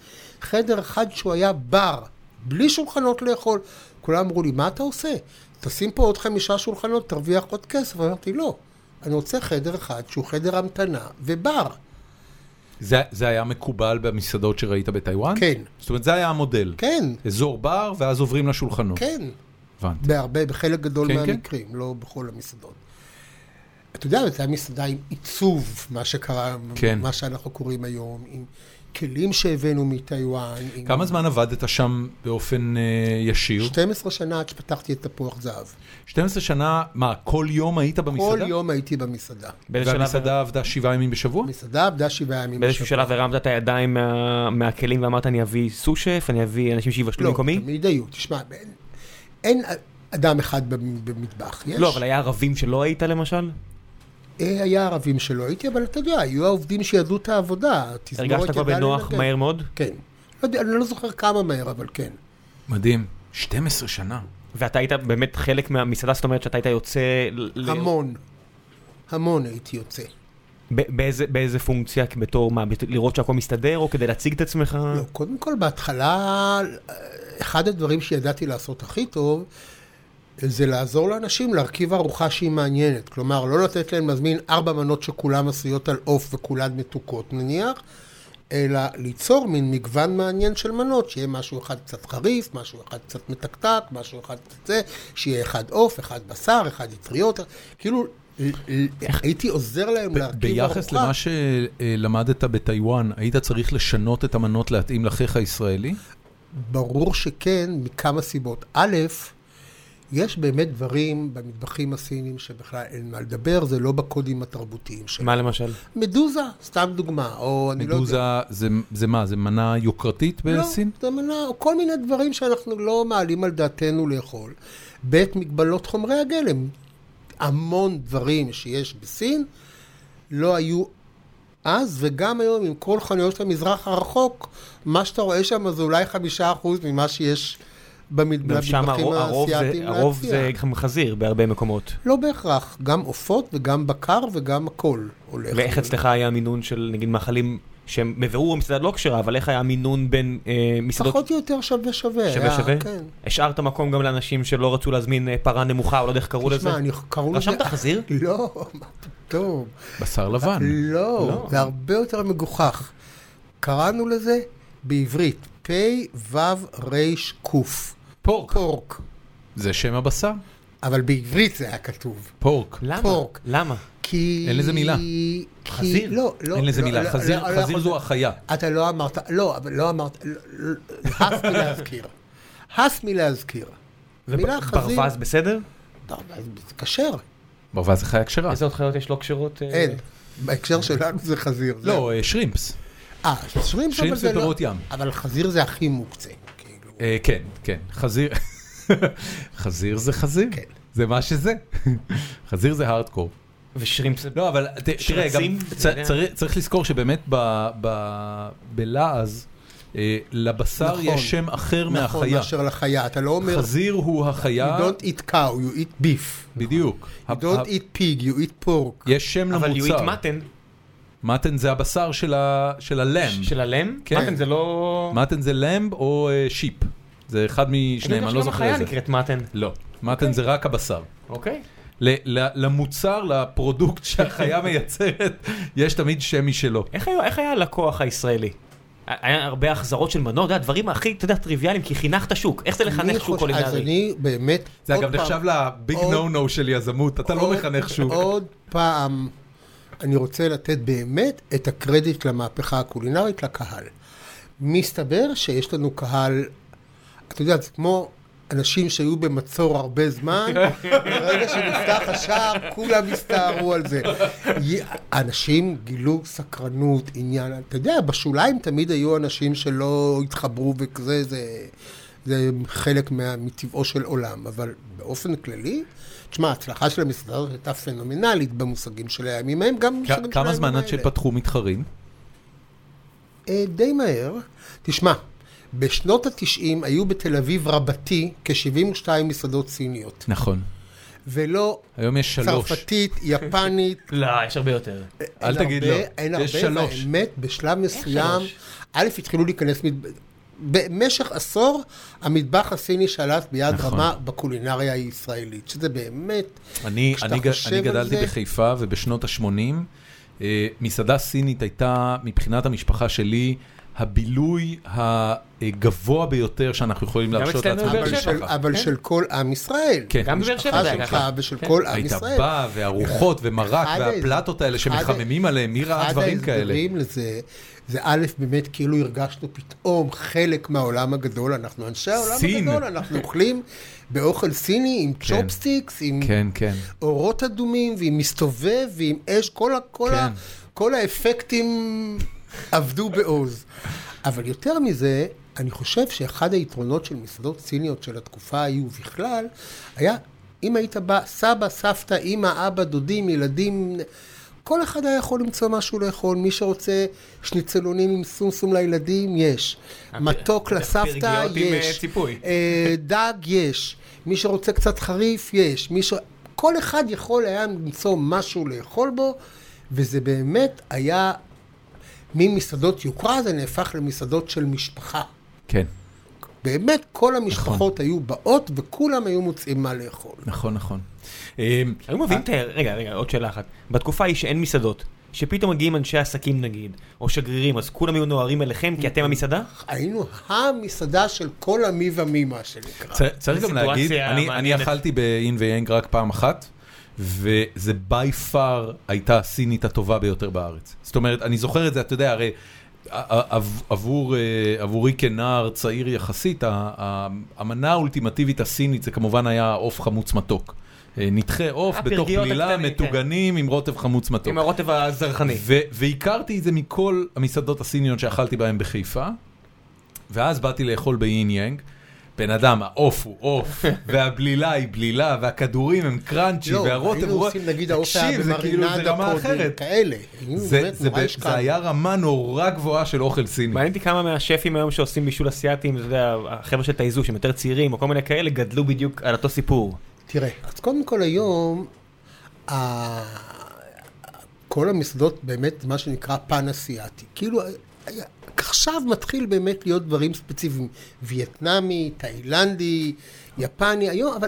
Speaker 3: חדר אחד שהוא היה בר, בלי שולחנות לאכול. כולם אמרו לי, מה אתה עושה? תשים פה עוד חמישה שולחנות, תרוויח עוד כסף. אמרתי, לא, אני רוצה חדר אחד שהוא חדר המתנה ובר.
Speaker 1: זה, זה היה מקובל במסעדות שראית בטיוואן?
Speaker 3: כן.
Speaker 1: זאת אומרת, זה היה המודל.
Speaker 3: כן,
Speaker 1: אזור בר, ואז עוברים לשולחנות.
Speaker 3: כן.
Speaker 1: הבנתי.
Speaker 3: בהרבה, בחלק גדול
Speaker 1: כן, כן.
Speaker 3: מהמקרים, לא בכל המסעדות. אתה יודע, זו הייתה מסעדה עם עיצוב, מה שקרה,
Speaker 1: כן.
Speaker 3: מה שאנחנו קוראים היום, עם כלים שהבאנו מטיוואן. עם-
Speaker 1: כמה זמן עבדת שם באופן uh, ישיר?
Speaker 3: 12 שנה עד שפתחתי את תפוח זהב.
Speaker 1: 12 שנה, מה, כל יום היית במסעדה?
Speaker 3: כל יום הייתי במסעדה.
Speaker 2: באיזה שלב-
Speaker 1: והמסעדה עבדה שבעה ימים בשבוע?
Speaker 3: המסעדה עבדה שבעה ימים
Speaker 2: באיזשהו
Speaker 3: בשבוע.
Speaker 2: שלב הרמת את הידיים מה- מהכלים ואמרת אני אביא סו-שף, אני אביא אנשים שיבשלו
Speaker 3: לא,
Speaker 2: במקומי?
Speaker 3: תמיד היו. תשמע, אין- אין אדם אחד במ- במטבח. יש.
Speaker 2: לא, אבל היה ערבים שלא היית למשל?
Speaker 3: אה, היה ערבים שלא הייתי, אבל אתה יודע, היו העובדים שידעו את העבודה. התזמורת
Speaker 2: הרגשת כבר
Speaker 3: ידעה
Speaker 2: בנוח
Speaker 3: לנגן.
Speaker 2: מהר מאוד?
Speaker 3: כן. לא יודע, אני לא זוכר כמה מהר, אבל כן.
Speaker 1: מדהים. 12 שנה.
Speaker 2: ואתה היית באמת חלק מהמסעדה, זאת אומרת שאתה היית יוצא... ל- ל-
Speaker 3: המון. המון הייתי יוצא.
Speaker 1: אה.
Speaker 2: ב- באיזה- באיזה פונקציה? בתור מה? בת- לראות שהכל מסתדר או כדי להציג את עצמך?
Speaker 3: לא, קודם כל, בהתחלה, אה, אחד הדברים שידעתי לעשות הכי טוב, זה לעזור לאנשים להרכיב ארוחה שהיא מעניינת. כלומר, לא לתת להם להזמין ארבע מנות שכולן עשויות על עוף וכולן מתוקות נניח, אלא ליצור מין מגוון מעניין של מנות, שיהיה משהו אחד קצת חריף, משהו אחד קצת מתקתק, משהו אחד קצת זה, שיהיה אחד עוף, אחד בשר, אחד אטריות, כאילו... ל- ל- הייתי עוזר להם
Speaker 1: ב-
Speaker 3: להרכיב ארוחה.
Speaker 1: ביחס למה שלמדת בטיוואן, היית צריך לשנות את המנות להתאים לחיך הישראלי?
Speaker 3: ברור שכן, מכמה סיבות. א', יש באמת דברים במטבחים הסינים שבכלל אין מה לדבר, זה לא בקודים התרבותיים שלהם.
Speaker 2: מה למשל?
Speaker 3: מדוזה, סתם דוגמה, או אני לא יודע.
Speaker 1: מדוזה זה- זה מה, זה מנה יוקרתית בסין?
Speaker 3: לא, זה מנה, או כל מיני דברים שאנחנו לא מעלים על דעתנו לאכול. ב' מגבלות חומרי הגלם. המון דברים שיש בסין לא היו אז, וגם היום עם כל חנויות המזרח הרחוק, מה שאתה רואה שם זה אולי חמישה אחוז ממה שיש במד-
Speaker 2: גם
Speaker 3: במטבחים
Speaker 2: שם הרוב- הרוב זה-
Speaker 3: האסייתיים
Speaker 2: הרוב זה גם חזיר בהרבה מקומות.
Speaker 3: לא בהכרח, גם עופות וגם בקר וגם הכל הולך.
Speaker 2: ואיך אצלך היה המינון של נגיד מאכלים שהם בבירור המסעדה לא כשרה, אבל איך היה המינון בין אה, מסעדות?
Speaker 3: פחות או יותר שווה שווה.
Speaker 2: שווה
Speaker 3: היה,
Speaker 2: שווה?
Speaker 3: כן.
Speaker 2: השארת מקום גם לאנשים שלא רצו להזמין אה, פרה נמוכה, או לא יודע איך קראו לזה?
Speaker 3: תשמע, אני- קראו לזה...
Speaker 2: רשמת חזיר?
Speaker 3: לא, מה פתאום.
Speaker 1: בשר לבן.
Speaker 3: לא,
Speaker 2: לא.
Speaker 3: זה הרבה יותר מגוחך. קראנו לזה בעברית, פ"ו-ר"ק.
Speaker 1: פורק.
Speaker 3: פורק.
Speaker 1: זה שם הבשר?
Speaker 3: אבל בעברית זה היה כתוב.
Speaker 1: פורק.
Speaker 2: למה?
Speaker 3: פורק.
Speaker 2: למה?
Speaker 3: כי...
Speaker 1: אין לזה מילה.
Speaker 3: כי-
Speaker 2: חזיר.
Speaker 3: לא, לא.
Speaker 1: אין לזה
Speaker 3: לא,
Speaker 1: מילה.
Speaker 3: לא,
Speaker 1: חזיר-
Speaker 3: לא, לא
Speaker 1: חזיר
Speaker 3: יכול-
Speaker 1: זו החיה.
Speaker 3: אתה לא אמרת, לא, אבל לא אמרת, לא, לא, הס מלהזכיר. הס מלהזכיר. מילה חזיר.
Speaker 2: ברווז בסדר?
Speaker 3: טוב, אז זה כשר,
Speaker 1: ברווז זה חיה כשרה.
Speaker 2: איזה עוד חיות יש לא כשרות? אה?
Speaker 3: אין. בהקשר שלנו זה חזיר. זה-
Speaker 1: לא, אה, שרימפס.
Speaker 3: אה, שרימפס אבל
Speaker 1: שרימפס
Speaker 3: זה לא...
Speaker 1: ופירות ים.
Speaker 3: אבל חזיר זה הכי מוקצה. כאילו.
Speaker 1: אה, כן, כן. חזיר... חזיר זה חזיר.
Speaker 3: כן.
Speaker 1: זה מה שזה. חזיר זה הארדקור.
Speaker 2: ושרימפס?
Speaker 1: לא, אבל ת- תראה, גם
Speaker 2: שרצים,
Speaker 1: צ-
Speaker 2: אתה יודע.
Speaker 1: צריך- צריך לזכור שבאמת ב- ב- בלעז, אה, לבשר
Speaker 3: נכון.
Speaker 1: יש שם אחר
Speaker 3: נכון,
Speaker 1: מהחיה.
Speaker 3: מאשר לחיה. אתה לא אומר,
Speaker 1: חזיר הוא
Speaker 3: you
Speaker 1: החיה,
Speaker 3: don't eat cow, you eat beef.
Speaker 1: בדיוק.
Speaker 3: You
Speaker 1: ה-
Speaker 3: don't
Speaker 1: ה-
Speaker 3: eat pig, you eat pork.
Speaker 1: יש שם
Speaker 2: אבל you eat
Speaker 1: למוצר.
Speaker 2: mutton
Speaker 1: מטן זה הבשר של ה- של הלם.
Speaker 2: של הלם?
Speaker 1: כן.
Speaker 2: mutton זה לא...
Speaker 1: מטן זה למב או אה, שיפ. זה אחד משניהם, אני לא זוכר
Speaker 2: אני
Speaker 1: איזה.
Speaker 2: יודע שגם החיה נקראת מטן.
Speaker 1: לא, מטן זה רק הבשר.
Speaker 2: אוקיי.
Speaker 1: ל- ל- למוצר, לפרודוקט שהחיה מייצרת, יש תמיד שם משלו.
Speaker 2: איך היה- איך היה הלקוח הישראלי? היה הרבה החזרות של מנות, אתה יודע, הדברים הכי, אתה יודע, טריוויאליים, כי חינכת שוק. איך זה
Speaker 3: אני
Speaker 2: לחנך שוק
Speaker 3: חושב- אז
Speaker 2: קולינרי?
Speaker 3: אני באמת,
Speaker 1: זה
Speaker 3: עוד
Speaker 1: אגב
Speaker 3: פעם,
Speaker 1: נחשב לביג
Speaker 3: עוד-
Speaker 1: נו נו של יזמות, אתה לא
Speaker 3: עוד-
Speaker 1: מחנך שוק.
Speaker 3: עוד פעם, אני רוצה לתת באמת את הקרדיט למהפכה הקולינרית לקהל. מסתבר שיש לנו קהל, אתה יודע, זה כמו אנשים שהיו במצור הרבה זמן, ברגע שנפתח השער, כולם הסתערו על זה. י- אנשים גילו סקרנות, עניין, אתה יודע, בשוליים תמיד היו אנשים שלא התחברו וכזה, זה... זה חלק מה, מטבעו של עולם, אבל באופן כללי, תשמע, ההצלחה של המסעדה הזאת הייתה פנומנלית במושגים של הימים ההם, גם במושגים של הימים האלה.
Speaker 1: כמה זמן עד שפתחו מתחרים?
Speaker 3: אה, די מהר. תשמע, בשנות התשעים היו בתל אביב רבתי כ-72 מסעדות סיניות,
Speaker 1: נכון.
Speaker 3: ולא
Speaker 1: היום יש שלוש.
Speaker 3: צרפתית, יפנית,
Speaker 2: לא, יש הרבה יותר.
Speaker 1: אל
Speaker 3: אין
Speaker 1: תגיד
Speaker 3: הרבה-
Speaker 1: לא.
Speaker 3: אין
Speaker 1: יש
Speaker 3: הרבה,
Speaker 1: שלוש.
Speaker 3: באמת, בשלב מסוים,
Speaker 2: שלוש?
Speaker 3: א', התחילו להיכנס, מד- במשך עשור, המטבח הסיני שלט ביד
Speaker 1: נכון.
Speaker 3: רמה בקולינריה הישראלית, שזה באמת,
Speaker 1: אני,
Speaker 3: כשאתה
Speaker 1: אני, ג-
Speaker 3: חושב
Speaker 1: אני
Speaker 3: על
Speaker 1: גדלתי
Speaker 3: זה-
Speaker 1: בחיפה, ובשנות ה-80, מסעדה סינית הייתה, מבחינת המשפחה שלי, הבילוי הגבוה ביותר שאנחנו יכולים
Speaker 2: גם
Speaker 1: להרשות לעצמנו
Speaker 2: אצלנו בבאר
Speaker 3: אבל
Speaker 2: שבע.
Speaker 3: של-
Speaker 1: במשפחה.
Speaker 3: אבל
Speaker 2: כן.
Speaker 3: של כל עם ישראל.
Speaker 1: כן,
Speaker 2: גם בבאר שבע זה היה
Speaker 3: שלך
Speaker 2: ככה.
Speaker 3: ושל
Speaker 2: כן.
Speaker 3: כל עם
Speaker 1: היית
Speaker 3: ישראל.
Speaker 1: בא, והרוחות, ומרק,
Speaker 3: אחד
Speaker 1: והפלטות האלה
Speaker 3: אחד-
Speaker 1: שמחממים עליהם, מי ראה דברים
Speaker 3: אחד
Speaker 1: כאלה?
Speaker 3: ההסברים לזה, זה א', באמת כאילו הרגשנו פתאום חלק מהעולם הגדול, אנחנו אנשי העולם
Speaker 1: סין.
Speaker 3: הגדול, אנחנו אוכלים באוכל סיני עם צ'ופסטיקס, עם
Speaker 1: כן, כן.
Speaker 3: אורות אדומים, ועם מסתובב, ועם אש, כל, ה- כל, ה,
Speaker 1: כן.
Speaker 3: כל האפקטים עבדו בעוז. אבל יותר מזה, אני חושב שאחד היתרונות של מסעדות סיניות של התקופה ההיא ובכלל, היה אם היית בא, סבא, סבתא, אימא, אבא, דודים, ילדים, כל אחד היה יכול למצוא משהו לאכול. מי שרוצה שניצלונים עם סומסום לילדים, יש. מתוק לסבתא,
Speaker 2: אוקיי. פרגיות עם, אה,
Speaker 3: יש.
Speaker 2: ציפוי.
Speaker 3: אה, דג יש, מי שרוצה קצת חריף יש, מי ש... כל אחד יכול היה למצוא משהו לאכול בו, וזה באמת היה ממסעדות יוקרה, זה נהפך למסעדות של משפחה.
Speaker 1: כן.
Speaker 3: באמת כל המשפחות היו באות וכולם היו מוצאים מה לאכול.
Speaker 1: נכון, נכון. אה,
Speaker 2: היו מביאים את ה... רגע, רגע, עוד שאלה אחת. בתקופה ההיא שאין מסעדות, שפתאום מגיעים אנשי עסקים נגיד, או שגרירים, אז כולם היו נוהרים אליכם כי אתם המסעדה?
Speaker 3: היינו המסעדה של כל המי ומי, מה שנקרא.
Speaker 1: צ- צריך גם
Speaker 4: סיטואציה
Speaker 1: להגיד, אני, אני
Speaker 4: מעניינת.
Speaker 1: אכלתי ב-in ו-yang רק פעם אחת, וזה by far הייתה הסינית הטובה ביותר בארץ. זאת אומרת, אני זוכר את זה, אתה יודע, הרי ע- עב- עבור, אה, עבורי כנער צעיר יחסית, ה- ה- המנה האולטימטיבית הסינית זה כמובן היה עוף חמוץ מתוק. אה, נתחי עוף בתוך
Speaker 4: הפרגיות
Speaker 1: גלילה,
Speaker 4: הקטנים, כן.
Speaker 1: מטוגנים עם רוטב חמוץ מתוק.
Speaker 4: עם הרוטב הזרחני.
Speaker 1: ו- והכרתי את זה מכל המסעדות הסיניות שאכלתי בהן בחיפה, ואז באתי לאכול באין יאנג. בן אדם, העוף הוא עוף, והבלילה היא בלילה, והכדורים הם קראנצ'י,
Speaker 3: לא,
Speaker 1: והרוטב
Speaker 3: היינו
Speaker 1: הוא...
Speaker 3: עושים נגיד האופי
Speaker 1: תקשיב, זה כאילו, זה רמה אחרת.
Speaker 3: כאלה. היינו
Speaker 1: זה-
Speaker 3: כן, באמת
Speaker 1: זה
Speaker 3: נורא
Speaker 1: ב- זה
Speaker 3: השקענו.
Speaker 1: היה רמה נורא גבוהה של אוכל סיני.
Speaker 2: מעניין אותי כמה מהשפים היום שעושים בישול אסיאתי, אתה יודע, החבר'ה של תאיזו שהם יותר צעירים, או כל מיני כאלה, גדלו בדיוק על אותו סיפור.
Speaker 3: תראה, אז קודם כל היום, ה... כל המסעדות באמת, מה שנקרא פן אסיאתי. כאילו, היה- עכשיו מתחיל באמת להיות דברים ספציפיים. וייטנאמי, תאילנדי, יפני, היום, אבל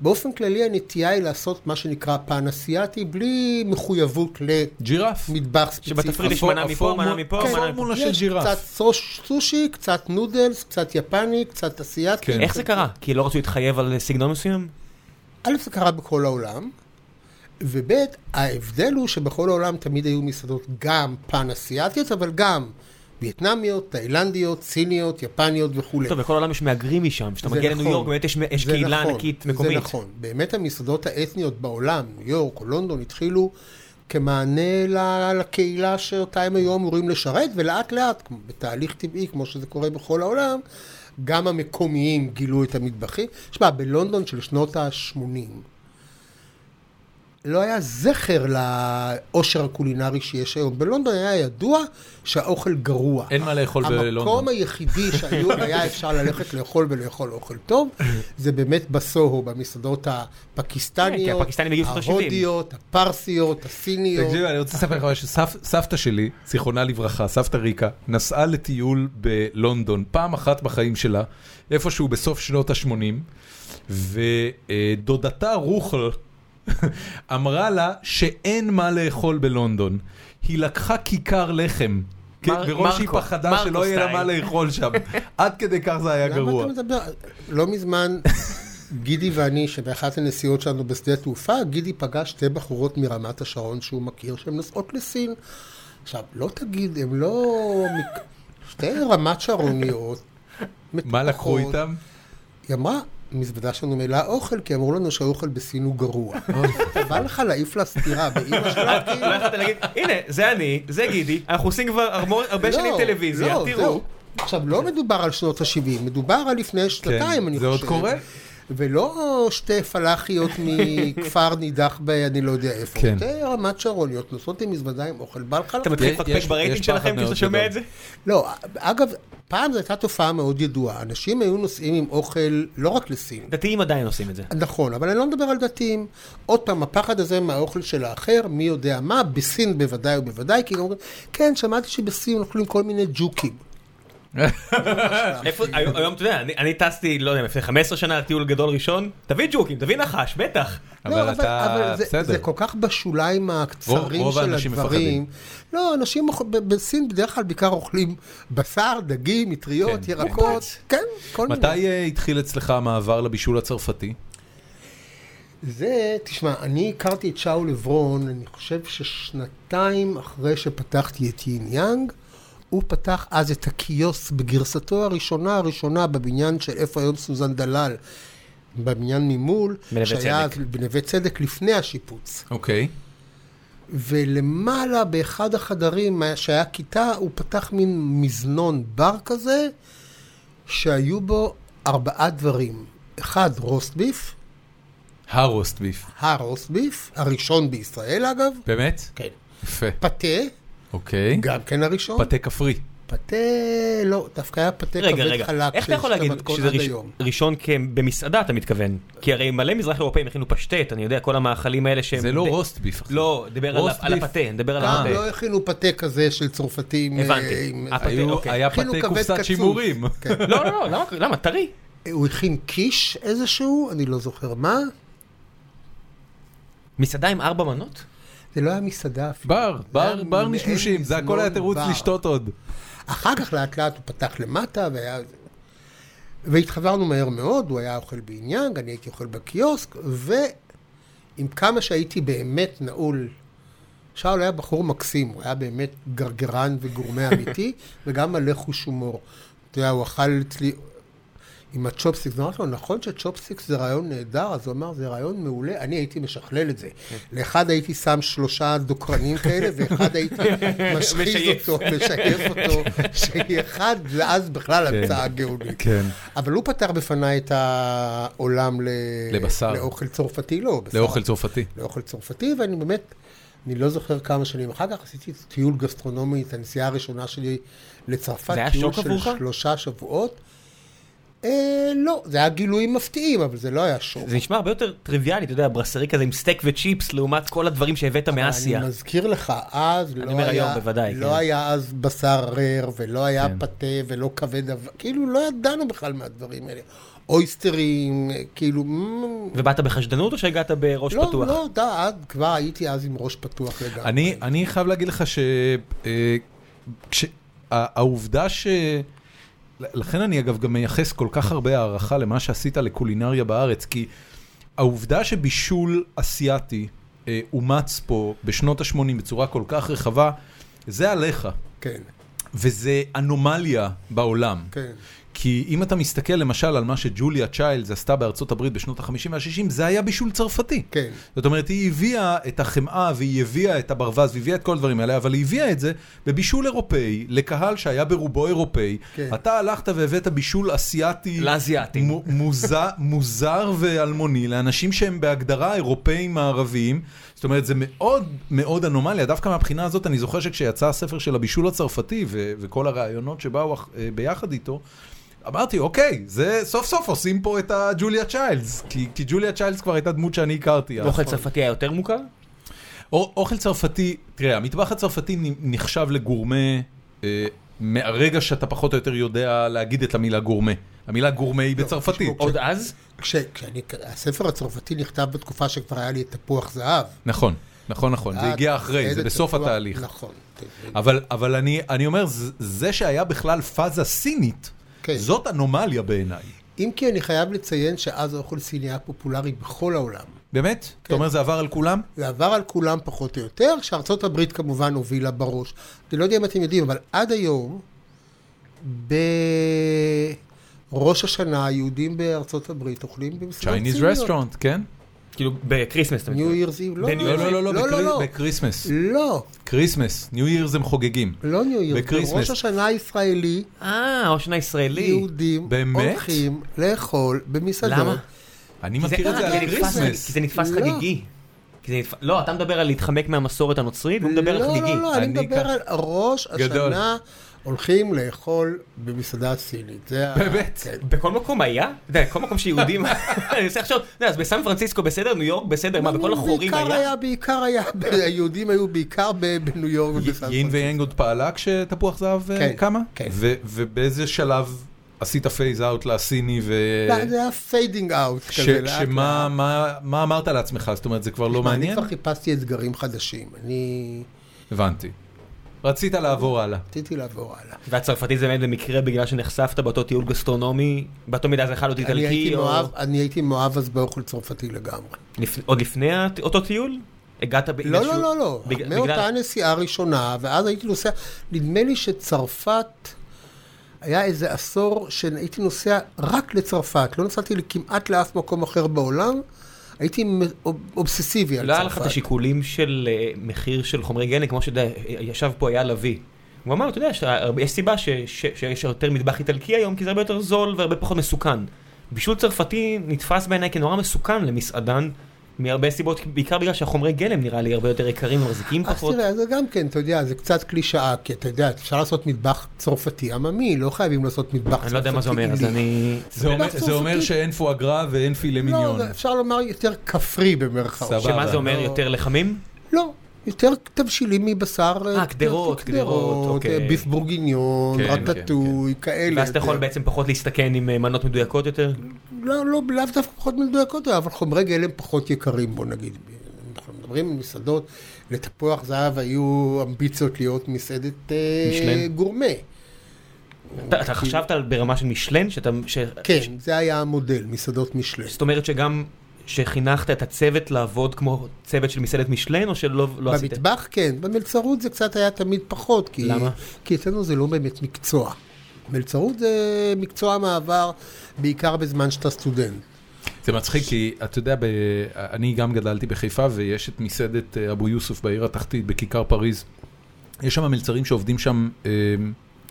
Speaker 3: באופן כללי הנטייה היא לעשות מה שנקרא פן אסיאתי, בלי מחויבות
Speaker 1: ג'ירף.
Speaker 3: למטבח ספציפי.
Speaker 2: שבתפריט יש מנה מפה, מנה מפה,
Speaker 1: כן,
Speaker 2: מנה מפה.
Speaker 1: הפורמולה של
Speaker 3: יש קצת
Speaker 1: ג'ירף.
Speaker 3: סוש- סושי, קצת נודלס, קצת יפני, קצת אסיאתי.
Speaker 1: כן.
Speaker 2: איך זה קרה? כי לא רצו להתחייב על סגנון מסוים?
Speaker 3: א', זה קרה בכל העולם, וב', ההבדל הוא שבכל העולם תמיד היו מסעדות גם פן-אסיאתיות, אבל גם וייטנמיות, תאילנדיות, סיניות, יפניות וכולי.
Speaker 2: טוב, בכל העולם יש מהגרים משם, כשאתה
Speaker 3: זה
Speaker 2: מגיע לניו
Speaker 3: נכון.
Speaker 2: יורק, באמת יש- יש
Speaker 3: זה
Speaker 2: קהילה
Speaker 3: נכון,
Speaker 2: ענקית מקומית.
Speaker 3: זה נכון. באמת המסעדות האתניות בעולם, ניו יורק או לונדון, התחילו כמענה ל- לקהילה שאותה הם היו אמורים לשרת, ולאט לאט, כמו- בתהליך טבעי, כמו שזה קורה בכל העולם, גם המקומיים גילו את המטבחים. תשמע, בלונדון של שנות ה-80, לא היה זכר לאושר הקולינרי שיש היום. בלונדון היה ידוע שהאוכל גרוע.
Speaker 1: אין מה לאכול
Speaker 3: המקום
Speaker 2: לא
Speaker 1: בלונדון.
Speaker 3: היחידי שהיום היה אפשר ללכת לאכול ולאכול אוכל טוב, זה באמת בסוהו, במסעדות
Speaker 2: כן, כי
Speaker 3: הפקיסטניות,
Speaker 2: הפקיסטנים הגיעו שנות ה-שבעים.
Speaker 3: ההודיות, הפרסיות, הסיניות.
Speaker 1: תקשיב, אני רוצה לספר לך משהו. סב- סבתא שלי, זיכרונה לברכה, סבתא ריקה, נסעה לטיול בלונדון פעם אחת בחיים שלה, איפשהו בסוף שנות ה-80, ודודתה רוחל אמרה לה שאין מה לאכול בלונדון. היא לקחה כיכר לחם. כן,
Speaker 2: מר-
Speaker 1: מראש היא
Speaker 2: מרקו,
Speaker 1: פחדה
Speaker 2: מרקו
Speaker 1: שלא יהיה לה
Speaker 2: סטייל.
Speaker 1: מה לאכול שם. עד כדי כך זה היה
Speaker 3: למה
Speaker 1: גרוע.
Speaker 3: אתה מדבר? לא מזמן, גידי ואני, שבאחת הנסיעות שלנו בשדה תעופה, גידי פגש שתי בחורות מרמת השרון שהוא מכיר, שהן נוסעות לסין. עכשיו, לא תגיד, הן לא... מק- שתי רמת שרוניות.
Speaker 1: מה לקחו
Speaker 3: מטופחות.
Speaker 1: איתם?
Speaker 3: היא אמרה, המזוודה שלנו מלאה אוכל, כי אמרו לנו שהאוכל בסין הוא גרוע.
Speaker 1: אה,
Speaker 3: בא לך להעיף לה סטירה באימא שלה, כאילו...
Speaker 2: לא יכולת להגיד, הנה, זה אני, זה גידי, אנחנו עושים כבר המון- הרבה
Speaker 3: לא,
Speaker 2: שנים טלוויזיה,
Speaker 3: לא,
Speaker 2: תראו.
Speaker 3: זהו. עכשיו, לא מדובר על שנות ה-70, מדובר על לפני שנתיים, אני
Speaker 1: כן, זה
Speaker 3: חושב.
Speaker 1: עוד קורה?
Speaker 3: ולא שתי פלאחיות מכפר נידח ב... אני לא יודע איפה.
Speaker 1: כן.
Speaker 3: שתי רמת שרוניות, נוסעות עם מזוודה עם אוכל, בא לך...
Speaker 2: אתה מתחיל
Speaker 1: יש-
Speaker 2: לפקפק
Speaker 1: יש- יש
Speaker 2: ברייטינג שלכם
Speaker 1: פחד
Speaker 2: כשאתה
Speaker 1: מאוד
Speaker 2: שומע
Speaker 1: גדול.
Speaker 2: את זה?
Speaker 3: לא, אגב, פעם זו הייתה תופעה מאוד ידועה. אנשים היו נוסעים עם אוכל לא רק לסין.
Speaker 2: דתיים עדיין עושים את זה.
Speaker 3: נכון, אבל אני לא מדבר על דתיים. עוד פעם, הפחד הזה מהאוכל של האחר, מי יודע מה, בסין בוודאי ובוודאי, כי אומרים, כן, שמעתי שבסין אוכלים כל מיני ג'וקים.
Speaker 2: איפה, היום, היום, אתה יודע, אני, אני טסתי, לא יודע, לפני 15 שנה לטיול גדול ראשון, תביא ג'וקים, תביא נחש, בטח.
Speaker 1: אבל אתה...
Speaker 3: לא, זה,
Speaker 1: בסדר.
Speaker 3: זה כל כך בשוליים הקצרים
Speaker 1: רוב
Speaker 3: של
Speaker 1: האנשים
Speaker 3: הדברים. לא, אנשים אוכ- ב- בסין בדרך כלל בעיקר אוכלים בשר, דגים, מטריות,
Speaker 1: כן,
Speaker 3: ירקות. כן, כל מיני.
Speaker 1: מתי אה, התחיל אצלך המעבר לבישול הצרפתי?
Speaker 3: זה, תשמע, אני הכרתי את שאול לברון, אני חושב ששנתיים אחרי שפתחתי את יין יאנג, הוא פתח אז את הקיוסק בגרסתו הראשונה הראשונה בבניין של איפה היום סוזן דלל, בבניין ממול,
Speaker 2: בנווה
Speaker 3: שהיה
Speaker 2: צדק.
Speaker 3: אז בנווה צדק לפני השיפוץ.
Speaker 1: אוקיי.
Speaker 3: ולמעלה באחד החדרים מה- שהיה כיתה, הוא פתח מין מזנון בר כזה, שהיו בו ארבעה דברים. אחד, רוסט ביף,
Speaker 1: הרוסט ביף.
Speaker 3: הרוסט ביף, הראשון בישראל אגב,
Speaker 1: באמת?
Speaker 3: כן.
Speaker 1: יפה.
Speaker 3: פתה,
Speaker 1: אוקיי.
Speaker 3: גם כן הראשון.
Speaker 1: פתה כפרי.
Speaker 3: פתה, לא, דווקא היה פתה כבד
Speaker 2: רגע, רגע,
Speaker 3: חלק
Speaker 2: איך אתה יכול
Speaker 3: שיש את
Speaker 2: להגיד
Speaker 3: המתכון
Speaker 2: שזה
Speaker 3: עד
Speaker 2: ראש,
Speaker 3: היום.
Speaker 2: ראשון כ- במסעדה, אתה מתכוון? כי הרי מלא מזרח אירופאים הכינו פשטט, אני יודע, כל המאכלים האלה שהם...
Speaker 1: זה לא
Speaker 2: ד-
Speaker 1: רוסט ביף. אחי.
Speaker 2: לא, דבר על ה-
Speaker 1: רוסט
Speaker 2: על
Speaker 1: ביף.
Speaker 2: הפתה, נדבר על
Speaker 3: גם
Speaker 2: הפתה.
Speaker 3: לא הכינו פתה כזה של צרפתים.
Speaker 2: אה, אוקיי. הבנתי.
Speaker 3: אה, עם-
Speaker 2: הפתה,
Speaker 1: היו-
Speaker 2: אוקיי.
Speaker 1: היה
Speaker 3: הכינו
Speaker 1: פתה
Speaker 3: כבד
Speaker 1: קופסת
Speaker 3: קצוץ.
Speaker 1: שימורים.
Speaker 3: כן.
Speaker 2: לא, לא, לא, למה- למה? טרי.
Speaker 3: הוא הכין קיש איזשהו, אני לא זוכר מה.
Speaker 2: מסעדה עם ארבע מנות?
Speaker 3: זה לא היה מסעדה אפילו.
Speaker 1: בר,
Speaker 3: זה
Speaker 1: בר,
Speaker 3: היה
Speaker 1: בר
Speaker 3: מעין
Speaker 1: משמושים, זה הכל היה
Speaker 3: מזנון
Speaker 1: תירוץ
Speaker 3: בר.
Speaker 1: לשתות עוד.
Speaker 3: אחר כך לאט לאט הוא פתח למטה והיה... והתחברנו מהר מאוד, הוא היה אוכל בעניין, אני הייתי אוכל בקיוסק, ועם כמה שהייתי באמת נעול, שאול היה בחור מקסים, הוא היה באמת גרגרן וגורמה אמיתי, וגם מלא חוש הומור. אתה יודע, הוא אכל אצלי עם הצ'ופסיקס, אמרתי לו, נכון שצ'ופסיקס זה רעיון נהדר? אז הוא אמר, זה רעיון מעולה, אני הייתי משכלל את זה. לאחד הייתי שם שלושה דוקרנים כאלה, ואחד הייתי משחיז
Speaker 2: משייף.
Speaker 3: אותו, משייף אותו, שיהיה אחד, ואז בכלל
Speaker 1: כן.
Speaker 3: המצאה גאונית.
Speaker 1: כן.
Speaker 3: אבל הוא פתח בפניי את העולם ל...
Speaker 1: לבשר.
Speaker 3: לאוכל צרפתי, לא, בשר.
Speaker 1: לאוכל צרפתי.
Speaker 3: לאוכל צרפתי, ואני באמת, אני לא זוכר כמה שנים אחר כך, עשיתי טיול גסטרונומי, את הנסיעה הראשונה שלי לצרפת,
Speaker 2: זה היה
Speaker 3: טיול
Speaker 2: שוק
Speaker 3: של
Speaker 2: עבורך?
Speaker 3: שלושה שבועות. אה, לא, זה היה גילויים מפתיעים, אבל זה לא היה שוק.
Speaker 2: זה נשמע הרבה יותר טריוויאלי, אתה יודע, ברסרי כזה עם סטייק וצ'יפס לעומת כל הדברים שהבאת מאסיה.
Speaker 3: אני מזכיר לך, אז לא
Speaker 2: אומר
Speaker 3: היה,
Speaker 2: היום, בוודאי,
Speaker 3: לא
Speaker 2: כן.
Speaker 3: היה אז בשר רר, ולא היה
Speaker 1: כן.
Speaker 3: פתה, ולא כבד, אב- כאילו לא ידענו בכלל מהדברים האלה. אויסטרים, אה, כאילו... מ-
Speaker 2: ובאת בחשדנות או שהגעת בראש
Speaker 3: לא,
Speaker 2: פתוח?
Speaker 3: לא, די, עד- כבר הייתי אז עם ראש פתוח לגמרי.
Speaker 1: אני, אני חייב להגיד לך אה, שהעובדה ש... לכן אני אגב גם מייחס כל כך הרבה הערכה למה שעשית לקולינריה בארץ, כי העובדה שבישול אסיאתי אה, אומץ פה בשנות ה-80 בצורה כל כך רחבה, זה עליך,
Speaker 3: כן,
Speaker 1: וזה אנומליה בעולם.
Speaker 3: כן.
Speaker 1: כי אם אתה מסתכל למשל על מה שג'וליה צ'יילדס עשתה בארצות הברית בשנות ה-50 וה-60, זה היה בישול צרפתי.
Speaker 3: כן.
Speaker 1: זאת אומרת, היא הביאה את החמאה והיא הביאה את הברווז והיא הביאה את כל הדברים האלה, אבל היא הביאה את זה בבישול אירופאי, לקהל שהיה ברובו אירופאי.
Speaker 3: כן.
Speaker 1: אתה הלכת והבאת בישול אסיאתי...
Speaker 2: לאסיאתים.
Speaker 1: מו- מוזר- מוזר ואלמוני לאנשים שהם בהגדרה אירופאים מערביים. זאת אומרת, זה מאוד מאוד אנומליה. דווקא מהבחינה הזאת, אני זוכר שכשיצא הספר של הבישול הצרפתי ו- וכל הרעיונות שבאו אח- אה, ביחד איתו, אמרתי, אוקיי, זה סוף סוף עושים פה את הג'וליה צ'יילדס, כי, כי ג'וליה צ'יילדס כבר הייתה דמות שאני הכרתי. אז.
Speaker 2: אוכל צרפתי היה יותר מוכר?
Speaker 1: או- אוכל צרפתי, תראה, המטבח הצרפתי נ- נחשב לגורמה אה, מהרגע שאתה פחות או יותר יודע להגיד את המילה גורמה. המילה גורמה היא בצרפתית.
Speaker 2: עוד אז?
Speaker 3: כש, כשאני, הספר הצרפתי נכתב בתקופה שכבר היה לי את תפוח זהב.
Speaker 1: נכון, נכון, נכון, זה הגיע אחרי, זה
Speaker 3: עד
Speaker 1: בסוף
Speaker 3: התפוח-
Speaker 1: התהליך.
Speaker 3: נכון.
Speaker 1: אבל, אבל אני, אני אומר, ז- זה שהיה בכלל פאזה סינית,
Speaker 3: כן.
Speaker 1: זאת אנומליה בעיניי.
Speaker 3: אם כי אני חייב לציין שאז האוכל סיני היה פופולרי בכל העולם.
Speaker 1: באמת?
Speaker 3: כן.
Speaker 1: אתה אומר זה עבר על כולם?
Speaker 3: זה עבר על כולם פחות או יותר, שארצות הברית כמובן הובילה בראש. אני לא יודע אם אתם יודעים, אבל עד היום, בראש השנה, היהודים בארצות הברית אוכלים במסעדות
Speaker 1: Chinese
Speaker 3: סיניות.
Speaker 1: restaurant, כן?
Speaker 2: כאילו, בקריסמס. אתה
Speaker 3: ניו
Speaker 2: מתכוון.
Speaker 3: ירז איב, לא,
Speaker 2: בניו-
Speaker 1: לא, לא, לא,
Speaker 3: לא, לא,
Speaker 1: בקריסמס.
Speaker 3: לא,
Speaker 1: קריסמס, ניו ירס הם חוגגים.
Speaker 3: לא ניו ירז,
Speaker 1: בקריסמס.
Speaker 3: בראש השנה הישראלי,
Speaker 2: אה, העושן הישראלי.
Speaker 3: יהודים
Speaker 1: באמת?
Speaker 3: הולכים לאכול במסעדות.
Speaker 2: למה?
Speaker 1: אני
Speaker 2: כי
Speaker 1: מכיר את זה
Speaker 2: אה, כי
Speaker 1: על
Speaker 2: נתפס-
Speaker 1: קריסמס.
Speaker 2: כי זה נתפס
Speaker 3: לא.
Speaker 2: חגיגי. כי זה נתפ- לא, אתה מדבר על להתחמק מהמסורת הנוצרית, והוא מדבר על
Speaker 3: לא,
Speaker 2: חגיגי.
Speaker 3: לא, לא, אני
Speaker 1: אני כך-
Speaker 3: מדבר על ראש
Speaker 1: גדול.
Speaker 3: השנה הולכים לאכול במסעדה סינית. זה ה-
Speaker 1: באמת?
Speaker 3: כן.
Speaker 2: בכל מקום היה? אתה יודע, כל מקום שיהודים... אני מנסה לחשוב, אתה יודע, אז בסן פרנסיסקו בסדר, ניו יורק בסדר, מה, בכל החורים
Speaker 3: בעיקר
Speaker 2: היה?
Speaker 3: היה, בעיקר היה, ב- היהודים היו בעיקר ב- בניו יורק ובסן
Speaker 1: יין
Speaker 3: פרנסיסקו.
Speaker 1: ויאנג עוד פעלה כשתפוח זהב אה,
Speaker 3: כן,
Speaker 1: קמה?
Speaker 3: כן.
Speaker 1: ו- ובאיזה שלב עשית פייז אאוט לסיני ו...
Speaker 3: לא, זה היה פיידינג אאוט
Speaker 1: ש-
Speaker 3: כזה. לאט
Speaker 1: שמה
Speaker 3: לאט.
Speaker 1: מה- מה אמרת לעצמך? זאת אומרת, זה כבר לא
Speaker 3: מה, אני
Speaker 1: מעניין?
Speaker 3: כבר חיפשתי אתגרים חדשים. אני
Speaker 1: הבנתי. רצית לעבור הלאה.
Speaker 3: רציתי לעבור הלאה.
Speaker 2: והצרפתי זה באמת במקרה בגלל שנחשפת באותו טיול גסטרונומי, באותו מידה זה יכול להיות
Speaker 3: אני
Speaker 2: איטלקי,
Speaker 3: הייתי
Speaker 2: או...
Speaker 3: מאוהב- אני הייתי מאוהב אז באוכל צרפתי לגמרי.
Speaker 2: לפ- עוד לפני הט- אותו טיול? הגעת ב...
Speaker 3: לא, לא, לא, לא.
Speaker 2: בג-
Speaker 3: מאותה
Speaker 2: בגלל-
Speaker 3: הנסיעה הראשונה, ואז הייתי נוסע, נדמה לי שצרפת, היה איזה עשור שהייתי נוסע רק לצרפת, לא נסעתי כמעט לאף מקום אחר בעולם, הייתי מ- אוב- אובססיבי על
Speaker 2: לא
Speaker 3: אוקיי, צרפת.
Speaker 2: היה לך את השיקולים של אה, מחיר של חומרי גלם, כמו שאתה יודע, ישב פה אייל לביא. הוא אמר, אתה יודע, שה- יש סיבה ש- ש- שיש יותר מטבח איטלקי היום, כי זה הרבה יותר זול והרבה פחות מסוכן. בישול צרפתי נתפס בעיניי כנורא מסוכן למסעדן מהרבה סיבות, בעיקר בגלל שהחומרי גלם נראה לי הרבה יותר יקרים ומחזיקים
Speaker 3: אז
Speaker 2: פחות.
Speaker 3: תראה, זה גם כן, אתה יודע, זה קצת קלישאה, כי אתה יודע, אפשר לעשות מטבח צרפתי עממי, לא חייבים לעשות מטבח צרפתי
Speaker 2: אני לא יודע מה זה אומר, אז
Speaker 3: עילי.
Speaker 2: אני...
Speaker 1: זה אומר-
Speaker 3: זה
Speaker 1: זה אומר
Speaker 3: סופי.
Speaker 1: שאין פואגרה ואין פילה מיניון.
Speaker 3: לא, אפשר לומר יותר כפרי במרכאות.
Speaker 1: סבבה.
Speaker 2: שמה זה אומר
Speaker 3: לא.
Speaker 2: יותר לחמים?
Speaker 3: לא, יותר תבשילים מבשר.
Speaker 2: אה, גדרות, גדרות, אוקיי.
Speaker 3: אה, ביף בורגיניון,
Speaker 1: כן, כן,
Speaker 3: רטטוי, כאלה.
Speaker 2: ואז אתה יכול
Speaker 3: יותר.
Speaker 2: בעצם פחות להסתכן עם אה, מנות מדויקות יותר?
Speaker 3: לא, לא, לאו דווקא פחות מדויקות, אבל חומרי גלם פחות יקרים, בוא נגיד. אנחנו מדברים על מסעדות, לתפוח זהב היו אמביציות להיות מסעדת אה,
Speaker 2: משלן.
Speaker 3: גורמה.
Speaker 2: אתה אתה חשבת על ברמה של משלן? שאתה... ש- ש-
Speaker 3: אוקיי. כן, זה היה המודל, מסעדות משלן.
Speaker 2: זאת אומרת שגם שחינכת את הצוות לעבוד כמו צוות של מסעדת משלן, או שלא לא עשית?
Speaker 3: במטבח כן, במלצרות זה קצת היה תמיד פחות, כי...
Speaker 2: למה?
Speaker 3: כי אצלנו זה לא באמת מקצוע. מלצרות זה מקצוע מעבר, בעיקר בזמן שאתה סטודנט.
Speaker 1: זה מצחיק כי אתה יודע, ב... אני גם גדלתי בחיפה ויש את מסעדת אה, אבו יוסוף בעיר התחתית בכיכר פריז. יש שם מלצרים שעובדים שם אה,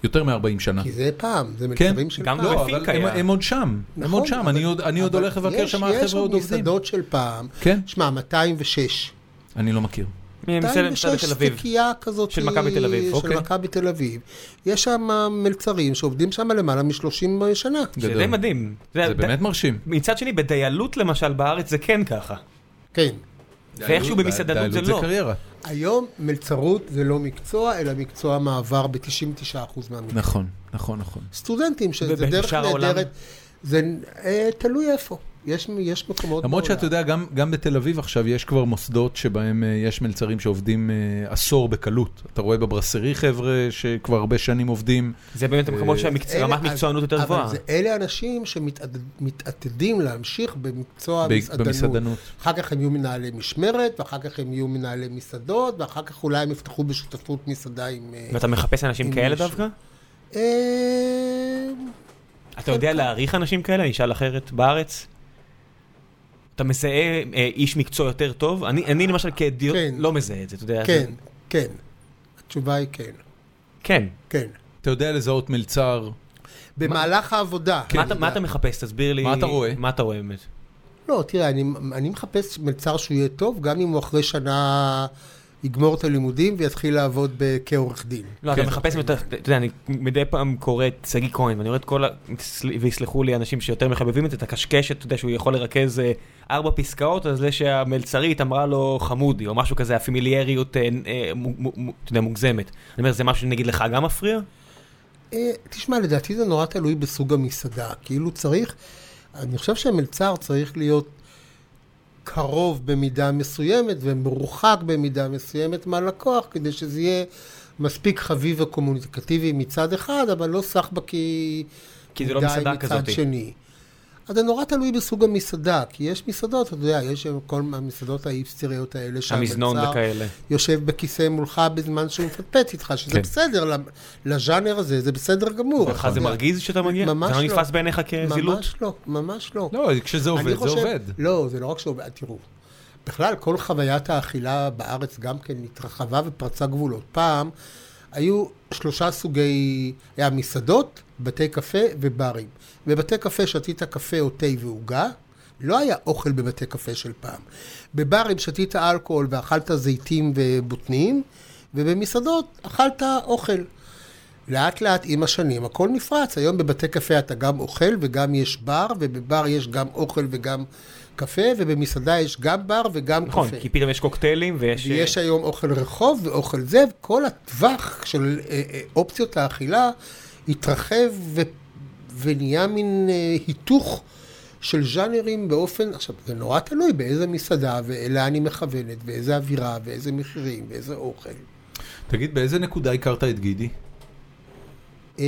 Speaker 1: יותר מ-40 שנה.
Speaker 3: כי זה פעם, זה
Speaker 1: כן,
Speaker 3: מלצרים של
Speaker 2: גם
Speaker 3: פעם. נכון,
Speaker 2: לא
Speaker 1: לא,
Speaker 2: בפיק
Speaker 1: אבל הם,
Speaker 2: היה.
Speaker 1: הם עוד שם, הם עוד שם, אני עוד, אני עוד
Speaker 3: אבל
Speaker 1: הולך לבקר
Speaker 3: יש-
Speaker 1: שם, החבר'ה עוד
Speaker 3: יש עוד
Speaker 1: עובדים.
Speaker 3: מסעדות של פעם.
Speaker 1: כן,
Speaker 3: שמע, 206.
Speaker 1: אני לא מכיר.
Speaker 2: מסעדת מסעדת תל אביב.
Speaker 3: סטיקייה כזאת.
Speaker 2: של מכבי תל אביב, אוקיי.
Speaker 3: של מכבי תל אביב. יש שם מלצרים שעובדים שם למעלה מ-30 שנה.
Speaker 2: זה
Speaker 1: גדול.
Speaker 2: די מדהים.
Speaker 1: זה באמת מרשים.
Speaker 2: מצד שני, בדיילות למשל בארץ זה כן ככה.
Speaker 3: כן.
Speaker 2: ואיכשהו במסעדנות זה
Speaker 1: דיילות זה
Speaker 2: לא.
Speaker 1: קריירה.
Speaker 3: היום מלצרות זה לא מקצוע, אלא מקצוע מעבר ב-99% מהמקצוע.
Speaker 1: נכון, נכון, נכון.
Speaker 3: סטודנטים, שזה דרך
Speaker 2: ובשאר העולם?
Speaker 3: נהדרת. זה אה, תלוי איפה. יש, יש מקומות
Speaker 1: למרות שאתה יודע, גם, גם בתל אביב עכשיו יש כבר מוסדות שבהם אה, יש מלצרים שעובדים אה, עשור בקלות. אתה רואה בברסרי חבר'ה שכבר הרבה שנים עובדים.
Speaker 3: אה,
Speaker 2: זה באמת המקומות
Speaker 3: אלה-
Speaker 2: שהרמת
Speaker 3: אז-
Speaker 2: מקצוענות יותר גבוהה.
Speaker 3: אבל זה, אלה אנשים שמתעתדים להמשיך במקצוע
Speaker 1: ב-
Speaker 3: המסעדנות.
Speaker 1: במסעדנות.
Speaker 3: אחר כך הם יהיו מנהלי משמרת, ואחר כך הם יהיו מנהלי מסעדות, ואחר כך אולי הם יפתחו בשותפות מסעדה עם... אה,
Speaker 2: ואתה מחפש אנשים
Speaker 3: עם
Speaker 2: כאלה
Speaker 3: מישהו.
Speaker 2: דווקא?
Speaker 3: אה,
Speaker 2: אתה יודע להעריך אנשים כאלה? אני אשאל אחרת, בארץ? אתה מזהה אה, איש מקצוע יותר טוב? אני אני למשל כאדיוט
Speaker 3: כן.
Speaker 2: לא מזהה את זה, אתה יודע.
Speaker 3: כן,
Speaker 2: זה-
Speaker 3: כן. התשובה היא כן,
Speaker 2: כן.
Speaker 3: כן.
Speaker 1: אתה יודע לזהות מלצר,
Speaker 3: במהלך העבודה.
Speaker 2: מה
Speaker 3: אני
Speaker 2: אתה- מה
Speaker 3: יודע.
Speaker 2: אתה מחפש? תסביר לי.
Speaker 1: מה אתה רואה?
Speaker 2: מה אתה רואה באמת?
Speaker 3: לא, תראה, אני, אני מחפש מלצר שהוא יהיה טוב, גם אם הוא אחרי שנה יגמור את הלימודים ויתחיל לעבוד ב- כעורך דין.
Speaker 2: לא, אתה
Speaker 1: כן.
Speaker 2: מחפש, אתה אתה יודע, אני מדי פעם קורא את שגיא כהן, ואני רואה את כל ה... תסל- ויסלחו לי אנשים שיותר מחבבים את זה, את הקשקשת, אתה יודע, שהוא יכול לרכז אה, ארבע פסקאות על זה שהמלצרית אמרה לו חמודי, או משהו כזה, הפמיליאריות, אה, אה, מו- מו- מו- אתה יודע, מוגזמת. אני אומר, זה משהו נגיד לך גם מפריע?
Speaker 3: אה, תשמע, לדעתי זה נורא תלוי בסוג המסעדה. כאילו צריך, אני חושב שהמלצר צריך להיות קרוב במידה מסוימת ומרוחק במידה מסוימת מהלקוח, כדי שזה יהיה מספיק חביב וקומוניקטיבי מצד אחד, אבל לא סחבקי
Speaker 2: כי זה לא
Speaker 3: מדי
Speaker 2: מסעדה
Speaker 3: מצד
Speaker 2: כזאת.
Speaker 3: שני. אז זה נורא תלוי בסוג המסעדה, כי יש מסעדות, אתה יודע, יש כל המסעדות האיפסטריות האלה
Speaker 2: המזנון
Speaker 3: שהמלצר-
Speaker 2: וכאלה.
Speaker 3: יושב בכיסא מולך בזמן שהוא מפטפט איתך, שזה
Speaker 1: כן.
Speaker 3: כן. בסדר, למ- לז'אנר הזה זה בסדר גמור.
Speaker 2: לך זה
Speaker 3: אתה יודע.
Speaker 2: מרגיז שאתה מגיע?
Speaker 3: נכון. ממש
Speaker 2: זה לא
Speaker 3: לא.
Speaker 2: נתפס בעיניך כזילות?
Speaker 3: ממש לא, ממש לא.
Speaker 1: לא, כשזה
Speaker 3: אני
Speaker 1: עובד, זה
Speaker 3: חושב-
Speaker 1: עובד.
Speaker 3: לא, זה לא רק שעובד, תראו. בכלל, כל חוויית האכילה בארץ גם כן התרחבה ופרצה גבולות. פעם היו שלושה סוגי, היה מסעדות, בתי קפה וברים. בבתי קפה שתית קפה או תה ועוגה, לא היה אוכל בבתי קפה של פעם. בברים שתית אלכוהול ואכלת זיתים ובוטנים, ובמסעדות אכלת אוכל. לאט לאט עם השנים הכל נפרץ. היום בבתי קפה אתה גם אוכל וגם יש בר, ובבר יש גם אוכל וגם קפה, ובמסעדה יש גם בר וגם
Speaker 2: נכון,
Speaker 3: קפה.
Speaker 2: כי פתאום יש קוקטיילים ויש... אה,
Speaker 3: לא. ויש היום אוכל רחוב ואוכל זה, וכל הטווח של אה, אה, אופציות האכילה התרחב ו... ונהיה מין אה, היתוך של ז'אנרים באופן, עכשיו זה נורא תלוי באיזה מסעדה ואליה אני מכוונת, ואיזה אווירה, ואיזה מחירים, ואיזה אוכל.
Speaker 1: תגיד, באיזה נקודה הכרת את גידי?
Speaker 3: אה,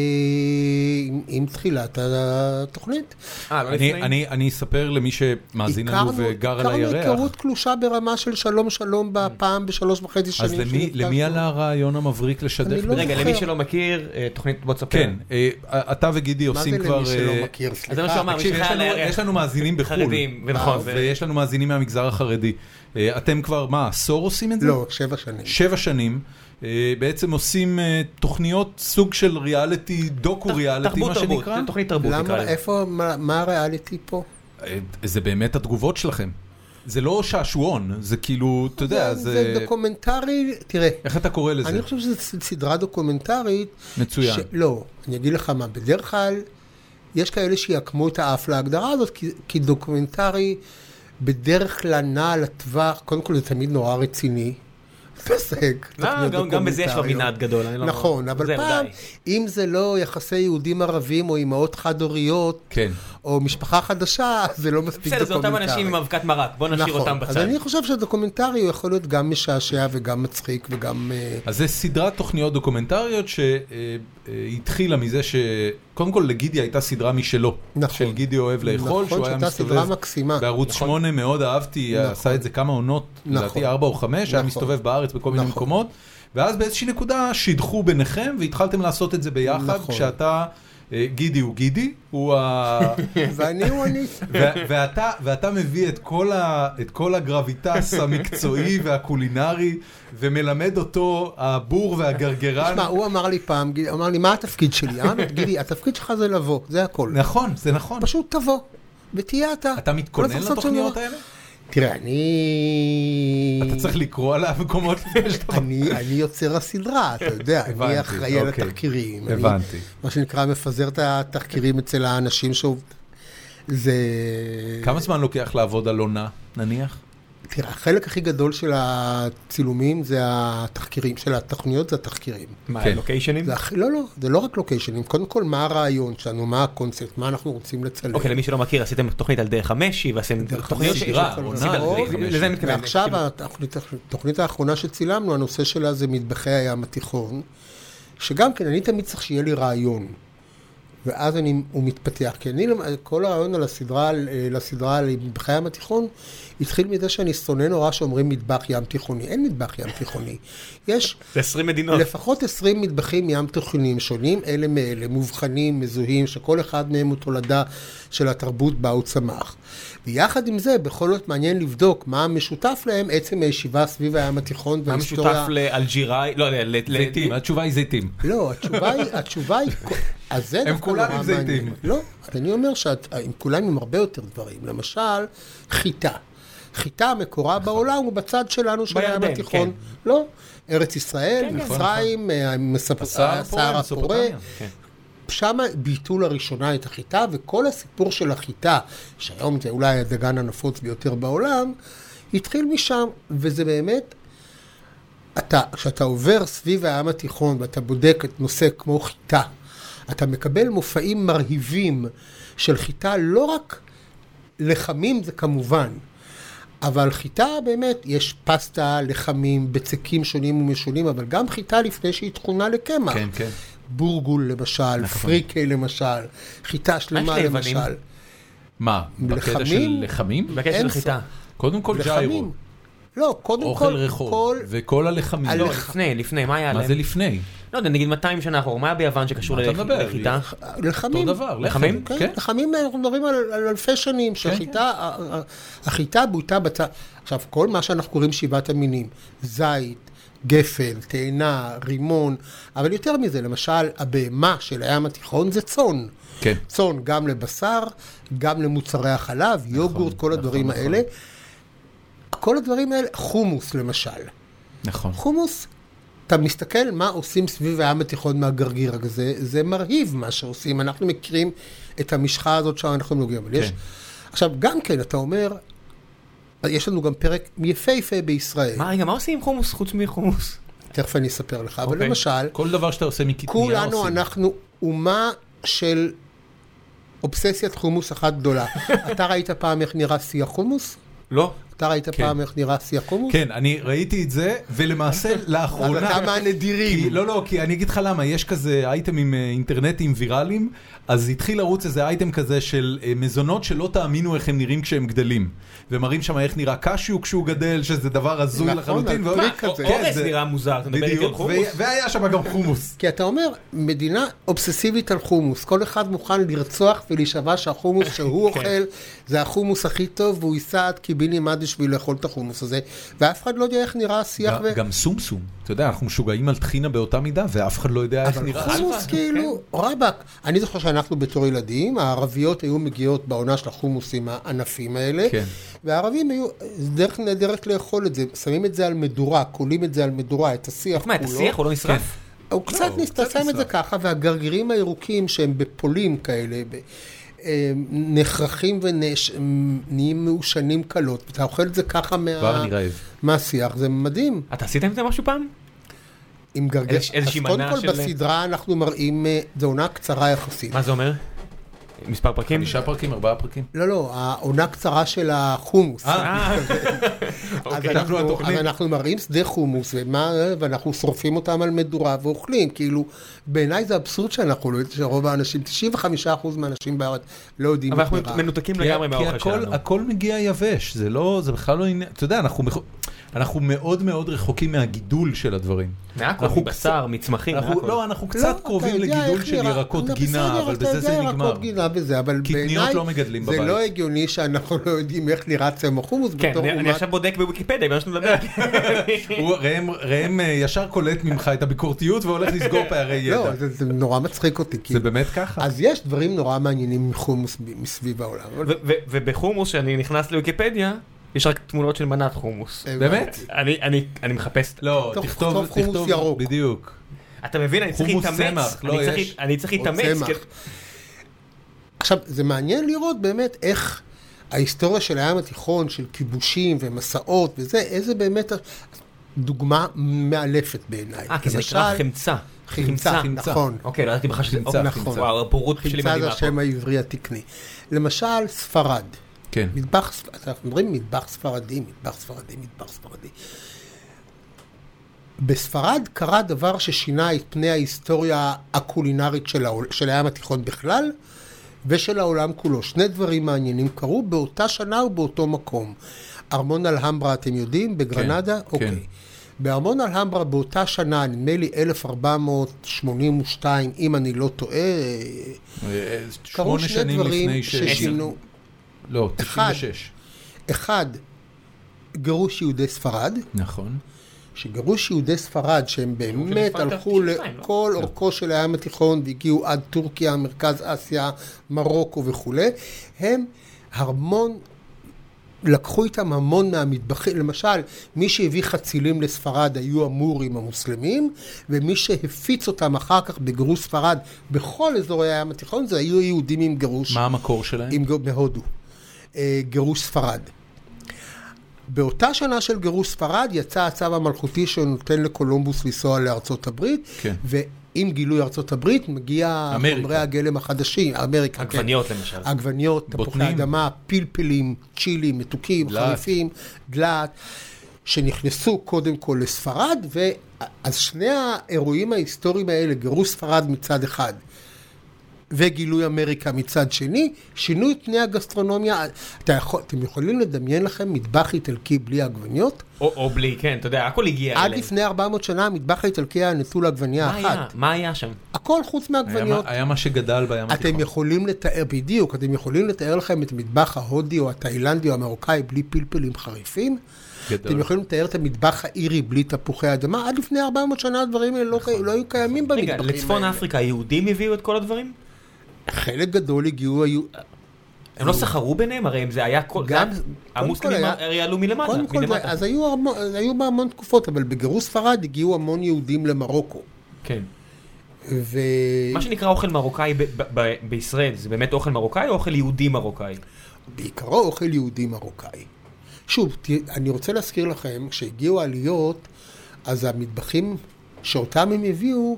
Speaker 3: עם, עם תחילת התוכנית.
Speaker 2: אה, לא
Speaker 1: אני-
Speaker 2: לפני?
Speaker 1: אני אני אספר למי שמאזין לנו וגר על
Speaker 3: הכרנו
Speaker 1: הירח.
Speaker 3: היכרות קלושה ברמה של שלום שלום בפעם בשלוש וחצי שנים.
Speaker 1: אז למי-
Speaker 3: שנפגשנו.
Speaker 1: למי עלה הרעיון המבריק לשדך?
Speaker 3: אני לא-
Speaker 1: רגע,
Speaker 2: רגע,
Speaker 3: זוכר.
Speaker 2: למי שלא מכיר, אה, תוכנית בוא תספר.
Speaker 1: כן, אה, אתה וגידי
Speaker 3: מה
Speaker 1: עושים
Speaker 3: זה
Speaker 1: כבר...
Speaker 3: למי
Speaker 1: אה,
Speaker 3: שלא מכיר?
Speaker 2: אז זה מה
Speaker 3: סליחה.
Speaker 2: שהוא אמר, מי
Speaker 1: תקשיב, יש
Speaker 2: שחי על
Speaker 1: לנו-
Speaker 2: הירח.
Speaker 1: יש לנו מאזינים בחו"ל. אה,
Speaker 2: חרדים, ונכון, ו-
Speaker 1: ויש לנו מאזינים מהמגזר החרדי. אה, אתם כבר, מה, עשור עושים את זה?
Speaker 3: לא, שבע שנים.
Speaker 1: שבע שנים. אה, בעצם עושים אה, תוכניות סוג של ריאליטי, דוקו ריאליטי,
Speaker 2: תרבות
Speaker 1: מה
Speaker 2: תרבות,
Speaker 1: שנקרא.
Speaker 2: זה תוכנית תרבות נקרא
Speaker 3: למה,
Speaker 2: לזה.
Speaker 3: איפה, מה- מה הריאליטי פה?
Speaker 1: אה, זה באמת התגובות שלכם. זה לא שעשועון, זה כאילו, אתה יודע,
Speaker 3: כן, זה
Speaker 1: זה...
Speaker 3: דוקומנטרי, תראה,
Speaker 1: איך אתה קורא לזה?
Speaker 3: אני חושב שזו ס- סדרה דוקומנטרית.
Speaker 1: מצוין.
Speaker 3: ש- לא, אני אגיד לך מה, בדרך כלל יש כאלה שיעקמו את האף להגדרה הזאת, כי- כי דוקומנטרי בדרך כלל נע על הטווח, קודם כל זה תמיד נורא רציני. פסק.
Speaker 2: לא, גם- גם בזה יש לו מנעד גדול, אני לא...
Speaker 3: נכון, אבל
Speaker 2: זהו,
Speaker 3: פעם,
Speaker 2: די.
Speaker 3: אם זה לא יחסי יהודים ערבים או אימהות חד-הוריות,
Speaker 1: כן.
Speaker 3: או משפחה חדשה, אז זה לא מספיק דוקומנטרי.
Speaker 2: בסדר, זה אותם אנשים עם אבקת מרק, בוא נשאיר
Speaker 3: נכון.
Speaker 2: אותם בצד.
Speaker 3: אז אני חושב שהדוקומנטרי הוא יכול להיות גם משעשע וגם מצחיק וגם... אה,
Speaker 1: אז זה סדרת תוכניות דוקומנטריות שהתחילה מזה שקודם כל לגידי הייתה סדרה משלו.
Speaker 3: נכון.
Speaker 1: של גידי אוהב לאכול,
Speaker 3: נכון,
Speaker 1: שהוא היה
Speaker 3: שהייתה
Speaker 1: מסתובב.
Speaker 3: סדרה מקסימה.
Speaker 1: בערוץ 8 מאוד אהבתי,
Speaker 3: אה,
Speaker 1: אה,
Speaker 3: נכון.
Speaker 1: עשה את זה כמה עונות,
Speaker 3: נכון.
Speaker 1: לדעתי 4 או 5, היה
Speaker 3: נכון.
Speaker 1: מסתובב בארץ בכל מיני
Speaker 3: נכון.
Speaker 1: מקומות, ואז באיזושהי נקודה שידכו ביניכם והתחלתם לעשות את זה ביחד,
Speaker 3: נכון.
Speaker 1: כשאתה, אה, גידי הוא גידי, הוא ה...
Speaker 3: ואני הוא אני.
Speaker 1: ו- ואתה, ואתה מביא את כל, ה, את כל הגרביטס המקצועי והקולינרי ומלמד אותו הבור והגרגרן.
Speaker 3: תשמע, הוא אמר לי פעם, גיל- אמר לי, מה התפקיד שלי? אמרתי, גידי, התפקיד שלך זה לבוא, זה הכל.
Speaker 1: נכון, זה נכון.
Speaker 3: פשוט תבוא, ותהיה אתה.
Speaker 1: אתה מתכונן
Speaker 3: לא צריך לעשות שום
Speaker 1: לתוכניות
Speaker 3: דבר.
Speaker 1: האלה?
Speaker 3: תראה, אני...
Speaker 1: אתה צריך לקרוא על המקומות לפני שאתה...
Speaker 3: אני, אני יוצר הסדרה, אתה יודע,
Speaker 1: הבנתי,
Speaker 3: אני אחראי על
Speaker 1: אוקיי.
Speaker 3: התחקירים.
Speaker 1: הבנתי.
Speaker 3: אני, מה שנקרא, מפזר את התחקירים אצל האנשים שהוא... זה...
Speaker 1: כמה זמן לוקח לעבוד על עונה, נניח?
Speaker 3: תראה, החלק הכי גדול של הצילומים זה התחקירים, של התוכניות זה התחקירים.
Speaker 2: מה,
Speaker 1: כן.
Speaker 2: לוקיישנים?
Speaker 3: זה הכי- לא, לא, זה לא רק לוקיישנים, קודם כל מה הרעיון שלנו, מה הקונספט, מה אנחנו רוצים לצלם.
Speaker 2: אוקיי, למי שלא מכיר, עשיתם תוכנית על דרך המשי, ועשיתם
Speaker 3: דרך
Speaker 2: תוכניות
Speaker 3: המשי,
Speaker 2: שירה,
Speaker 3: יש לנו
Speaker 2: עושים על
Speaker 3: סדרות.
Speaker 2: דרך המשי. לזה אני מתכוון.
Speaker 3: ועכשיו
Speaker 2: כאילו,
Speaker 3: התוכנית, התוכנית האחרונה שצילמנו, הנושא שלה זה מטבחי הים התיכון, שגם כן, אני תמיד צריך שיהיה לי רעיון. ואז אני, הוא מתפתח, כי אני, למ- כל הרעיון על הסדרה, על- אה, לסדרה על מטבחי הים התיכון, התחיל מזה שאני שונא נורא שאומרים מטבח ים תיכוני. אין מטבח ים תיכוני. יש
Speaker 2: זה 20 מדינות.
Speaker 3: לפחות 20 מטבחים ים תיכוניים שונים, אלה מאלה, מובחנים, מזוהים, שכל אחד מהם הוא תולדה של התרבות בה הוא צמח. ויחד עם זה, בכל זאת מעניין לבדוק מה המשותף להם, עצם הישיבה סביב הים התיכון
Speaker 2: מה משותף לאלג'יראי? לא, ל- ל-
Speaker 1: זיתים, התשובה היא זיתים.
Speaker 3: לא, התשובה היא, התשובה היא, אז זה
Speaker 1: הם
Speaker 3: דווקא
Speaker 1: כולם
Speaker 3: נורא
Speaker 1: עם זיתים.
Speaker 3: מעניין. לא, אז אני אומר שהם כולם עם הרבה יותר דברים. למשל, חיטה. חיטה מקורה
Speaker 1: נכון.
Speaker 3: בעולם הוא בצד שלנו של הים
Speaker 2: בירדן,
Speaker 3: התיכון.
Speaker 2: כן.
Speaker 3: לא, ארץ ישראל,
Speaker 2: כן, כן.
Speaker 3: מצרים,
Speaker 1: נכון,
Speaker 3: אה, מספ- אה,
Speaker 1: הסהר הפורה,
Speaker 3: הסהר הפורה.
Speaker 1: מסופוטמיה.
Speaker 2: כן.
Speaker 3: שם ביטלו לראשונה את החיטה, וכל הסיפור של החיטה, שהיום זה אולי הדגן הנפוץ ביותר בעולם, התחיל משם, וזה באמת, אתה, כשאתה עובר סביב הים התיכון ואתה בודק את נושא כמו חיטה, אתה מקבל מופעים מרהיבים של חיטה, לא רק לחמים זה כמובן, אבל חיטה באמת, יש פסטה, לחמים, בצקים שונים ומשונים, אבל גם חיטה לפני שהיא תכונה לקמח.
Speaker 1: כן, כן.
Speaker 3: בורגול למשל,
Speaker 1: נכון.
Speaker 3: פריקה למשל, חיטה שלמה
Speaker 2: ליוונים?
Speaker 3: למשל.
Speaker 1: מה, בקטע של
Speaker 3: לחמים?
Speaker 1: לחמים?
Speaker 2: בקשר
Speaker 3: אין
Speaker 2: לחיטה.
Speaker 1: קודם כל ג'יירו,
Speaker 3: לחמים. לא, קודם
Speaker 1: אוכל
Speaker 3: כל,
Speaker 1: רחוב,
Speaker 3: כל...
Speaker 1: וכל הלחמים.
Speaker 3: הלחם.
Speaker 2: לא, לפני, לפני, מה היה
Speaker 1: מה
Speaker 2: להם?
Speaker 1: זה לפני?
Speaker 2: לא יודע, נגיד 200 שנה אחורה, מה היה ביוון שקשור
Speaker 1: מה אתה מדבר?
Speaker 2: לחיטה?
Speaker 3: לחמים.
Speaker 1: אותו דבר, לחם.
Speaker 2: לחמים?
Speaker 3: כן,
Speaker 1: כן.
Speaker 3: לחמים אנחנו מדברים על, על אלפי שנים, שהחיטה, ה- ה- החיטה בוטה בצד. עכשיו, כל מה שאנחנו קוראים שבעת המינים, זית, גפן, תאנה, רימון, אבל יותר מזה, למשל, הבהמה של הים התיכון זה צאן.
Speaker 1: כן.
Speaker 3: צאן גם לבשר, גם למוצרי החלב, יוגורט, כל הדברים
Speaker 1: נכון,
Speaker 3: האלה. כל הדברים האלה, חומוס למשל.
Speaker 1: נכון.
Speaker 3: חומוס, אתה מסתכל מה עושים סביב הים התיכון מהגרגיר הזה, זה מרהיב מה שעושים, אנחנו מכירים את המשחה הזאת שאנחנו נוגעים, אבל יש...
Speaker 1: כן.
Speaker 3: עכשיו, גם כן, אתה אומר, יש לנו גם פרק יפהפה בישראל,
Speaker 2: מה, רגע, מה עושים עם חומוס חוץ מחומוס?
Speaker 3: תכף אני אספר לך, אבל
Speaker 2: אוקיי.
Speaker 3: למשל,
Speaker 1: כל דבר שאתה עושה מקטניה עושים.
Speaker 3: כולנו, אנחנו אומה של אובססיית חומוס אחת גדולה. אתה ראית פעם איך נראה שיא החומוס?
Speaker 2: לא.
Speaker 3: אתה ראית פעם איך נראה שיא החומוס?
Speaker 1: כן, אני ראיתי את זה, ולמעשה
Speaker 3: אז
Speaker 1: לאחרונה...
Speaker 3: אתה מהנדירים.
Speaker 1: כי, לא, לא, כי אני אגיד לך למה, יש כזה אייטמים אה, אינטרנטיים ויראליים, אז התחיל לרוץ איזה אייטם כזה של אה, מזונות שלא תאמינו איך הם נראים כשהם גדלים. ומראים שם איך נראה קשיו כשהוא גדל, שזה דבר הזוי
Speaker 3: נכון,
Speaker 1: לחלוטין.
Speaker 3: על
Speaker 1: ועוד-
Speaker 3: פריק כזה.
Speaker 1: כן,
Speaker 2: אורז
Speaker 1: זה-
Speaker 2: נראה מוזר, אתה מדבר איתי על
Speaker 1: בדיוק,
Speaker 2: חומוס?
Speaker 1: ו- והיה שם גם חומוס.
Speaker 3: כי אתה אומר, מדינה אובססיבית על חומוס, כל אחד מוכן
Speaker 1: כן.
Speaker 3: לרצוח ולהישבע שהחומוס שהוא אוכל זה החומוס הכי טוב והוא ייסע עד קיבינימט בשביל לאכול את החומוס הזה, ואף אחד לא יודע איך נראה השיח. ו-
Speaker 1: גם סומסום, אתה יודע, אנחנו משוגעים על טחינה באותה מידה, ואף אחד לא יודע איך
Speaker 3: אבל
Speaker 1: נראה.
Speaker 3: חומוס כאילו,
Speaker 2: כן.
Speaker 3: רבאק. אני זוכר שאנחנו בתור ילדים, הערביות היו מגיעות בעונה של החומוסים הענפים האלה,
Speaker 1: כן.
Speaker 3: והערבים היו, זה דרך נהדרת לאכול את זה, שמים את זה על מדורה, קולים את זה על מדורה, את השיח
Speaker 2: מה,
Speaker 3: כולו.
Speaker 2: את השיח הוא לא נשרף?
Speaker 3: הוא קצת
Speaker 1: לא, הוא קצת
Speaker 3: נסתסם את זה
Speaker 1: נשרף.
Speaker 3: ככה, והגרגירים הירוקים שהם בפולין כאלה, ב- אה, נחרכים ונהיים מעושנים קלות, ואתה אוכל את זה ככה מה-
Speaker 1: כבר אני רעב.
Speaker 3: מהשיח, זה מדהים.
Speaker 2: אתה עשיתם את זה משהו פעם?
Speaker 3: עם גרגר...
Speaker 2: איזוש- איזושהי
Speaker 3: אז קודם
Speaker 2: מנה
Speaker 3: כל
Speaker 2: של-
Speaker 3: בסדרה אנחנו מראים, אה, זו עונה קצרה יחסית.
Speaker 2: מה זה אומר? מספר פרקים?
Speaker 1: חמישה פרקים, ארבעה פרקים.
Speaker 3: לא, לא, העונה קצרה של החומוס.
Speaker 1: אה,
Speaker 3: אז
Speaker 1: אוקיי.
Speaker 3: אנחנו-
Speaker 1: אנחנו התוכנית.
Speaker 3: אז אנחנו מראים שדה חומוס, ומה, ואנחנו שורפים אותם על מדורה ואוכלים. כאילו, בעיניי זה אבסורד שאנחנו לא יודעים, שרוב האנשים, 95% מהאנשים בארץ לא יודעים
Speaker 2: אבל אנחנו
Speaker 3: איך נראה.
Speaker 2: מנותקים
Speaker 1: כי-
Speaker 2: לגמרי
Speaker 1: כי
Speaker 2: מהאוכל
Speaker 1: הכל-
Speaker 2: שלנו.
Speaker 1: הכל מגיע יבש, זה לא, זה בכלל לא עניין, אתה יודע, אנחנו מכ- אנחנו מאוד מאוד רחוקים מהגידול של הדברים.
Speaker 2: מהכל,
Speaker 1: אנחנו
Speaker 2: מבשר, מצמחים,
Speaker 1: אנחנו-
Speaker 2: מהכל.
Speaker 1: לא, אנחנו
Speaker 3: לא,
Speaker 1: קצת
Speaker 3: אתה
Speaker 1: קרובים
Speaker 3: יודע
Speaker 1: לגידול
Speaker 3: איך
Speaker 1: של
Speaker 3: נראה.
Speaker 1: ירקות
Speaker 3: אתה
Speaker 1: גינה,
Speaker 3: בסדר,
Speaker 1: אבל
Speaker 3: אתה
Speaker 1: בזה
Speaker 3: יודע
Speaker 1: זה נגמר.
Speaker 3: ירקות גינה וזה, אבל
Speaker 1: קטניות
Speaker 3: בעיניי
Speaker 1: לא מגדלים
Speaker 3: זה
Speaker 1: בבית.
Speaker 3: לא הגיוני שאנחנו לא יודעים איך נראה צמח חומוס
Speaker 2: כן,
Speaker 3: בתור
Speaker 2: אני- אני
Speaker 3: אומת
Speaker 2: עכשיו בודק בוויקיפדיה, בגלל שאתה מדבר.
Speaker 1: הוא- ראם- ראם אה, ישר קולט ממך את הביקורתיות והולך לסגור פערי ידע.
Speaker 3: לא, זה, זה נורא מצחיק אותי,
Speaker 1: זה
Speaker 3: כאילו.
Speaker 1: באמת ככה?
Speaker 3: אז יש דברים נורא מעניינים מחומוס ב- מסביב העולם. אבל-
Speaker 2: ו- ו- ובחומוס, כשאני נכנס לוויקיפדיה, יש רק תמונות של מנת
Speaker 3: אה.
Speaker 2: חומוס.
Speaker 1: באמת?
Speaker 2: אני- אני אני מחפש...
Speaker 1: לא,
Speaker 3: טוב,
Speaker 1: תכתוב,
Speaker 3: תכתוב חומוס
Speaker 1: תכתוב,
Speaker 3: ירוק.
Speaker 1: בדיוק.
Speaker 2: אתה מבין, אני צריך
Speaker 1: חומוס
Speaker 2: להתאמץ.
Speaker 1: צמח, לא,
Speaker 2: אני צריך-
Speaker 1: יש.
Speaker 2: אני צריך
Speaker 3: או
Speaker 2: להתאמץ.
Speaker 3: צמח.
Speaker 2: כי-
Speaker 3: עכשיו, זה מעניין לראות באמת איך ההיסטוריה של הים התיכון, של כיבושים ומסעות וזה, איזה באמת דוגמה מאלפת בעיניי.
Speaker 2: אה, כי זה
Speaker 3: למשל,
Speaker 2: נקרא חמצה.
Speaker 3: חמצה,
Speaker 1: חמצה.
Speaker 3: נכון.
Speaker 2: אוקיי, לא ידעתי בכלל שזה...
Speaker 1: חמצה,
Speaker 2: אוקיי,
Speaker 3: נכון.
Speaker 1: חמצה.
Speaker 2: וואו, הבורות שלי
Speaker 3: חמצה זה
Speaker 2: מדהימה. פה.
Speaker 3: השם העברי התקני. למשל, ספרד.
Speaker 1: כן.
Speaker 3: מטבח, ספ- אנחנו אומרים מטבח ספרדי, מטבח ספרדי, מטבח ספרדי. בספרד קרה דבר ששינה את פני ההיסטוריה הקולינרית של, העול, של הים התיכון בכלל ושל העולם כולו. שני דברים מעניינים קרו באותה שנה ובאותו מקום. ארמון אלהמברה, אתם יודעים? בגרנדה?
Speaker 1: כן.
Speaker 3: אוקיי. בארמון אלהמברה באותה שנה, נדמה לי 1482, אם אני לא טועה,
Speaker 1: אה, שמונה
Speaker 3: קרו שני
Speaker 1: שנים לפני
Speaker 3: דברים
Speaker 1: ש...
Speaker 3: ששינו.
Speaker 1: לא,
Speaker 3: אחד.
Speaker 1: 96.
Speaker 3: אחד, גירוש יהודי ספרד,
Speaker 1: נכון.
Speaker 3: שגירוש יהודי ספרד, שהם באמת
Speaker 2: ספרד
Speaker 3: הלכו
Speaker 2: זה 92, לא?
Speaker 3: לכל אורכו של הים התיכון והגיעו עד טורקיה, מרכז אסיה, מרוקו וכולי, הם הרמון, לקחו איתם המון מהמטבחים, למשל, מי שהביא חצילים לספרד היו המורים המוסלמים, ומי שהפיץ אותם אחר כך בגירוש ספרד בכל אזורי הים התיכון, זה היו יהודים עם גירוש
Speaker 1: מה המקור שלהם?
Speaker 3: עם, גו- מהודו, אה, גירוש ספרד. באותה שנה של גירוש ספרד יצא הצו המלכותי שנותן לקולומבוס לנסוע לארצות הברית,
Speaker 1: כן.
Speaker 3: ועם גילוי ארצות הברית מגיע
Speaker 1: אמריקה.
Speaker 3: חומרי הגלם החדשים, אמריקה,
Speaker 2: עגבניות למשל.
Speaker 3: כן. עגבניות, תפוחי
Speaker 1: בוטנים.
Speaker 3: אדמה, פלפלים, צ'ילים, מתוקים,
Speaker 1: דלעת.
Speaker 3: חריפים, דלעת, שנכנסו קודם כל לספרד, ו- אז שני האירועים ההיסטוריים האלה, גירוש ספרד מצד אחד, וגילוי אמריקה מצד שני, שינו את פני הגסטרונומיה. אתה יכול, אתם יכולים לדמיין לכם מטבח איטלקי בלי עגבניות?
Speaker 2: או או בלי, כן, אתה יודע, הכל הגיע
Speaker 3: עד
Speaker 2: אליהם.
Speaker 3: לפני 400 שנה המטבח האיטלקי היה נטול עגבנייה
Speaker 2: מה היה?
Speaker 3: אחת.
Speaker 2: מה היה שם?
Speaker 3: הכל חוץ
Speaker 1: היה
Speaker 3: מעגבניות.
Speaker 1: מה- היה מה שגדל בים
Speaker 3: אתם
Speaker 1: התיכון.
Speaker 3: יכולים לתאר, בדיוק, אתם יכולים לתאר לכם את המטבח ההודי או התאילנדי או המרוקאי בלי פלפלים חריפים?
Speaker 1: גדול.
Speaker 3: אתם יכולים לתאר את המטבח האירי בלי תפוחי אדמה? עד לפני 400 שנה הדברים האלה לא קי- לא היו קיימים במטבחים
Speaker 2: נכון. רגע,
Speaker 3: האלה.
Speaker 2: לצפון אפריקה היהודים הביאו את כל הדברים?
Speaker 3: חלק גדול הגיעו, היו...
Speaker 2: הם לא סחרו ביניהם? הרי אם זה היה כל...
Speaker 3: גם-
Speaker 2: זה היה-
Speaker 3: קודם כל
Speaker 2: המוסלמים
Speaker 3: היה-
Speaker 2: הרי עלו מלמטה.
Speaker 3: קודם כל, זה-
Speaker 2: מלמטה.
Speaker 3: אז היו המון- אז היו בה המון תקופות, אבל בגירוש ספרד הגיעו המון יהודים למרוקו.
Speaker 2: כן.
Speaker 3: ו...
Speaker 2: מה שנקרא אוכל מרוקאי ב- ב- ב- בישראל, זה באמת אוכל מרוקאי או אוכל יהודי מרוקאי?
Speaker 3: בעיקרו אוכל יהודי מרוקאי. שוב, ת- אני רוצה להזכיר לכם, כשהגיעו העליות, אז המטבחים שאותם הם הביאו,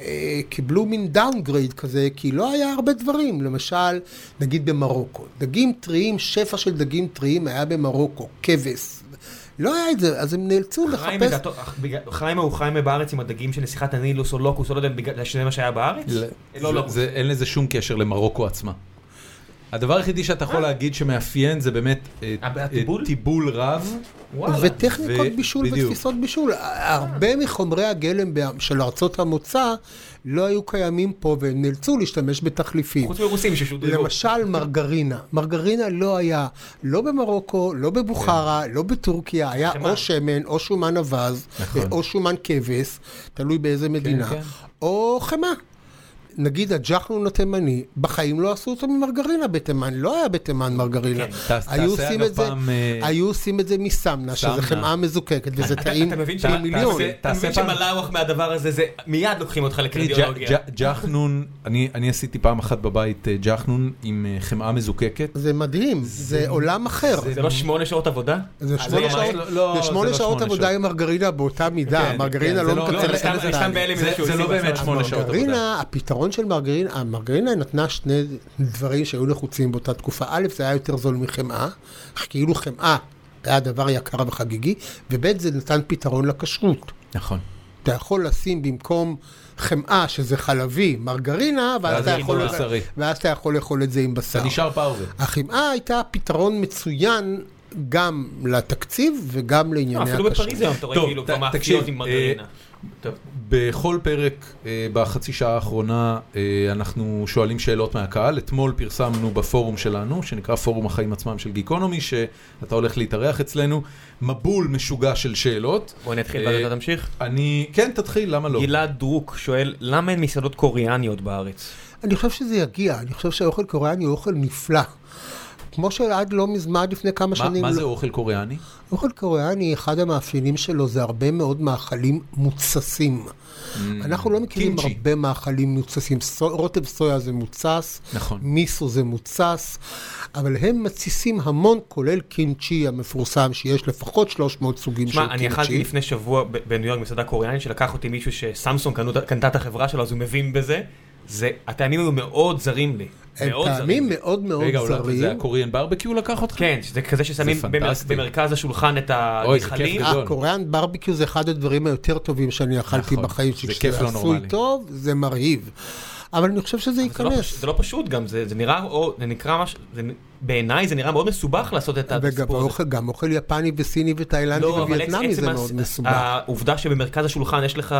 Speaker 3: אה, קיבלו מין דאונגרייד כזה, כי לא היה הרבה דברים. למשל, נגיד במרוקו, דגים טריים, שפע של דגים טריים היה במרוקו, כבש. לא היה את זה, אז הם
Speaker 1: אה,
Speaker 3: נאלצו
Speaker 2: חיימה
Speaker 3: לחפש...
Speaker 2: זה הטו- אך, בגלל- חיימה הוא חיימה בארץ עם הדגים של נסיכת הנילוס או לוקוס, או לא יודע, בגלל שזה מה שהיה בארץ?
Speaker 1: ל-
Speaker 2: לא,
Speaker 1: זה-
Speaker 2: לא.
Speaker 1: זה- אין לזה שום קשר למרוקו עצמה. הדבר היחידי שאתה יכול להגיד שמאפיין זה באמת אה,
Speaker 2: הב-
Speaker 1: אה,
Speaker 2: אה? הטיבול?
Speaker 1: טיבול רב.
Speaker 2: וואלה.
Speaker 3: וטכניקות
Speaker 1: ו-
Speaker 3: בישול
Speaker 1: בדיוק.
Speaker 3: ותפיסות בישול. אה, הרבה מחומרי הגלם ב- של ארצות המוצא לא היו קיימים פה, והם נאלצו להשתמש בתחליפים.
Speaker 2: חוץ מרוסים ששודרגו.
Speaker 3: למשל מרגרינה. מרגרינה לא היה, לא במרוקו, לא
Speaker 1: כן.
Speaker 3: בבוכרה, לא בטורקיה, היה
Speaker 2: חמאה.
Speaker 3: או שמן, או שומן אווז, או שומן כבש, תלוי באיזה מדינה,
Speaker 1: נכון. כן.
Speaker 3: או חמאה. נגיד הג'חנון התימני, בחיים לא עשו אותו ממרגרינה בתימן, לא היה בתימן מרגרינה.
Speaker 1: כן, תעשה
Speaker 3: היו
Speaker 1: אגב
Speaker 3: עושים את זה,
Speaker 1: פעם, אה,
Speaker 3: היו עושים את זה מסמנה, שזה
Speaker 1: סמנה.
Speaker 3: חמאה מזוקקת, וזה טעים
Speaker 2: אתה מבין
Speaker 1: תעשה-
Speaker 3: במיליון.
Speaker 1: תעשה-
Speaker 2: אתה מבין
Speaker 1: פעם-
Speaker 2: שמלאווח מהדבר הזה, זה מיד לוקחים אותך
Speaker 1: תראי,
Speaker 2: לקרדיולוגיה.
Speaker 1: ג'- ג'- אה, ג'חנון, אני אני עשיתי פעם אחת בבית אה, ג'חנון עם אה, חמאה מזוקקת.
Speaker 3: זה מדהים, זה עולם אחר.
Speaker 2: זה לא שמונה שעות עבודה?
Speaker 3: זה שמונה
Speaker 2: זה
Speaker 3: שעות-
Speaker 1: ממש לא-
Speaker 3: זה
Speaker 1: זה
Speaker 3: שמונה
Speaker 1: לא
Speaker 3: שעות
Speaker 1: שמונה
Speaker 3: עבודה עם מרגרינה באותה מידה, מרגרינה
Speaker 1: כן,
Speaker 3: לא
Speaker 1: זה לא- לא,
Speaker 3: מקצרת
Speaker 1: אני
Speaker 2: סתם-
Speaker 3: אין
Speaker 2: אני
Speaker 3: לזה
Speaker 2: סתם
Speaker 3: תהליך.
Speaker 2: בהלם
Speaker 1: זה-
Speaker 2: מזה שהוא
Speaker 1: זה לא
Speaker 2: עושה
Speaker 1: באמת
Speaker 2: בעצם.
Speaker 1: שמונה שעות עבודה.
Speaker 3: מרגרינה, הפתרון של מרגרינה, המרגרינה נתנה שני דברים שהיו נחוצים באותה תקופה. א', זה היה יותר זול מחמאה, כאילו חמאה היה דבר יקר וחגיגי, וב', זה נתן פתרון לכשרות.
Speaker 1: נכון.
Speaker 3: אתה יכול לשים במקום חמאה, שזה חלבי, מרגרינה, ואז
Speaker 1: ואז
Speaker 3: אתה
Speaker 1: זה
Speaker 3: יכול- לא.
Speaker 1: עם בשרי.
Speaker 3: ואז אתה יכול לאכול את זה עם בשר.
Speaker 1: אתה נשאר פרווה.
Speaker 3: החמאה הייתה פתרון מצוין גם לתקציב וגם לענייני
Speaker 2: לא,
Speaker 3: הכשרות.
Speaker 2: אפילו בפריז היום אתה רואה
Speaker 1: טוב,
Speaker 2: כאילו
Speaker 1: ת-
Speaker 2: כבר מאפיות
Speaker 1: תקשיב,
Speaker 2: עם מרגרינה.
Speaker 1: אה,
Speaker 2: טוב,
Speaker 1: בכל פרק אה, בחצי שעה האחרונה אה, אנחנו שואלים שאלות מהקהל. אתמול פרסמנו בפורום שלנו, שנקרא פורום החיים עצמם של גיקונומי, שאתה הולך להתארח אצלנו, מבול משוגע של שאלות.
Speaker 2: בוא נתחיל
Speaker 1: אה,
Speaker 2: ואתה תמשיך.
Speaker 1: אני, כן, תתחיל, למה לא?
Speaker 2: גלעד דרוק שואל, למה אין מסעדות קוריאניות בארץ?
Speaker 3: אני חושב שזה יגיע, אני חושב שהאוכל קוריאני הוא אוכל נפלא. כמו שעד לא מזמן, עד לפני כמה
Speaker 1: מה-
Speaker 3: שנים,
Speaker 1: מה
Speaker 3: לא-
Speaker 1: זה אוכל קוריאני?
Speaker 3: אוכל קוריאני, אחד המאפיינים שלו זה הרבה מאוד מאכלים מוצסים. אנחנו לא מכירים
Speaker 1: Mm. קימצ'י.
Speaker 3: הרבה מאכלים מוצסים. סו- רוטב סויה זה מוצס,
Speaker 1: נכון.
Speaker 3: מיסו זה מוצס, אבל הם מתסיסים המון, כולל קימצ'י המפורסם, שיש לפחות 300 סוגים של
Speaker 2: שמע,
Speaker 3: קימצ'י.
Speaker 2: אני אכלתי לפני שבוע ב- בניו יורק מסעדה קוריאנית שלקח אותי מישהו שסמסונג קנו- קנתה את החברה שלו, אז הוא מבין בזה. זה, הטעמים היו מאוד זרים לי.
Speaker 3: הם
Speaker 2: מאוד
Speaker 3: טעמים
Speaker 2: זרים.
Speaker 3: מאוד מאוד
Speaker 1: רגע, אולי זה
Speaker 3: זרים.
Speaker 1: הקוריאן ברבקיו לקח אותך?
Speaker 2: כן, שזה כזה ששמים
Speaker 1: זה
Speaker 2: במר-
Speaker 1: פנטסטי.
Speaker 2: במרכז השולחן את
Speaker 1: אוי, זה כיף
Speaker 2: הגחלים.
Speaker 1: גדול.
Speaker 3: הקוריאן אה, ברביקיו זה אחד הדברים היותר טובים שאני אכלתי
Speaker 1: נכון,
Speaker 3: בחיים,
Speaker 1: זה כיף לא נורמלי.
Speaker 3: עשוי טוב, זה מרהיב. אבל אני חושב שזה
Speaker 2: זה לא פש-
Speaker 3: ייכנס.
Speaker 2: זה לא פשוט גם, זה זה נראה, או- זה נקרא משהו, זה נ- בעיניי זה נראה מאוד מסובך לעשות את
Speaker 3: וגם
Speaker 2: הסיפור הזה.
Speaker 3: האוכל- גם אוכל יפני וסיני ותאילנדי
Speaker 2: לא, אבל
Speaker 3: ווייטנמי
Speaker 2: עצם
Speaker 3: זה
Speaker 2: הס- אה.
Speaker 3: מאוד מסובך.
Speaker 2: העובדה שבמרכז השולחן יש לך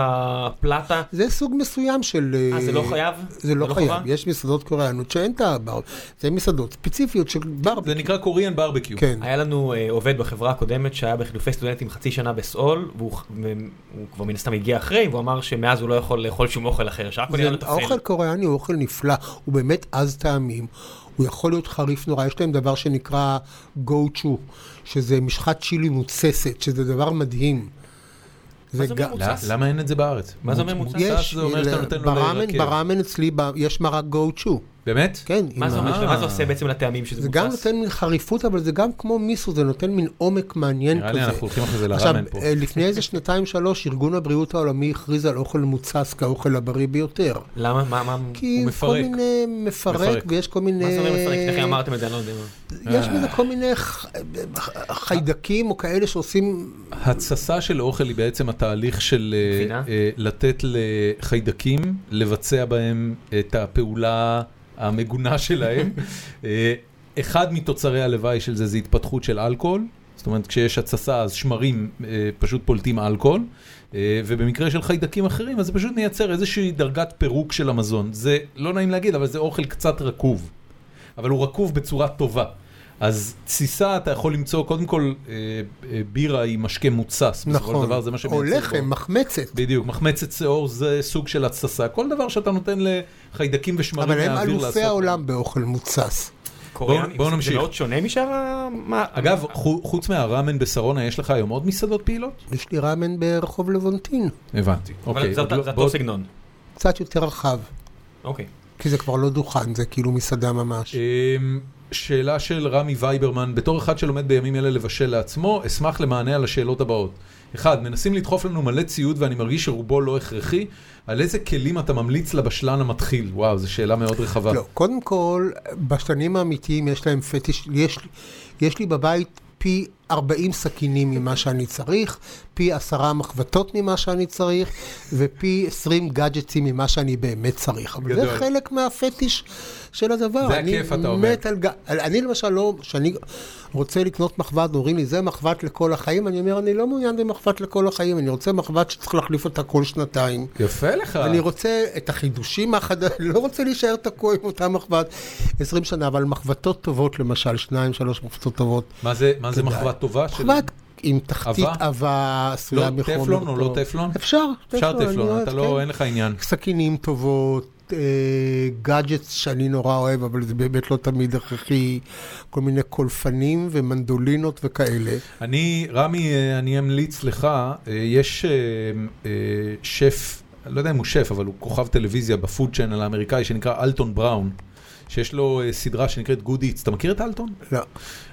Speaker 2: פלטה,
Speaker 3: זה סוג מסוים של...
Speaker 2: אה, זה לא חייב?
Speaker 3: זה לא
Speaker 2: חובה?
Speaker 3: חייב. יש מסעדות קוריאנות שאין את הבר... זה מסעדות ספציפיות של
Speaker 1: זה
Speaker 3: ברביקיו.
Speaker 1: נקרא קוריאן ברבקיו.
Speaker 3: כן.
Speaker 2: היה לנו אה, עובד בחברה הקודמת שהיה בחילופי סטודנטים חצי שנה בסאול, והוא ח- מ- הוא כבר מן הסתם הגיע אחרי, והוא אמר שמאז הוא לא יכול לאכול שום אוכל אחר, שרק הוא נראה לו
Speaker 3: זה- האוכל
Speaker 2: טפל.
Speaker 3: קוריאני הוא אוכל נפלא, הוא באמת עז טעמים. הוא יכול להיות חריף נורא, יש להם דבר שנקרא גו-צ'ו, שזה משחת צ'ילי מוצסת, שזה דבר מדהים.
Speaker 2: מה זה אומר מוצס?
Speaker 1: ל- למה אין את זה בארץ?
Speaker 2: מה זה אומר
Speaker 1: מוצ-
Speaker 2: מוצס?
Speaker 1: מוצס זה אומר שאתה נותן לו
Speaker 3: בראמן,
Speaker 1: להירקב.
Speaker 3: בראמן אצלי ב- יש מרק גו-צ'ו,
Speaker 1: באמת?
Speaker 3: כן.
Speaker 2: מה
Speaker 3: עם
Speaker 2: זה
Speaker 3: ה-
Speaker 2: אומר?
Speaker 1: אה.
Speaker 2: מה זה עושה בעצם לטעמים שזה
Speaker 3: זה גם
Speaker 2: מוצס?
Speaker 3: נותן מין חריפות, אבל זה גם כמו מיסו, זה נותן מין עומק מעניין
Speaker 1: נראה לי
Speaker 3: כן, כזה.
Speaker 1: אנחנו הולכים אחרי זה
Speaker 3: עכשיו,
Speaker 1: לראמן פה.
Speaker 3: אה, לפני איזה שנתיים-שלוש, ארגון הבריאות העולמי הכריז על אוכל מוצס כאוכל הבריא ביותר.
Speaker 2: למה? מה? מה?
Speaker 3: כי אה,
Speaker 1: הוא
Speaker 3: כל
Speaker 1: מפרק.
Speaker 3: מיני מפרק,
Speaker 1: מפרק.
Speaker 3: ויש כל מיני...
Speaker 2: מה זה אומר מפרק? איך אמרתם את זה? אני לא יודע.
Speaker 3: יש
Speaker 1: אה.
Speaker 3: בזה כל מיני ח- ח- חיידקים או כאלה שעושים...
Speaker 1: התססה של אוכל היא בעצם התהליך של אה,
Speaker 2: גבינה?
Speaker 1: אה, לתת לחיידקים לבצע בהם את הפעולה המגונה שלהם. אה, אחד מתוצרי הלוואי של זה זה התפתחות של אלכוהול. זאת אומרת, כשיש התססה אז שמרים אה, פשוט פולטים אלכוהול, אה, ובמקרה של חיידקים אחרים אז זה פשוט נייצר איזושהי דרגת פירוק של המזון. זה לא נעים להגיד, אבל זה אוכל קצת רקוב. אבל הוא רקוב בצורה טובה. אז תסיסה אתה יכול למצוא, קודם כל, אה, אה, בירה היא משקה מוצס, בסופו של
Speaker 3: נכון.
Speaker 1: דבר זה מה שמייצר
Speaker 3: או
Speaker 1: בו.
Speaker 3: לחם, מחמצת.
Speaker 1: בדיוק, מחמצת שיעור זה סוג של התססה, כל דבר שאתה נותן לחיידקים ושמרים
Speaker 3: אבל הם
Speaker 1: מהאוויר
Speaker 3: אלופי
Speaker 1: לעשות.
Speaker 3: העולם באוכל מוצס.
Speaker 2: קוריאנים?
Speaker 1: בואו
Speaker 2: זה
Speaker 1: נמשיך.
Speaker 2: מאוד שונה משאר ה... מה-
Speaker 1: אגב, חו- חוץ מהראמן בשרונה, יש לך היום עוד מסעדות פעילות?
Speaker 3: יש לי ראמן ברחוב לבונטין,
Speaker 1: הבנתי. אוקיי,
Speaker 2: אבל זה
Speaker 1: עוד
Speaker 2: אותו-
Speaker 1: לא-
Speaker 2: זה
Speaker 1: בוא-
Speaker 2: אותו סגנון.
Speaker 3: קצת יותר רחב,
Speaker 2: אוקיי.
Speaker 3: כי זה כבר לא דוכן, זה כאילו מסעדה ממש.
Speaker 1: אמ, שאלה של רמי וייברמן, בתור אחד שלומד בימים אלה לבשל לעצמו, אשמח למענה על השאלות הבאות. אחד, מנסים לדחוף לנו מלא ציוד ואני מרגיש שרובו לא הכרחי, על איזה כלים אתה ממליץ לבשלן המתחיל? וואו, זו שאלה מאוד רחבה.
Speaker 3: לא, קודם כל, בשנים האמיתיים יש להם פטיש, יש, לי- יש לי בבית פי 40 סכינים ממה שאני צריך, פי 10 מחבטות ממה שאני צריך, ופי 20 גאדג'טים ממה שאני באמת צריך. אבל זה
Speaker 1: גדול.
Speaker 3: חלק מהפטיש של הדבר.
Speaker 1: זה
Speaker 3: אני
Speaker 1: הכיף, אתה אומר.
Speaker 3: מת על גא... אני למשל לא, כשאני רוצה לקנות מחבת, אומרים לי, זה מחבת לכל החיים, אני אומר, אני לא מעוניין במחבת לכל החיים, אני רוצה מחבת שצריך להחליף אותה כל שנתיים.
Speaker 1: יפה לך.
Speaker 3: אני רוצה את החידושים החדשים, לא רוצה להישאר תקוע עם אותה מחבת 20 שנה, אבל מחבתות טובות למשל, שניים, שלוש מחבתות טובות.
Speaker 1: מה זה, מה זה
Speaker 3: תודה.
Speaker 1: מחבת טובה? אה, של-
Speaker 3: מחבת עם תחתית
Speaker 1: עבה?
Speaker 3: עבה
Speaker 1: לא,
Speaker 3: עשויה מחומר.
Speaker 1: טפלון או לא
Speaker 3: טוב.
Speaker 1: טפלון?
Speaker 3: אפשר,
Speaker 1: אפשר
Speaker 3: אני
Speaker 1: טפלון,
Speaker 3: אוהב,
Speaker 1: אתה
Speaker 3: כן.
Speaker 1: לא, אין לך עניין.
Speaker 3: סכינים טובות, אה, גאדג'טס שאני נורא אוהב, אבל זה באמת לא תמיד הכרחי, כל מיני קולפנים ומנדולינות וכאלה.
Speaker 1: אני, רמי, אה, אני אמליץ לך, אה, יש אה, אה, שף, אני לא יודע אם הוא שף, אבל הוא כוכב טלוויזיה בפוד צ'אנל האמריקאי שנקרא אלטון בראון, שיש לו אה, סדרה שנקראת Good Eats. אתה מכיר את אלטון?
Speaker 3: לא.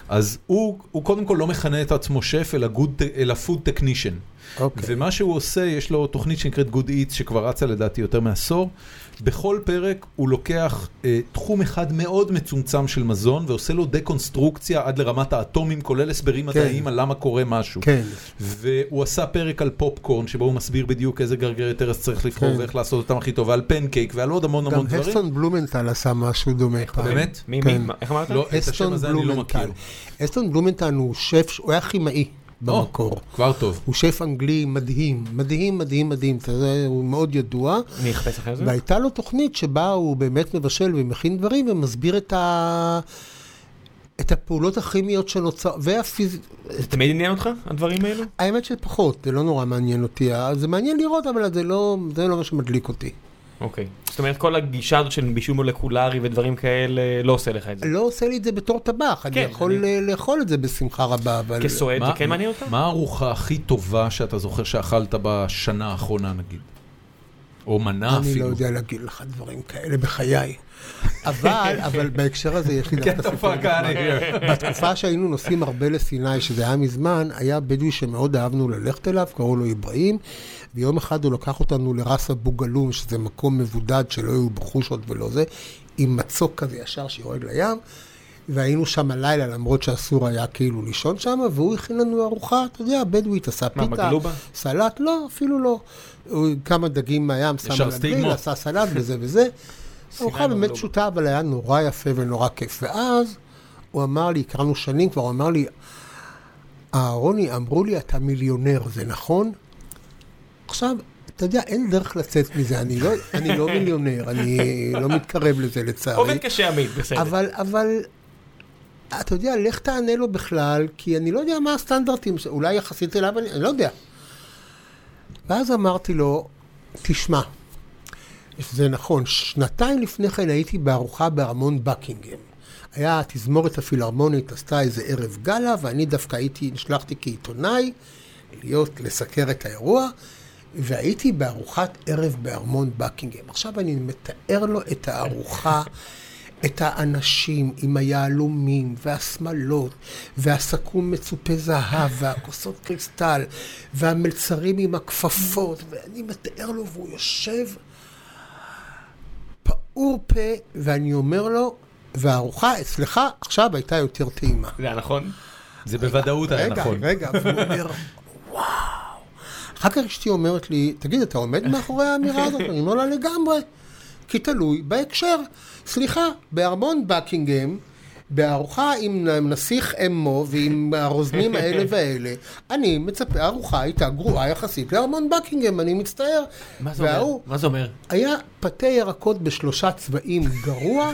Speaker 1: אז הוא, הוא קודם כל לא מכנה את עצמו שף, אלא, good, אלא food technician.
Speaker 3: אוקיי.
Speaker 1: ומה שהוא עושה, יש לו תוכנית שנקראת Good Eats, שכבר רצה לדעתי יותר מעשור. בכל פרק הוא לוקח אה, תחום אחד מאוד מצומצם של מזון, ועושה לו דקונסטרוקציה עד לרמת האטומים, כולל הסברים מדעיים על למה קורה משהו.
Speaker 3: כן,
Speaker 1: והוא עשה פרק על פופקורן, שבו הוא מסביר בדיוק איזה גרגרת ארץ צריך לבחור,
Speaker 3: כן.
Speaker 1: ואיך לעשות אותם הכי טוב, ועל פנקייק, ועל עוד המון
Speaker 3: גם
Speaker 1: המון דברים.
Speaker 3: הסטון בלומנטל עשה משהו דומה פעם.
Speaker 1: באמת?
Speaker 4: מי,
Speaker 3: כן.
Speaker 4: מי, מה- איך אמרת?
Speaker 1: לא, את השם
Speaker 3: אסטון
Speaker 1: הזה אני לא
Speaker 3: בלומנטל.
Speaker 1: מכיר.
Speaker 3: אסטון בלומנטל הוא שף, הוא היה כימאי במקור.
Speaker 1: או, כבר טוב.
Speaker 3: הוא שף אנגלי מדהים, מדהים, מדהים, מדהים, אתה יודע, הוא מאוד ידוע.
Speaker 2: אוקיי.
Speaker 4: מי יחפש אחרי זה?
Speaker 3: והייתה לו תוכנית שבה הוא באמת מבשל ומכין דברים ומסביר את, ה... את הפעולות הכימיות שנוצר, והפיז...
Speaker 4: זה תמיד עניין אותך, הדברים האלו?
Speaker 3: האמת שפחות, זה לא נורא מעניין אותי, זה מעניין לראות, אבל זה לא, זה לא מה שמדליק אותי.
Speaker 4: אוקיי. זאת אומרת, כל הגישה הזאת של בישול מולקולרי ודברים כאלה, לא עושה לך את זה.
Speaker 3: לא עושה לי את זה בתור טבח, אני
Speaker 4: כן,
Speaker 3: יכול
Speaker 4: אני-
Speaker 3: אני... לאכול את זה בשמחה רבה, אבל...
Speaker 4: כסועד, זה
Speaker 1: מה-
Speaker 4: כן מעניין אותך?
Speaker 1: מה הארוחה הכי טובה שאתה זוכר שאכלת בשנה האחרונה, נגיד? או מנה
Speaker 3: אני לא
Speaker 1: אפילו.
Speaker 3: יודע להגיד לך דברים כאלה בחיי. אבל, אבל בהקשר הזה יש לי דווקא
Speaker 1: Get the
Speaker 3: סיפור.
Speaker 1: fuck out of here.
Speaker 3: בתקופה שהיינו נוסעים הרבה לסיני, שזה היה מזמן, היה בדואי שמאוד אהבנו ללכת אליו, קראו לו אברהים, ויום אחד הוא לקח אותנו לראס אבו גלום, שזה מקום מבודד שלא היו בו חושות ולא זה, עם מצוק כזה ישר שיורד לים, והיינו שם הלילה, למרות שאסור היה כאילו לישון שם, והוא הכין לנו ארוחה, אתה יודע, בדואית, עשה
Speaker 4: מה,
Speaker 3: פיתה,
Speaker 4: בגלובה?
Speaker 3: סלט, לא, אפילו לא. הוא כמה דגים מהים, שם
Speaker 1: ישר
Speaker 3: על הגריל,
Speaker 1: סטיגמות.
Speaker 3: עשה סלט וזה וזה. ארוחה
Speaker 4: לא
Speaker 3: באמת
Speaker 4: בגלובה.
Speaker 3: פשוטה, אבל היה נורא יפה ונורא כיף. ואז הוא אמר לי, הכרנו שנים כבר, הוא אמר לי, אהרוני, אמרו לי, אתה מיליונר, זה נכון? עכשיו, אתה יודע, אין דרך לצאת מזה, אני לא, אני לא מיליונר, אני לא מתקרב לזה לצערי.
Speaker 4: עובד קשה עמית, בסדר.
Speaker 3: אבל, אבל, אתה יודע, לך תענה לו בכלל, כי אני לא יודע מה הסטנדרטים, ש- אולי יחסית אליו, אני, אני לא יודע. ואז אמרתי לו, תשמע, זה נכון, שנתיים לפני כן הייתי בארוחה בארמון בקינגהם. היה התזמורת הפילהרמונית, עשתה איזה ערב גאלה, ואני דווקא הייתי, נשלחתי כעיתונאי להיות, לסקר את האירוע, והייתי בארוחת ערב בארמון בקינגהם. עכשיו אני מתאר לו את הארוחה, את האנשים עם היהלומים והשמלות, והסכו"ם מצופה זהב, והכוסות קריסטל, והמלצרים עם הכפפות, ואני מתאר לו, והוא יושב... פעור פה, ואני אומר לו, והארוחה אצלך עכשיו הייתה יותר טעימה.
Speaker 4: זה היה נכון?
Speaker 1: זה בוודאות היה
Speaker 3: רגע,
Speaker 1: נכון.
Speaker 3: רגע, והוא אומר, וואו. אחר כך אשתי אומרת לי, תגיד, אתה עומד מאחורי האמירה הזאת? אני אומר לה, לגמרי. כי תלוי בהקשר. סליחה, בארמון בקינגהם, בארוחה עם נסיך אמו ועם הרוזנים האלה והאלה, אני מצפה, הארוחה הייתה גרועה יחסית לארמון בקינגהם, אני מצטער.
Speaker 4: מה זה אומר?
Speaker 3: וההוא-
Speaker 4: מה זה אומר?
Speaker 3: היה פתה ירקות בשלושה צבעים גרוע,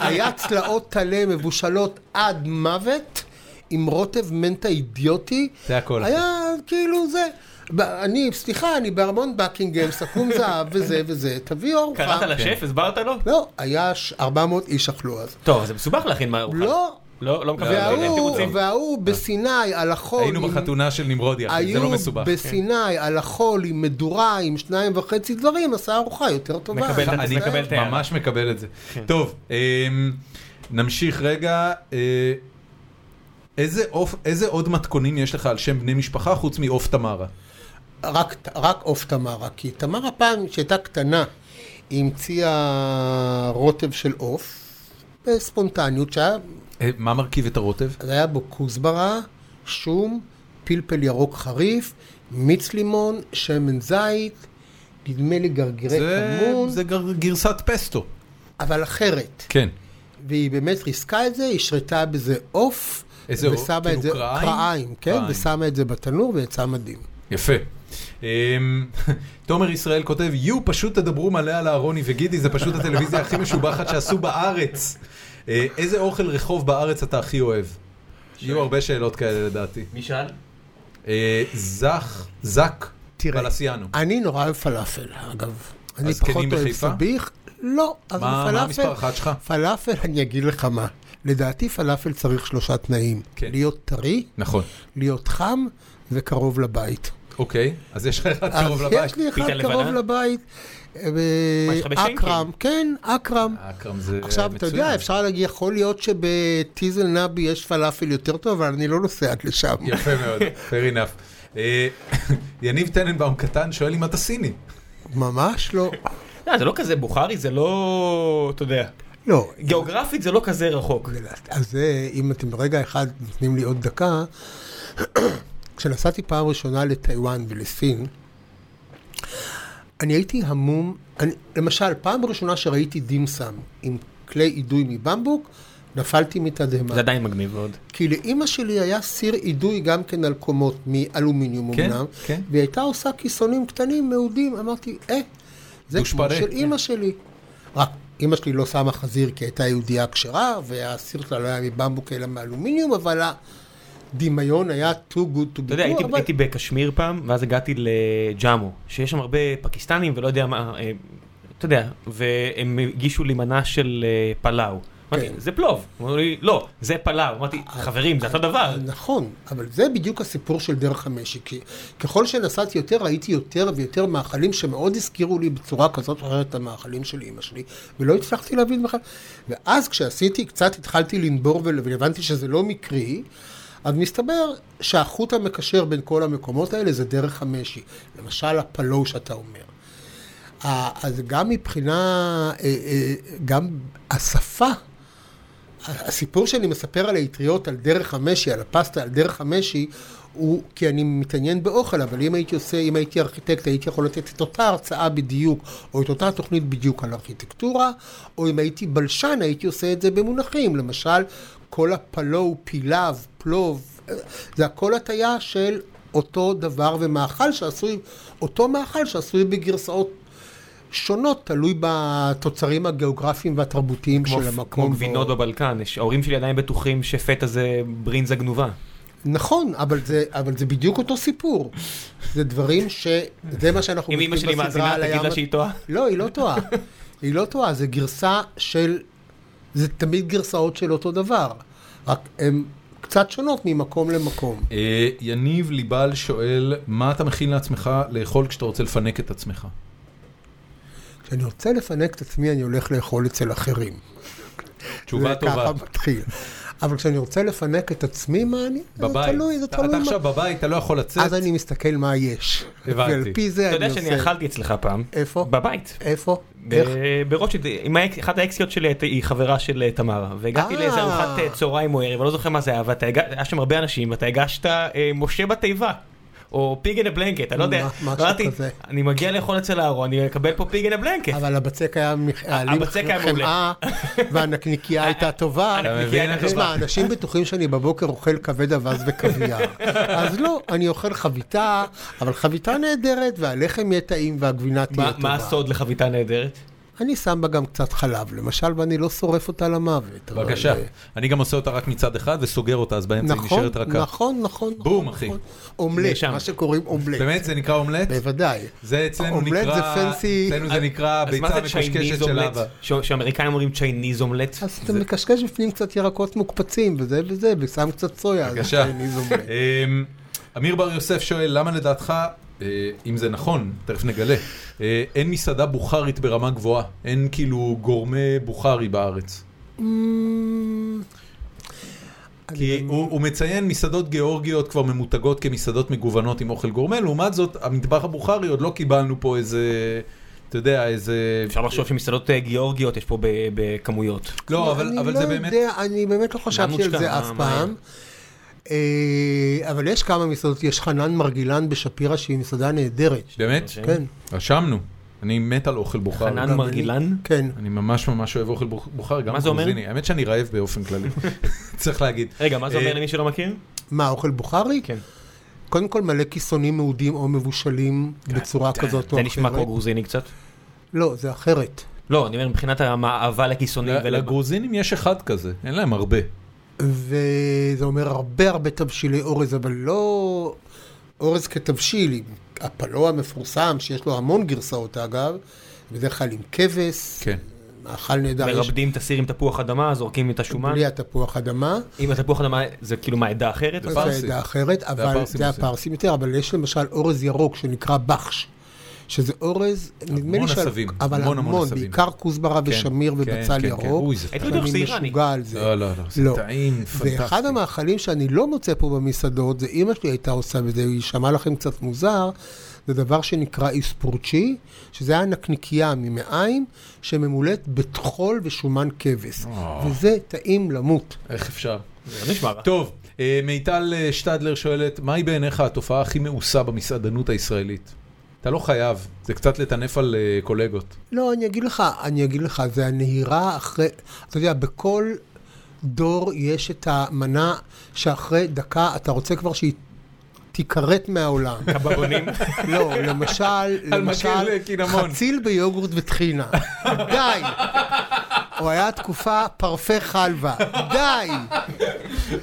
Speaker 3: היה צלעות טלה מבושלות עד מוות, עם רוטב מנטה אידיוטי.
Speaker 1: זה הכל.
Speaker 3: היה כאילו זה. ב- אני, סליחה, אני בארמון בקינגהם, סכו"ם זהב וזה וזה, תביאו ארוחה.
Speaker 4: קראת לשף? הסברת לו?
Speaker 3: לא, היה ש- 400 איש אכלו אז.
Speaker 4: טוב, זה מסובך להכין מה ארוחה.
Speaker 2: אוקיי.
Speaker 3: לא, אה,
Speaker 4: לא, לא מקבל. אין
Speaker 3: וההוא,
Speaker 4: תירוצים.
Speaker 3: וההוא בסיני על החול.
Speaker 1: היינו
Speaker 3: עם-
Speaker 1: בחתונה של נמרודי, אחי, זה לא
Speaker 3: היו
Speaker 1: מסובך.
Speaker 3: בסיני על החול עם מדורה, עם שניים וחצי דברים, עשה ארוחה יותר טובה.
Speaker 4: מקבל את-
Speaker 1: אני
Speaker 4: אני מקבל את ההערה.
Speaker 1: ממש מקבל את זה. טוב, אמ, נמשיך רגע. אה, איזה עוף- איזה עוד מתכונים יש לך על שם בני משפחה חוץ מעוף תמרה?
Speaker 3: רק, רק עוף תמרה, כי תמרה פעם, כשהייתה קטנה, היא המציאה רוטב של עוף, בספונטניות, שהיה,
Speaker 1: אה, מה מרכיב את הרוטב?
Speaker 3: אז היה בו כוסברה, שום, פלפל ירוק חריף, מיץ לימון, שמן זית, נדמה לי גרגירי
Speaker 1: זה-
Speaker 3: כמון,
Speaker 1: זה גר- גרסת פסטו.
Speaker 3: אבל אחרת.
Speaker 1: כן.
Speaker 3: והיא באמת ריסקה את זה, היא שרתה בזה עוף.
Speaker 1: איזה עוף?
Speaker 3: ושמה
Speaker 1: כאילו
Speaker 3: את זה,
Speaker 1: קרעיים?
Speaker 3: קרעיים, כן,
Speaker 1: קרעיים.
Speaker 3: ושמה את זה בתנור ויצא מדהים.
Speaker 1: יפה. אמ, תומר ישראל כותב, יו, פשוט תדברו מלא על אהרוני וגידי, זה פשוט הטלוויזיה הכי משובחת שעשו בארץ. אה, איזה אוכל רחוב בארץ אתה הכי אוהב? יהיו הרבה שאלות כאלה לדעתי.
Speaker 2: מי שאל?
Speaker 1: אה, זך, זק,
Speaker 3: תראה,
Speaker 1: בלסיאנו.
Speaker 3: אני נורא אוהב פלאפל, אגב. אני
Speaker 1: הזקנים
Speaker 3: פחות אוהב
Speaker 1: בחיפה?
Speaker 3: סביח. לא, אבל
Speaker 1: מה מה
Speaker 3: פלאפל,
Speaker 1: המספר אחת שלך?
Speaker 3: פלאפל, אני אגיד לך מה. לדעתי פלאפל צריך שלושה תנאים.
Speaker 1: כן.
Speaker 3: להיות טרי,
Speaker 1: נכון.
Speaker 3: להיות חם וקרוב לבית.
Speaker 1: אוקיי, אז יש לך אחד קרוב
Speaker 3: אז
Speaker 1: לבית.
Speaker 3: אה, יש לי אחד
Speaker 2: פיתה לבנה?
Speaker 3: קרוב לבית. אה,
Speaker 2: מה, יש לך בשינקין?
Speaker 3: אכרם, כן, אכרם.
Speaker 1: אכרם זה
Speaker 3: עכשיו, אתה יודע,
Speaker 1: אה, מצוין.
Speaker 3: אפשר להגיד, יכול להיות שבטיזל נבי יש פלאפל יותר טוב, אבל אני לא נוסעת לשם.
Speaker 1: יפה מאוד, fair enough. אה, יניב טננבאום קטן שואל אם אתה סיני.
Speaker 3: ממש לא.
Speaker 2: לא, זה לא כזה בוכרי, זה לא... אתה יודע.
Speaker 3: לא.
Speaker 2: גיאוגרפית זה לא כזה רחוק.
Speaker 3: אז זה, אם אתם רגע אחד נותנים לי עוד דקה, כשנסעתי פעם ראשונה לטיוואן ולסין, אני הייתי המום, אני, למשל, פעם ראשונה שראיתי דים סם עם כלי אידוי מבמבוק, נפלתי מתדהמה.
Speaker 2: זה עדיין מגניב מאוד.
Speaker 3: כי לאימא שלי היה סיר אידוי גם כן על קומות מאלומיניום
Speaker 1: כן,
Speaker 3: אמנם,
Speaker 1: כן.
Speaker 3: והיא הייתה עושה כיסונים קטנים, מעודים, אמרתי, אה, זה כמו
Speaker 1: גושפלה.
Speaker 2: כן.
Speaker 3: של אימא שלי. רק, אימא שלי לא שמה חזיר כי הייתה יהודייה כשרה, והסיר שלה לא היה מבמבוק אלא מאלומיניום, אבל הדמיון היה too good to be
Speaker 2: אתה יודע, הייתי,
Speaker 3: true, אבל
Speaker 2: הייתי בקשמיר פעם, ואז הגעתי לג'אמו, שיש שם הרבה פקיסטנים ולא יודע מה, אה, אתה יודע, והם הגישו לי מנה של אה, פלאו. אמרתי,
Speaker 3: כן.
Speaker 2: זה פלוב. אמרו לי, לא, זה פלאו. אמרתי, חברים, זה אותו דבר.
Speaker 3: נכון, אבל זה בדיוק הסיפור של דרך המשי, כי ככל שנסעתי יותר, ראיתי יותר ויותר מאכלים שמאוד הזכירו לי בצורה כזאת או אחרת את המאכלים של אימא שלי, ולא הצלחתי להבין בכלל. ואז כשעשיתי, קצת התחלתי לנבור ול- והבנתי שזה לא מקרי, אז מסתבר שהחוט המקשר בין כל המקומות האלה זה דרך המשי. למשל הפלו שאתה אומר. ה- אז גם מבחינה, אה, אה, גם השפה, הסיפור שאני מספר על האטריות, על דרך המשי, על הפסטה, על דרך המשי, הוא כי אני מתעניין באוכל, אבל אם הייתי עושה, אם הייתי ארכיטקט, הייתי יכול לתת את אותה הרצאה בדיוק, או את אותה תוכנית בדיוק על ארכיטקטורה, או אם הייתי בלשן, הייתי עושה את זה במונחים. למשל, כל הפלו, פילב, פלוב, זה הכל הטיה של אותו דבר ומאכל שעשוי, אותו מאכל שעשוי בגרסאות שונות, תלוי בתוצרים הגיאוגרפיים והתרבותיים
Speaker 2: כמו,
Speaker 3: של המקום.
Speaker 2: כמו גבינות
Speaker 3: ועוד.
Speaker 2: בבלקן, יש- ההורים שלי עדיין בטוחים שפטה זה ברינזה גנובה.
Speaker 3: נכון, אבל זה, אבל זה בדיוק אותו סיפור. זה דברים ש... זה מה שאנחנו...
Speaker 2: אם אמא
Speaker 3: בודקים
Speaker 2: שלי
Speaker 3: בסדרה
Speaker 2: מאזינה,
Speaker 3: על
Speaker 2: תגיד לה
Speaker 3: הים-
Speaker 2: שהיא טועה.
Speaker 3: לא, היא לא טועה. היא לא טועה, זה גרסה של... זה תמיד גרסאות של אותו דבר. רק הן קצת שונות ממקום למקום.
Speaker 1: אה, יניב ליבל שואל, מה אתה מכין לעצמך לאכול כשאתה רוצה לפנק את עצמך?
Speaker 3: כשאני רוצה לפנק את עצמי, אני הולך לאכול אצל אחרים.
Speaker 1: תשובה
Speaker 3: זה
Speaker 1: טובה.
Speaker 3: ככה מתחיל. אבל כשאני רוצה לפנק את עצמי, מה אני... זה
Speaker 1: בבית.
Speaker 3: תלוי, זה
Speaker 1: אתה-
Speaker 3: תלוי.
Speaker 1: אתה
Speaker 3: מה-
Speaker 1: עכשיו בבית, אתה לא יכול לצאת.
Speaker 3: אז אני מסתכל מה יש.
Speaker 1: הבנתי.
Speaker 3: ועל פי זה
Speaker 2: אתה
Speaker 3: אני
Speaker 2: יודע
Speaker 3: עושה...
Speaker 2: שאני אה, אכלתי אצלך פעם.
Speaker 3: איפה?
Speaker 2: בבית.
Speaker 3: איפה?
Speaker 2: ב-
Speaker 3: איך?
Speaker 2: ברוטשילד, עם האקס- אחת האקסיות שלי הייתה- היא חברה של אה, תמרה, והגעתי
Speaker 3: אה.
Speaker 2: לאיזה ארוחת אה, צהריים או ערב, אני לא זוכר מה זה היה, ואתה הגע- היה שם הרבה אנשים, ואתה הגשת אה, משה בתיבה, או פיג אין הבלנקט, אני לא יודע,
Speaker 3: מה- משהו
Speaker 2: אמרתי,
Speaker 3: כזה.
Speaker 2: אני מגיע לאכול אצל אהרון, אני אקבל פה פיג אין הבלנקט.
Speaker 3: אבל הבצק היה מכעלים
Speaker 2: הבצק היה מעולה.
Speaker 3: חמאה, והנקניקייה הייתה טובה.
Speaker 1: אתה מבין?
Speaker 2: הייתה
Speaker 3: תשמע, אנשים בטוחים שאני בבוקר אוכל כבד אווז וקוויאר. אז לא, אני אוכל חביתה, אבל חביתה נהדרת, והלחם יהיה טעים והגבינה תהיה
Speaker 2: מה-
Speaker 3: טובה.
Speaker 2: מה הסוד לחביתה נהדרת?
Speaker 3: אני שם בה גם קצת חלב, למשל, ואני לא שורף אותה למוות. אבל,
Speaker 1: בבקשה.
Speaker 3: אה,
Speaker 1: אני גם עושה אותה רק מצד אחד וסוגר אותה, אז באמצע היא
Speaker 3: נכון,
Speaker 1: נשארת רכה.
Speaker 3: נכון, נכון.
Speaker 1: בום,
Speaker 3: נכון,
Speaker 1: אחי.
Speaker 3: נכון. אומלט,
Speaker 2: נרשם.
Speaker 3: מה שקוראים אומלט.
Speaker 1: באמת, זה נקרא אומלט?
Speaker 3: בוודאי.
Speaker 1: זה אצלנו
Speaker 3: אומלט
Speaker 1: נקרא,
Speaker 3: זה fancy.
Speaker 1: אצלנו זה נקרא
Speaker 2: אז מה
Speaker 1: ביצה
Speaker 2: זה
Speaker 1: מקשקשת
Speaker 2: צ'ייניז
Speaker 1: של
Speaker 2: אומלט?
Speaker 1: אבא.
Speaker 2: ש- שאמריקאים אומרים צ'ייניז אומלט?
Speaker 3: אז אתה מקשקש בפנים קצת ירקות מוקפצים, וזה וזה, ושם קצת סויה. אז
Speaker 1: בבקשה.
Speaker 3: אני זומם.
Speaker 1: אמ, אמיר בר יוסף שואל, למה לדעתך, אה, אם זה נכון, תכף נגלה, אה, אין מסעדה בוכרית ברמה גבוהה, אין כאילו גורמה בוכרי בארץ.
Speaker 3: אמ,
Speaker 1: כי הוא, הוא מציין מסעדות גיאורגיות כבר ממותגות כמסעדות מגוונות עם אוכל גורמה, לעומת זאת המטבח הבוכרי עוד לא קיבלנו פה איזה, אתה יודע, איזה...
Speaker 2: אפשר לחשוב שמסעדות אה, גיאורגיות יש פה ב- בכמויות.
Speaker 1: לא, אבל,
Speaker 3: אני
Speaker 1: אבל
Speaker 3: לא
Speaker 1: זה באמת...
Speaker 3: יודע, אני באמת לא חשבתי על
Speaker 2: נמוצ'קה,
Speaker 3: זה אף
Speaker 2: מה- מה
Speaker 3: פעם. אה, אבל יש כמה מסעדות, יש חנן מרגילן בשפירא שהיא מסעדה נהדרת.
Speaker 1: באמת?
Speaker 4: אוקיי.
Speaker 3: כן,
Speaker 1: רשמנו. אני מת על אוכל בוכר.
Speaker 4: חנן
Speaker 3: גם
Speaker 4: מרגילן?
Speaker 3: כן.
Speaker 1: אני ממש ממש אוהב אוכל בוכ- בוכר, גם
Speaker 4: מה זה אומר?
Speaker 1: גרוזיני. האמת שאני רעב באופן כללי, צריך להגיד.
Speaker 4: רגע, מה זה
Speaker 1: אה,
Speaker 4: אומר למי שלא מכיר?
Speaker 3: מה, אוכל בוכרי?
Speaker 4: כן.
Speaker 3: קודם כל מלא כיסונים מעודים או מבושלים בצורה כזאת או
Speaker 4: זה נשמע כמו
Speaker 3: אחרת.
Speaker 4: גרוזיני קצת.
Speaker 3: לא, זה אחרת.
Speaker 4: לא, אני אומר מבחינת המאהבה לקיסונים
Speaker 1: ל-
Speaker 4: ולגרוז.
Speaker 1: לגרוזינים יש אחד כזה, אין להם הרבה.
Speaker 3: כן. וזה אומר הרבה הרבה תבשילי אורז, אבל לא אורז כתבשיל, עם הפלו המפורסם, שיש לו המון גרסאות אגב, בדרך כלל עם כבש,
Speaker 1: כן.
Speaker 3: מאכל נהדר, יש
Speaker 4: מרבדים את הסיר עם תפוח אדמה, זורקים את השומן.
Speaker 3: בלי התפוח אדמה,
Speaker 4: אם התפוח אדמה זה כאילו מה, עדה אחרת?
Speaker 1: זה
Speaker 3: אז
Speaker 1: פרסי.
Speaker 3: זה עדה אחרת, אבל
Speaker 1: הפרסים
Speaker 3: זה
Speaker 1: עושים.
Speaker 3: הפרסים יותר, אבל יש למשל אורז ירוק שנקרא בחש. שזה אורז, נדמה לי
Speaker 1: המון
Speaker 3: ש...
Speaker 1: עשבים,
Speaker 3: אבל
Speaker 1: המון, המון
Speaker 3: המון,
Speaker 1: עשבים.
Speaker 3: בעיקר כוסברה
Speaker 1: כן,
Speaker 3: ושמיר
Speaker 1: כן,
Speaker 3: ובצל
Speaker 1: כן, כן.
Speaker 3: ירוק.
Speaker 1: אוי, זה
Speaker 4: הייתי
Speaker 1: טוב.
Speaker 4: בטוח שזה
Speaker 3: אני
Speaker 4: איראני.
Speaker 3: משוגע על זה.
Speaker 1: לא, לא, לא, זה
Speaker 3: לא.
Speaker 1: טעים, פנטסטי.
Speaker 3: ואחד המאכלים שאני לא מוצא פה במסעדות, זה אימא שלי הייתה עושה, וזה יישמע לכם קצת מוזר, זה דבר שנקרא איספורצ'י, שזה היה נקניקייה ממעיים שממולאת בטחול ושומן כבש.
Speaker 1: אה.
Speaker 3: וזה טעים למות.
Speaker 1: איך אפשר?
Speaker 4: זה לא נשמע רע.
Speaker 1: טוב, אה, מיטל אה, שטדלר שואלת, מהי בעיניך התופעה הכי מעושה במסעדנות הישראלית? אתה לא חייב, זה קצת לטנף על אה, קולגות.
Speaker 3: לא, אני אגיד לך, אני אגיד לך, זה הנהירה אחרי, אתה יודע, בכל דור יש את המנה שאחרי דקה אתה רוצה כבר שהיא תיכרת מהעולם.
Speaker 4: קבבונים.
Speaker 3: לא, למשל,
Speaker 1: על
Speaker 3: למשל,
Speaker 1: מקל קינמון.
Speaker 3: חציל ביוגורט וטחינה. די. או היה תקופה פרפה חלבה. די.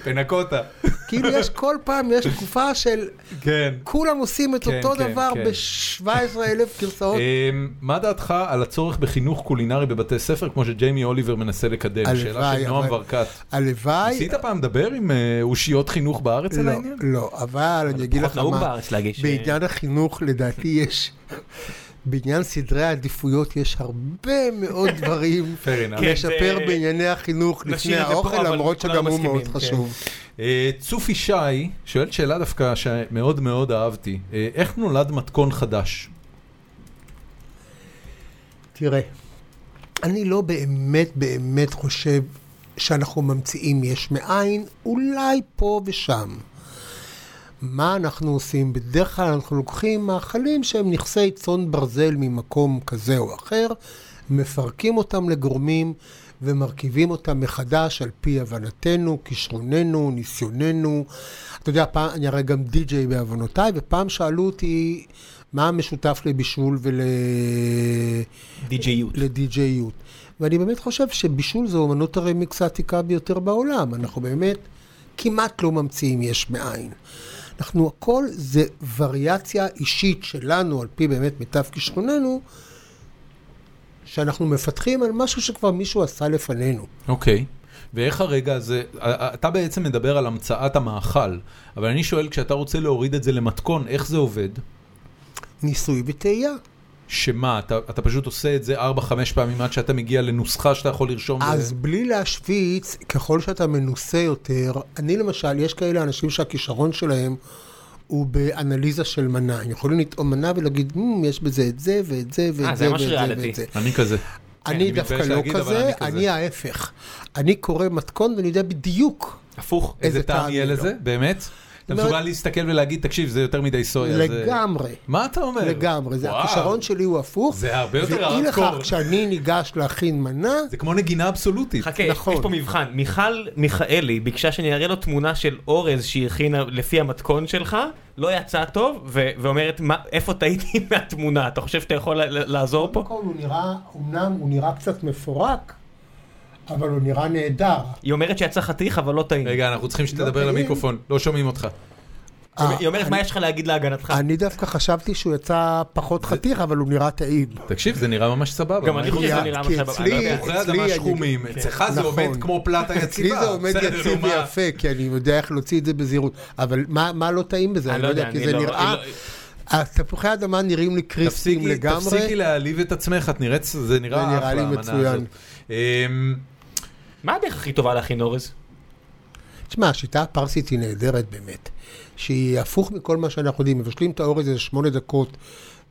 Speaker 1: פנקוטה.
Speaker 3: כאילו יש כל פעם, יש תקופה של
Speaker 1: כן.
Speaker 3: כולם עושים את
Speaker 1: כן,
Speaker 3: אותו
Speaker 1: כן,
Speaker 3: דבר
Speaker 1: כן.
Speaker 3: ב-17 אלף גרסאות.
Speaker 1: אמ, מה דעתך על הצורך בחינוך קולינרי בבתי ספר, כמו שג'יימי אוליבר מנסה לקדם? שאלה
Speaker 3: הלוואי,
Speaker 1: של נועם
Speaker 3: אבל-
Speaker 1: ברקת.
Speaker 3: הלוואי...
Speaker 1: ניסית פעם לדבר עם אה, אושיות חינוך בארץ על
Speaker 3: לא,
Speaker 1: העניין?
Speaker 3: לא, אבל אני אגיד
Speaker 4: פחות
Speaker 3: לך
Speaker 4: נהוג
Speaker 3: מה,
Speaker 4: בארץ להגיש. אה,
Speaker 3: בעניין החינוך לדעתי יש, בעניין סדרי העדיפויות יש הרבה מאוד דברים
Speaker 1: Fair enough.
Speaker 4: כן,
Speaker 3: לשפר
Speaker 4: זה-
Speaker 3: בענייני החינוך
Speaker 4: נשאיר
Speaker 3: לפני
Speaker 4: את זה פה,
Speaker 3: האוכל,
Speaker 4: אבל
Speaker 3: למרות
Speaker 4: כולנו
Speaker 3: שגם הוא
Speaker 4: מסכימים,
Speaker 3: מאוד
Speaker 4: כן.
Speaker 3: חשוב.
Speaker 1: אה, צופי שי שואלת שאלה דווקא שמאוד מאוד אהבתי. אה, איך נולד מתכון חדש?
Speaker 3: תראה, אני לא באמת באמת חושב שאנחנו ממציאים יש מאין, אולי פה ושם. מה אנחנו עושים? בדרך כלל אנחנו לוקחים מאכלים שהם נכסי צאן ברזל ממקום כזה או אחר, מפרקים אותם לגורמים ומרכיבים אותם מחדש על פי הבנתנו, כישרוננו, ניסיוננו. אתה יודע, פעם, אני הרי גם די-ג'יי בעוונותיי, ופעם שאלו אותי מה המשותף לבישול ול...
Speaker 4: די.ג'יות.
Speaker 3: לדי-ג'איות. ואני באמת חושב שבישול זו אומנות הרמיקס העתיקה ביותר בעולם. אנחנו באמת כמעט לא ממציאים יש מאין. אנחנו הכל זה וריאציה אישית שלנו, על פי באמת מיטב כישרוננו, שאנחנו מפתחים על משהו שכבר מישהו עשה לפנינו.
Speaker 1: אוקיי. ואיך הרגע הזה, אה, אתה בעצם מדבר על המצאת המאכל, אבל אני שואל, כשאתה רוצה להוריד את זה למתכון, איך זה עובד?
Speaker 3: ניסוי וטעייה.
Speaker 1: שמה, אתה, אתה פשוט עושה את זה 4-5 פעמים עד שאתה מגיע לנוסחה שאתה יכול לרשום?
Speaker 3: אז בלי להשוויץ, ככל שאתה מנוסה יותר, אני למשל, יש כאלה אנשים שהכישרון שלהם הוא באנליזה של מנה. הם יכולים לטעום מנה ולהגיד, "מ, יש בזה את זה ואת זה ואת זה
Speaker 4: אה,
Speaker 3: ואת
Speaker 4: זה
Speaker 3: זה
Speaker 4: ממש ריאליטי.
Speaker 3: ואת זה.
Speaker 1: אני כזה. כן, אני
Speaker 3: אני דווקא
Speaker 1: מתבייש
Speaker 3: לא
Speaker 1: להגיד, אבל
Speaker 3: כזה,
Speaker 1: אני כזה.
Speaker 3: אני ההפך. אני קורא מתכון ואני יודע בדיוק.
Speaker 1: הפוך,
Speaker 3: איזה
Speaker 1: איזה טעם
Speaker 3: טעם
Speaker 1: יהיה
Speaker 3: יהיה
Speaker 1: לזה? באמת? אתה
Speaker 3: מאוד-
Speaker 1: מסוגל להסתכל ולהגיד, תקשיב, זה יותר מדי סויה. זה-
Speaker 3: לגמרי.
Speaker 1: מה אתה אומר?
Speaker 3: לגמרי, זה
Speaker 1: אה, וואו.
Speaker 3: הכישרון שלי הוא הפוך.
Speaker 1: זה הרבה יותר
Speaker 3: ואי לכך,
Speaker 1: הארדקור.
Speaker 3: כשאני ניגש להכין מנה,
Speaker 1: זה כמו נגינה אבסולוטית.
Speaker 4: חכה, יש
Speaker 3: נכון.
Speaker 4: פה מבחן. מיכל מיכאלי ביקשה שאני אראה לו תמונה של אורז שהיא הכינה לפי המתכון שלך, לא יצא טוב, ו- ואומרת, "מה- איפה טעיתי מהתמונה? אתה חושב שאתה יכול ל- ל- לעזור פה?
Speaker 3: הוא נראה, אמנם הוא נראה קצת מפורק, אבל הוא נראה נהדר.
Speaker 4: היא אומרת שיצא חתיך, אבל לא טעים.
Speaker 1: רגע, אנחנו צריכים שתדבר
Speaker 3: טעים.
Speaker 1: למיקרופון, לא שומעים אותך.
Speaker 4: היא אומרת, מה יש לך להגיד להגנתך?
Speaker 3: אה, אני דווקא חשבתי שהוא יצא פחות חתיך, אבל הוא נראה טעים.
Speaker 1: תקשיב, זה נראה ממש סבבה.
Speaker 4: גם
Speaker 1: מה
Speaker 4: אני
Speaker 1: יש
Speaker 4: חושב שזה
Speaker 1: לך?
Speaker 3: כי-
Speaker 4: נראה
Speaker 3: כי
Speaker 4: מצב-
Speaker 3: אצלי-
Speaker 4: אני יודע.
Speaker 1: אוכלי
Speaker 3: אצלי
Speaker 1: אדמה
Speaker 3: אני-
Speaker 1: שחומים, אצלך זה
Speaker 3: נכון.
Speaker 1: עומד כמו פלטה יציבה.
Speaker 3: אצלי זה עומד
Speaker 1: בסדר,
Speaker 3: יציב
Speaker 1: נו, מה?
Speaker 3: ויפה, כי אני יודע איך להוציא את זה בזהירות. אבל מה מה לא טעים בזה? אני לא יודע,
Speaker 4: אני
Speaker 3: כי זה
Speaker 4: לא-
Speaker 3: נראה...
Speaker 4: אני לא-
Speaker 3: התפוחי האדמה נראים לי קריספים
Speaker 1: תפסיקי- תפסיקי
Speaker 3: לגמרי.
Speaker 1: להעליב את עצמך, את נראית, זה נראה
Speaker 3: זה
Speaker 1: אחלה,
Speaker 3: נראה לי
Speaker 1: המנה
Speaker 3: מצוין.
Speaker 1: הזאת. אמ,
Speaker 4: מה הדרך הכי טובה להכין אורז?
Speaker 3: תשמע, השיטה הפרסית היא נהדרת באמת. שהיא הפוך מכל מה שאנחנו יודעים. מבשלים את האורז איזה שמונה דקות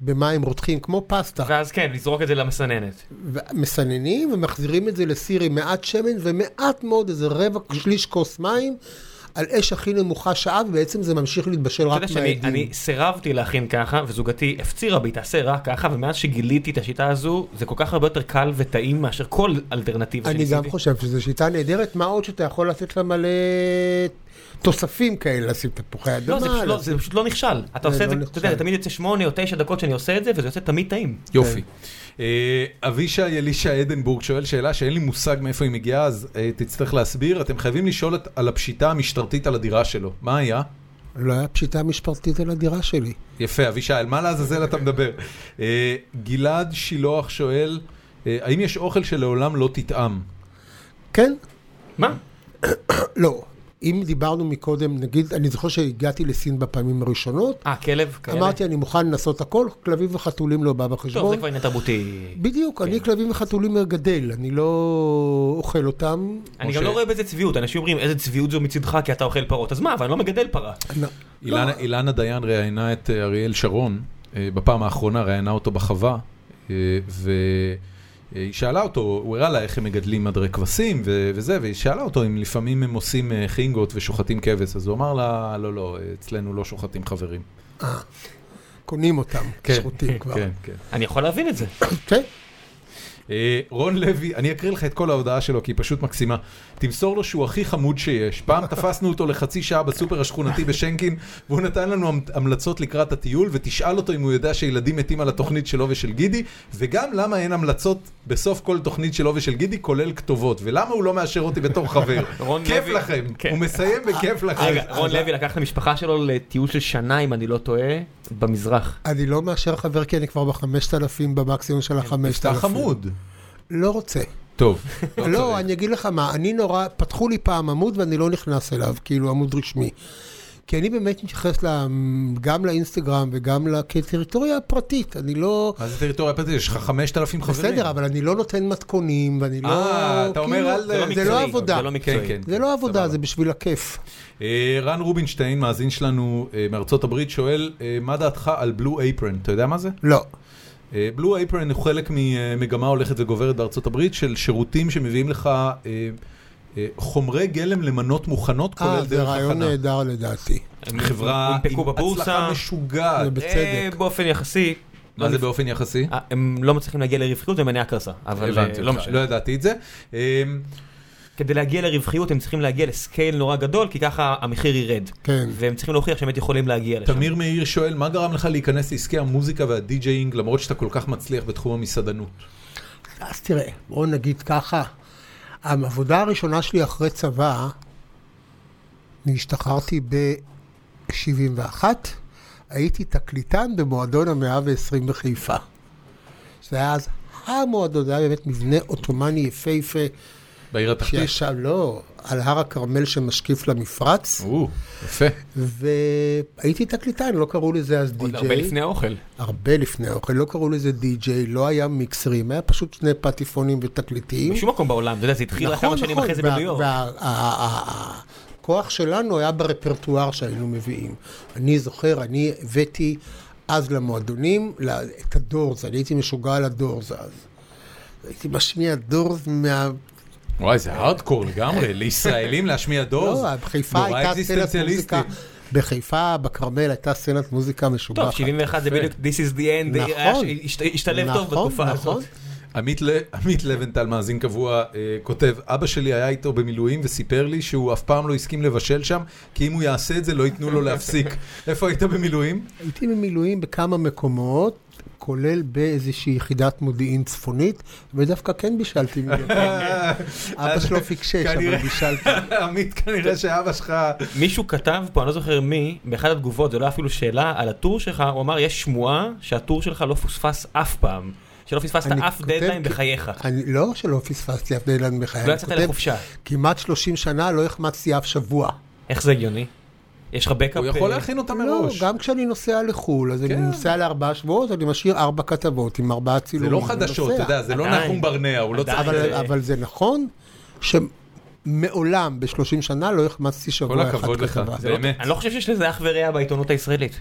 Speaker 3: במים רותחים, כמו פסטה.
Speaker 4: ואז כן, לזרוק את זה למסננת.
Speaker 3: מסננים ומחזירים את זה לסיר עם מעט שמן ומעט מאוד, איזה רבע, שליש כוס מים. על אש הכי נמוכה שעה, ובעצם זה ממשיך להתבשל רק
Speaker 2: אתה יודע שאני
Speaker 3: מהעדים.
Speaker 2: אני סירבתי להכין ככה, וזוגתי הפצירה בי, תעשה רק ככה, ומאז שגיליתי את השיטה הזו, זה כל כך הרבה יותר קל וטעים מאשר כל אלטרנטיבה
Speaker 3: אני
Speaker 2: שניסיתי.
Speaker 3: גם חושב שזו שיטה נהדרת, מה עוד שאתה יכול לתת לה מלא אה, תוספים כאלה, לשים תפוחי אדמה.
Speaker 2: לא, זה פשוט לא,
Speaker 3: לשים-
Speaker 2: זה פשוט לא נכשל. אתה
Speaker 3: זה
Speaker 2: עושה את
Speaker 3: לא
Speaker 2: זה, אתה יודע,
Speaker 3: נכשל.
Speaker 2: תמיד יוצא שמונה או תשע דקות שאני עושה את זה, וזה יוצא תמיד טעים.
Speaker 1: יופי.
Speaker 3: כן.
Speaker 1: אה, אבישי אלישע עדנבורג שואל שאלה שאין לי מושג מאיפה היא מגיעה, אז אה, תצטרך להסביר. אתם חייבים לשאול את- על הפשיטה המשטרתית על הדירה שלו. מה היה?
Speaker 3: לא היה פשיטה משפרתית על הדירה שלי.
Speaker 1: יפה, אבישי, על מה לעזאזל אתה מדבר? אה, גלעד שילוח שואל, אה, האם יש אוכל שלעולם לא תטעם?
Speaker 3: כן,
Speaker 2: מה?
Speaker 3: לא. אם דיברנו מקודם, נגיד, אני זוכר שהגעתי לסין בפעמים הראשונות,
Speaker 2: אה, כלב? כאלה?
Speaker 3: אמרתי, אני מוכן לנסות הכל, כלבים וחתולים לא בא
Speaker 2: טוב,
Speaker 3: בחשבון.
Speaker 2: זה כבר עניין תרבותי.
Speaker 3: בדיוק, אני
Speaker 1: כן.
Speaker 3: כלבים וחתולים מגדל, אני לא אוכל אותם.
Speaker 2: אני
Speaker 1: או
Speaker 2: גם
Speaker 1: ש-
Speaker 2: לא רואה בזה צביעות, אנשים אומרים איזה צביעות זו מצידך כי אתה אוכל פרות, אז מה, אבל אני לא מגדל פרה.
Speaker 3: לא.
Speaker 1: אילנה, אילנה דיין ראיינה את אה, אריאל שרון, אה, בפעם האחרונה ראיינה אותו בחווה, אה, והיא שאלה אותו, הוא הראה לה איך הם מגדלים עדרי כבשים ו- וזה, והיא שאלה אותו אם לפעמים הם עושים אה, חינגות ושוחטים כבש, אז הוא אמר לה, לא, לא, אצלנו לא שוחטים חברים.
Speaker 3: קונים אותם,
Speaker 1: כן,
Speaker 3: שחוטים כבר.
Speaker 1: כן, כן.
Speaker 2: אני יכול להבין את זה.
Speaker 3: כן.
Speaker 1: אה, רון לוי, אני אקריא לך את כל ההודעה שלו, כי היא פשוט מקסימה. תמסור לו שהוא הכי חמוד שיש. פעם תפסנו אותו לחצי שעה בסופר השכונתי בשנקין, והוא נתן לנו המ- המלצות לקראת הטיול, ותשאל אותו אם הוא יודע שילדים מתים על התוכנית שלו ושל גידי, וגם למה אין המלצות בסוף כל תוכנית שלו ושל גידי, כולל כתובות, ולמה הוא לא מאשר אותי בתור חבר.
Speaker 2: רון
Speaker 1: כיף
Speaker 2: לוי-
Speaker 1: לכם,
Speaker 2: כן.
Speaker 1: הוא מסיים בכיף לכם.
Speaker 2: רגע, רון לוי לקח את המשפחה שלו לטיול של שנה, אם אני לא טועה, במזרח.
Speaker 3: אני לא מאשר חבר כי אני כבר בחמשת אלפים במקסימום
Speaker 1: כן,
Speaker 3: של החמשת
Speaker 1: אתה
Speaker 3: אלפים.
Speaker 1: חמוד.
Speaker 3: לא רוצה.
Speaker 1: טוב.
Speaker 3: לא, אני אגיד לך מה, אני נורא, פתחו לי פעם עמוד ואני לא נכנס אליו, כאילו עמוד רשמי. כי אני באמת מתייחס ל- גם לאינסטגרם וגם ל- כטריטוריה פרטית, אני לא...
Speaker 1: מה זה טריטוריה פרטית? יש לך 5,000 חברים.
Speaker 3: בסדר, אבל אני לא נותן מתכונים, ואני לא...
Speaker 1: אה, אתה אומר,
Speaker 3: כאילו,
Speaker 1: אל- זה
Speaker 3: זה
Speaker 1: לא
Speaker 3: לא
Speaker 1: מקצועי,
Speaker 3: עבודה.
Speaker 2: זה לא מקצועי.
Speaker 1: כן, כן.
Speaker 3: זה לא עבודה, זה בשביל הכיף.
Speaker 1: אה, רן רובינשטיין, מאזין שלנו אה, מארצות הברית, שואל, אה, מה דעתך על בלו אייפרן? אתה יודע מה זה?
Speaker 3: לא.
Speaker 1: בלו אייפרן הוא חלק ממגמה הולכת וגוברת בארצות הברית של שירותים שמביאים לך אה, אה, חומרי גלם למנות מוכנות, כולל
Speaker 3: אה, זה
Speaker 1: דרך
Speaker 3: רעיון
Speaker 1: הכנה.
Speaker 3: נהדר לדעתי.
Speaker 2: הם
Speaker 1: חברה
Speaker 2: הונפקו
Speaker 1: הצלחה
Speaker 2: בבורסה,
Speaker 1: משוגעת.
Speaker 3: זה
Speaker 2: אה,
Speaker 3: בצדק.
Speaker 2: באופן יחסי.
Speaker 1: מה זה באופן יחסי?
Speaker 2: אה, הם לא מצליחים להגיע לרווחיות ומניעה קרסה, אבל אה,
Speaker 1: הבנתי
Speaker 2: לא
Speaker 1: אותך,
Speaker 2: משנה.
Speaker 1: לא ידעתי את זה. אה,
Speaker 2: כדי להגיע לרווחיות הם צריכים להגיע לסקייל נורא גדול, כי ככה המחיר ירד.
Speaker 3: כן.
Speaker 2: והם צריכים להוכיח שהם באמת יכולים להגיע לשם.
Speaker 1: תמיר מאיר שואל, מה גרם לך להיכנס לעסקי המוזיקה והדי-ג'יינג למרות שאתה כל כך מצליח בתחום המסעדנות?
Speaker 3: אז תראה, בואו נגיד ככה, העבודה הראשונה שלי אחרי צבא, אני השתחררתי ב-71, הייתי תקליטן במועדון המאה ועשרים בחיפה. זה היה אז המועדון, זה היה באמת מבנה עות'מאני יפהפה,
Speaker 1: בעיר התחתית?
Speaker 3: שיש שם, לא, על הר הכרמל שמשקיף למפרץ,
Speaker 1: או, יפה.
Speaker 3: והייתי תקליטן, לא קראו לזה אז
Speaker 2: עוד
Speaker 3: די.ג'יי.
Speaker 2: הרבה לפני האוכל.
Speaker 3: הרבה לפני האוכל, לא קראו לזה די.ג'יי, לא היה מיקסרים, היה פשוט שני פטיפונים ותקליטים.
Speaker 2: בשום מקום בעולם, אתה יודע, זה התחיל רק
Speaker 3: נכון,
Speaker 2: כמה שנים אחרי זה בניו יורק.
Speaker 3: והכוח שלנו היה ברפרטואר שהיינו מביאים. אני זוכר, אני הבאתי אז למועדונים ל- את הדורז, אני הייתי משוגע על הדורז אז. הייתי משמיע דורז מה...
Speaker 1: וואי, זה הארדקור לגמרי, לישראלים להשמיע דורס?
Speaker 3: לא, בחיפה
Speaker 1: נורא
Speaker 3: הייתה סצנת
Speaker 1: אקזיסטנציאליסטי.
Speaker 3: מוזיקה. בחיפה, בכרמל, הייתה סצנת מוזיקה משוגחת.
Speaker 2: טוב, 71 זה
Speaker 1: יפה.
Speaker 2: בדיוק This is the end,
Speaker 3: נכון.
Speaker 2: היה ש- השת- השתלב טוב
Speaker 3: נכון,
Speaker 2: בתקופה
Speaker 3: נכון.
Speaker 2: הזאת.
Speaker 1: עמית ל- עמית לבנטל, מאזין קבוע, אה, כותב, אבא שלי היה איתו במילואים וסיפר לי שהוא אף פעם לא הסכים לבשל שם, כי אם הוא יעשה את זה לא ייתנו לו להפסיק. איפה היית במילואים?
Speaker 3: הייתי במילואים בכמה מקומות, כולל באיזושהי יחידת מודיעין צפונית, ודווקא כן בישלתי מילואים. אבא שלו פיקשש, אבל
Speaker 1: כנראה.
Speaker 3: בישלתי.
Speaker 1: עמית, כנראה שאבא שלך...
Speaker 2: מישהו כתב פה, אני לא זוכר מי, באחת התגובות, זה לא אפילו שאלה, על הטור שלך, הוא אמר, יש שמועה שהטור שלך לא פוספס אף פעם. שלא פספסת
Speaker 3: אני
Speaker 2: אף
Speaker 3: כותב
Speaker 2: דדליין
Speaker 3: כי-
Speaker 2: בחייך.
Speaker 3: אני לא שלא פספסתי אף דלן בחיי,
Speaker 2: לא
Speaker 3: אני
Speaker 2: יצאת
Speaker 3: כותב,
Speaker 2: לחופשה.
Speaker 3: כמעט 30 שנה לא החמצתי אף שבוע.
Speaker 2: איך זה הגיוני? יש לך אה, בקאפ...
Speaker 1: הוא יכול להכין אותה
Speaker 3: לא,
Speaker 1: מראש.
Speaker 3: גם כשאני נוסע לחו"ל, אז אני
Speaker 1: כן.
Speaker 3: נוסע לארבעה שבועות, אני משאיר ארבע כתבות עם ארבעה
Speaker 1: זה
Speaker 3: צילומים.
Speaker 1: לא
Speaker 3: אני
Speaker 1: חדשות,
Speaker 3: כאילו נוסע.
Speaker 1: אתה יודע, זה לא
Speaker 2: עדיין.
Speaker 1: נחום ברנע, הוא לא צריך...
Speaker 2: עדיין.
Speaker 3: אבל,
Speaker 2: זה-
Speaker 3: אבל זה נכון שמעולם ב-30 שנה לא החמצתי
Speaker 1: כל
Speaker 3: שבוע אחד
Speaker 1: הכבוד לך,
Speaker 2: לא,
Speaker 3: כתבה.
Speaker 1: באמת.
Speaker 2: אני לא חושב שיש לזה אח ורע בעיתונות הישראלית.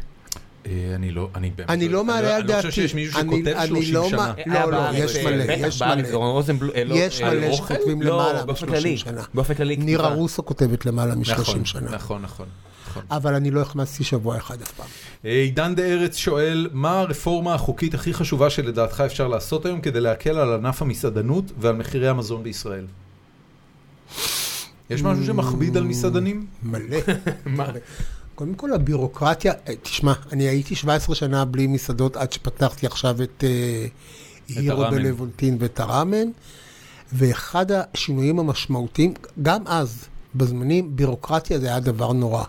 Speaker 1: אה, אני לא, אני באמת...
Speaker 3: אני לא מעלה על
Speaker 1: אני לא חושב
Speaker 3: דעתי.
Speaker 1: שיש מישהו
Speaker 3: אני-
Speaker 1: שכותב
Speaker 3: אני
Speaker 1: 30
Speaker 3: לא
Speaker 1: שנה. נכון,
Speaker 3: מע-
Speaker 2: אה,
Speaker 3: לא, לא,
Speaker 4: בארץ,
Speaker 2: אוקיי.
Speaker 3: יש מלא,
Speaker 4: בטח
Speaker 3: יש
Speaker 4: בארץ,
Speaker 3: מלא.
Speaker 4: אורן רוזנבלום, אה, לא,
Speaker 3: יש
Speaker 4: אה,
Speaker 3: מלא
Speaker 4: רוחל?
Speaker 3: שכותבים
Speaker 4: לא,
Speaker 3: למעלה
Speaker 4: באופן
Speaker 3: מ-
Speaker 4: כללי.
Speaker 3: 30 שנה.
Speaker 4: באופן כללי,
Speaker 3: נירה
Speaker 4: כתיבה.
Speaker 3: רוסו כותבת למעלה מ-30
Speaker 1: נכון,
Speaker 3: שנה.
Speaker 1: נכון, נכון. נכון.
Speaker 3: אבל אני לא החמצתי שבוע אחד אף פעם.
Speaker 1: אה, עידן דה ארץ שואל, מה הרפורמה החוקית הכי חשובה שלדעתך אפשר לעשות היום כדי להקל על ענף המסעדנות ועל מחירי המזון בישראל? יש משהו שמכביד על מסעדנים?
Speaker 3: מלא. קודם כל הבירוקרטיה, אה, תשמע, אני הייתי 17 שנה בלי מסעדות עד שפתחתי עכשיו את אה, הירו
Speaker 1: הראמן.
Speaker 3: בלוונטין ואת הראמן, ואחד השינויים המשמעותיים, גם אז, בזמנים, בירוקרטיה זה היה דבר נורא.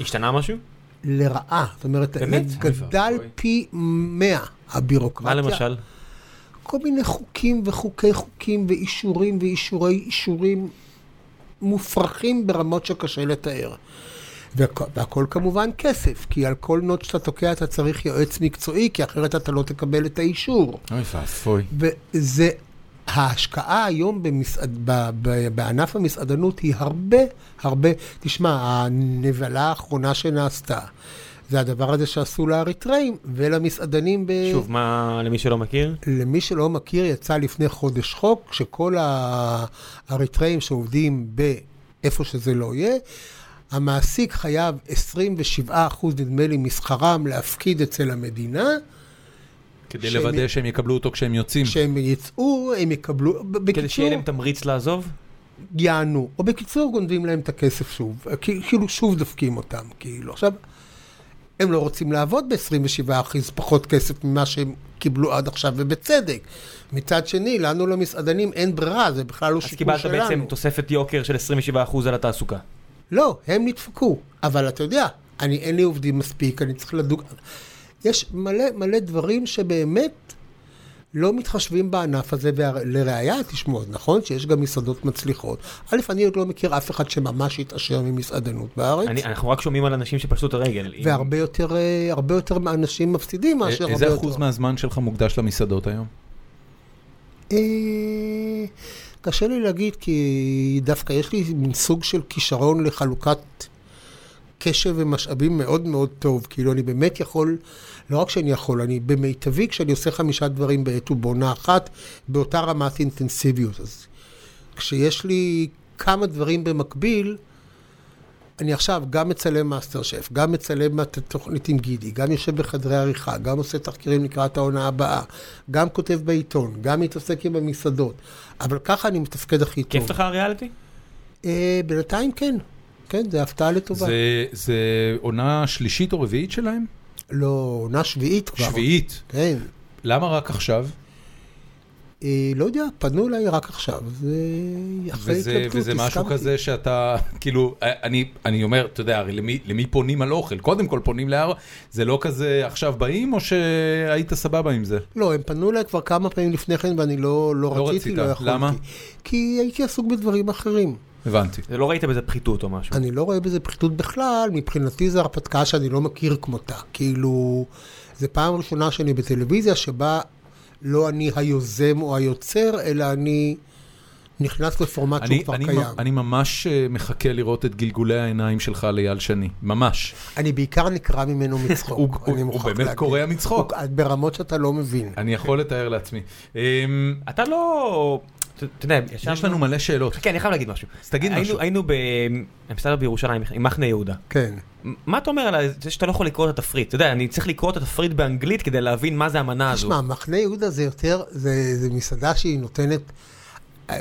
Speaker 4: השתנה משהו?
Speaker 3: לרעה, זאת אומרת,
Speaker 4: באמת?
Speaker 3: גדל
Speaker 1: אוי.
Speaker 3: פי 100
Speaker 4: מה
Speaker 3: הבירוקרטיה.
Speaker 4: למשל?
Speaker 3: כל מיני חוקים וחוקי חוקים ואישורים ואישורי אישורים מופרכים ברמות שקשה לתאר. והכ- והכל כמובן כסף, כי על כל נוט שאתה תוקע אתה צריך יועץ מקצועי, כי אחרת אתה לא תקבל את האישור.
Speaker 1: אוי ואבוי.
Speaker 3: וזה, ההשקעה היום במסעד, ב, ב, בענף המסעדנות היא הרבה, הרבה, תשמע, הנבלה האחרונה שנעשתה, זה הדבר הזה שעשו לאריתראים ולמסעדנים ב...
Speaker 4: שוב, מה, למי שלא מכיר?
Speaker 3: למי שלא מכיר, יצא לפני חודש חוק, שכל האריתראים שעובדים באיפה שזה לא יהיה, המעסיק חייב 27% נדמה לי משכרם להפקיד אצל המדינה,
Speaker 1: כדי
Speaker 3: שהם-
Speaker 1: לוודא שהם יקבלו אותו כשהם יוצאים.
Speaker 3: שהם יצאו, הם יקבלו, ב-
Speaker 4: כן. כדי שיהיה
Speaker 3: בקיצור,
Speaker 4: להם תמריץ לעזוב?
Speaker 3: יענו, או בקיצור גונבים להם את הכסף שוב, כי- כאילו שוב דופקים אותם, כאילו. עכשיו, הם לא רוצים לעבוד ב-27% פחות כסף ממה שהם קיבלו עד עכשיו, ובצדק. מצד שני, לנו למסעדנים אין ברירה, זה בכלל לא
Speaker 4: אז
Speaker 3: שיקול
Speaker 4: קיבלת
Speaker 3: שלנו.
Speaker 4: בעצם תוספת יוקר של 27% על התעסוקה.
Speaker 3: לא, הם נדפקו, אבל אתה יודע, אני אין לי עובדים מספיק, אני צריך לדוג... יש מלא מלא דברים שבאמת לא מתחשבים בענף הזה, ולראיה, תשמעו, אז נכון שיש גם מסעדות מצליחות. א', אני עוד לא מכיר אף אחד שממש התעשר ממסעדנות בארץ,
Speaker 4: אני- אנחנו רק שומעים על אנשים שפשטו את הרגל. אם-
Speaker 3: והרבה יותר, אה, הרבה יותר אנשים מפסידים
Speaker 1: א-
Speaker 3: מאשר הרבה
Speaker 1: אה, איזה
Speaker 3: יותר.
Speaker 1: אחוז מהזמן שלך מוקדש למסעדות היום?
Speaker 3: אה, קשה לי להגיד, כי דווקא יש לי מין סוג של כישרון לחלוקת קשב ומשאבים מאוד מאוד טוב. כאילו, אני באמת יכול, לא רק שאני יכול, אני במיטבי כשאני עושה חמישה דברים בעת ובעונה אחת, באותה רמת אינטנסיביות. אז כשיש לי כמה דברים במקביל, אני עכשיו גם מצלם מאסטר שף, גם מצלם את התוכנית עם גידי, גם יושב בחדרי עריכה, גם עושה תחקירים לקראת העונה הבאה, גם כותב בעיתון, גם מתעסק עם המסעדות. אבל ככה אני מתפקד הכי טוב.
Speaker 4: כיף לך הריאליטי?
Speaker 3: אה, בינתיים כן. כן, זה הפתעה לטובה. זה...
Speaker 1: זה- זה עונה שלישית או רביעית שלהם?
Speaker 3: לא, עונה שביעית כבר.
Speaker 1: שביעית.
Speaker 3: כן.
Speaker 1: למה רק עכשיו?
Speaker 3: אה, לא יודע, פנו אליי רק עכשיו. זה... אחרי
Speaker 1: וזה,
Speaker 3: התלבטות,
Speaker 1: וזה משהו
Speaker 3: הסכמתי.
Speaker 1: כזה שאתה, כאילו, אני, אני אומר, אתה יודע, הרי למי, למי פונים על אוכל? קודם כל פונים להר, זה לא כזה עכשיו באים, או שהיית סבבה עם זה?
Speaker 3: לא, הם פנו אליי כבר כמה פעמים לפני כן, ואני לא, לא,
Speaker 1: לא
Speaker 3: רציתי,
Speaker 1: רצית.
Speaker 3: לא יכולתי.
Speaker 1: למה?
Speaker 3: כי הייתי עסוק בדברים אחרים.
Speaker 1: הבנתי.
Speaker 4: זה לא ראית בזה פחיתות או משהו.
Speaker 3: אני לא רואה בזה פחיתות בכלל, מבחינתי זו הרפתקה שאני לא מכיר כמותה. כאילו, זו פעם ראשונה שאני בטלוויזיה שבה לא אני היוזם או היוצר, אלא אני נכנס לפורמט שהוא
Speaker 1: אני,
Speaker 3: כבר
Speaker 1: אני,
Speaker 3: קיים.
Speaker 1: מ- אני ממש אה, מחכה לראות את גלגולי העיניים שלך לאייל שני, ממש.
Speaker 3: אני בעיקר נקרע ממנו מצחוק.
Speaker 1: הוא,
Speaker 3: אני
Speaker 1: הוא, הוא
Speaker 3: מוכרח
Speaker 1: באמת
Speaker 3: להגיד.
Speaker 1: קורע מצחוק,
Speaker 3: הוא- ברמות שאתה לא מבין.
Speaker 1: אני יכול לתאר לעצמי. אמ,
Speaker 4: אתה לא... אתה- אתה יודע, ישבנו...
Speaker 1: יש לנו מלא שאלות.
Speaker 4: כן, אני חייב להגיד משהו.
Speaker 1: אז תגיד
Speaker 4: היינו-
Speaker 1: משהו.
Speaker 4: היינו במסעדה בירושלים, עם מחנה יהודה.
Speaker 3: כן.
Speaker 4: מה אתה אומר על זה שאתה לא יכול לקרוא את התפריט? אתה יודע, אני צריך לקרוא את התפריט באנגלית כדי להבין מה זה המנה הזו.
Speaker 3: תשמע, מחנה יהודה זה יותר, זה, זה מסעדה שהיא נותנת,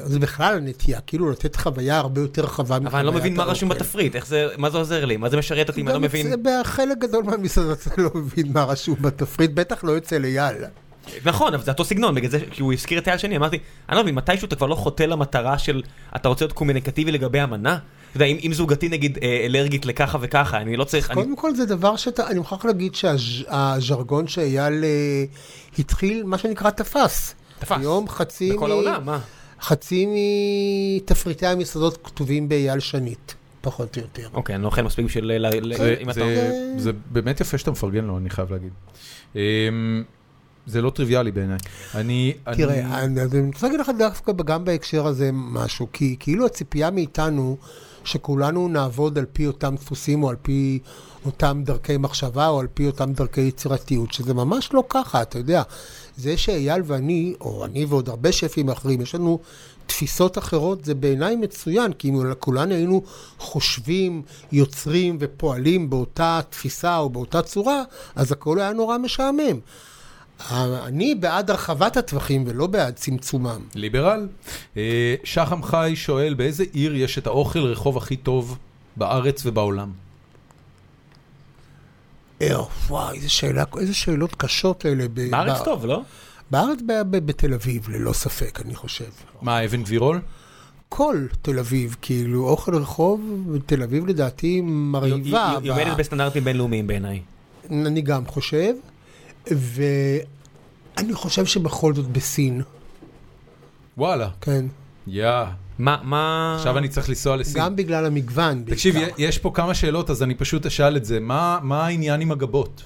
Speaker 3: זה בכלל הנטייה, כאילו לתת חוויה הרבה יותר רחבה מחוויית
Speaker 4: אבל אני לא מבין מה רשום
Speaker 3: האוכל.
Speaker 4: בתפריט, איך זה, מה זה עוזר לי, מה זה משרת אותי, אם אני לא
Speaker 3: גם
Speaker 4: מבין.
Speaker 3: אצל- בחלק גדול מהמסעדות אתה לא מבין מה רשום בתפריט, בטח לא אצל אייל.
Speaker 4: נכון, אבל זה אותו סגנון, בגלל זה, כי הוא הזכיר את היד שני, אמרתי, אני לא מבין, מתישהו אתה כבר לא חוטא למטרה של, אתה רוצה להיות קומוניקטיבי לגבי המנה? אתה יודע, אם, אם זוגתי נגיד אה, אלרגית לככה וככה, אני לא צריך, אני...
Speaker 3: קודם כל זה דבר שאתה, אני מוכרח להגיד שהז'רגון שאייל אה, התחיל, מה שנקרא תפס.
Speaker 4: תפס.
Speaker 3: היום חצי,
Speaker 4: בכל
Speaker 3: מ-
Speaker 4: העולם, מה?
Speaker 3: חצי מתפריטי המסעדות כתובים באייל שנית, פחות או יותר.
Speaker 4: אוקיי, אני לא אוכל מספיק בשביל... ל- ל-
Speaker 1: זה,
Speaker 4: אם אתה...
Speaker 1: זה, זה באמת יפה שאתה מפרגן לו, אני חייב להגיד. אמ, זה לא טריוויאלי בעיניי. אני... אני...
Speaker 3: תראה, אני, אז אני רוצה להגיד לך דווקא גם בהקשר הזה משהו, כי כאילו הציפייה מאיתנו שכולנו נעבוד על פי אותם דפוסים או על פי אותם דרכי מחשבה או על פי אותם דרכי יצירתיות, שזה ממש לא ככה, אתה יודע. זה שאייל ואני, או אני ועוד הרבה שפים אחרים, יש לנו תפיסות אחרות, זה בעיניי מצוין, כי אם כולנו היינו חושבים, יוצרים ופועלים באותה תפיסה או באותה צורה, אז הכל היה נורא משעמם. אני בעד הרחבת הטווחים ולא בעד צמצומם.
Speaker 1: ליברל. אה, שחם חי שואל, באיזה עיר יש את האוכל רחוב הכי טוב בארץ ובעולם?
Speaker 3: אה, וואי, איזה, שאלה, איזה שאלות קשות אלה. ב-
Speaker 4: בארץ
Speaker 3: ב-
Speaker 4: טוב, לא?
Speaker 3: בארץ, ב- ב- בתל אביב, ללא ספק, אני חושב.
Speaker 1: מה, אבן גבירול?
Speaker 3: כל תל אביב, כאילו, אוכל רחוב, תל אביב לדעתי מרהיבה.
Speaker 4: היא- היא
Speaker 3: ב-
Speaker 4: עומדת בסטנדרטים בינלאומיים בעיניי.
Speaker 3: אני גם חושב, ואני חושב שבכל זאת בסין,
Speaker 1: וואלה.
Speaker 3: כן.
Speaker 1: יא.
Speaker 4: מה, מה...
Speaker 1: עכשיו אני צריך לנסוע לסין.
Speaker 3: אה, גם בגלל המגוון בעיקר.
Speaker 1: תקשיב, יש פה כמה שאלות, אז אני פשוט אשאל את זה. מה מה העניין עם הגבות?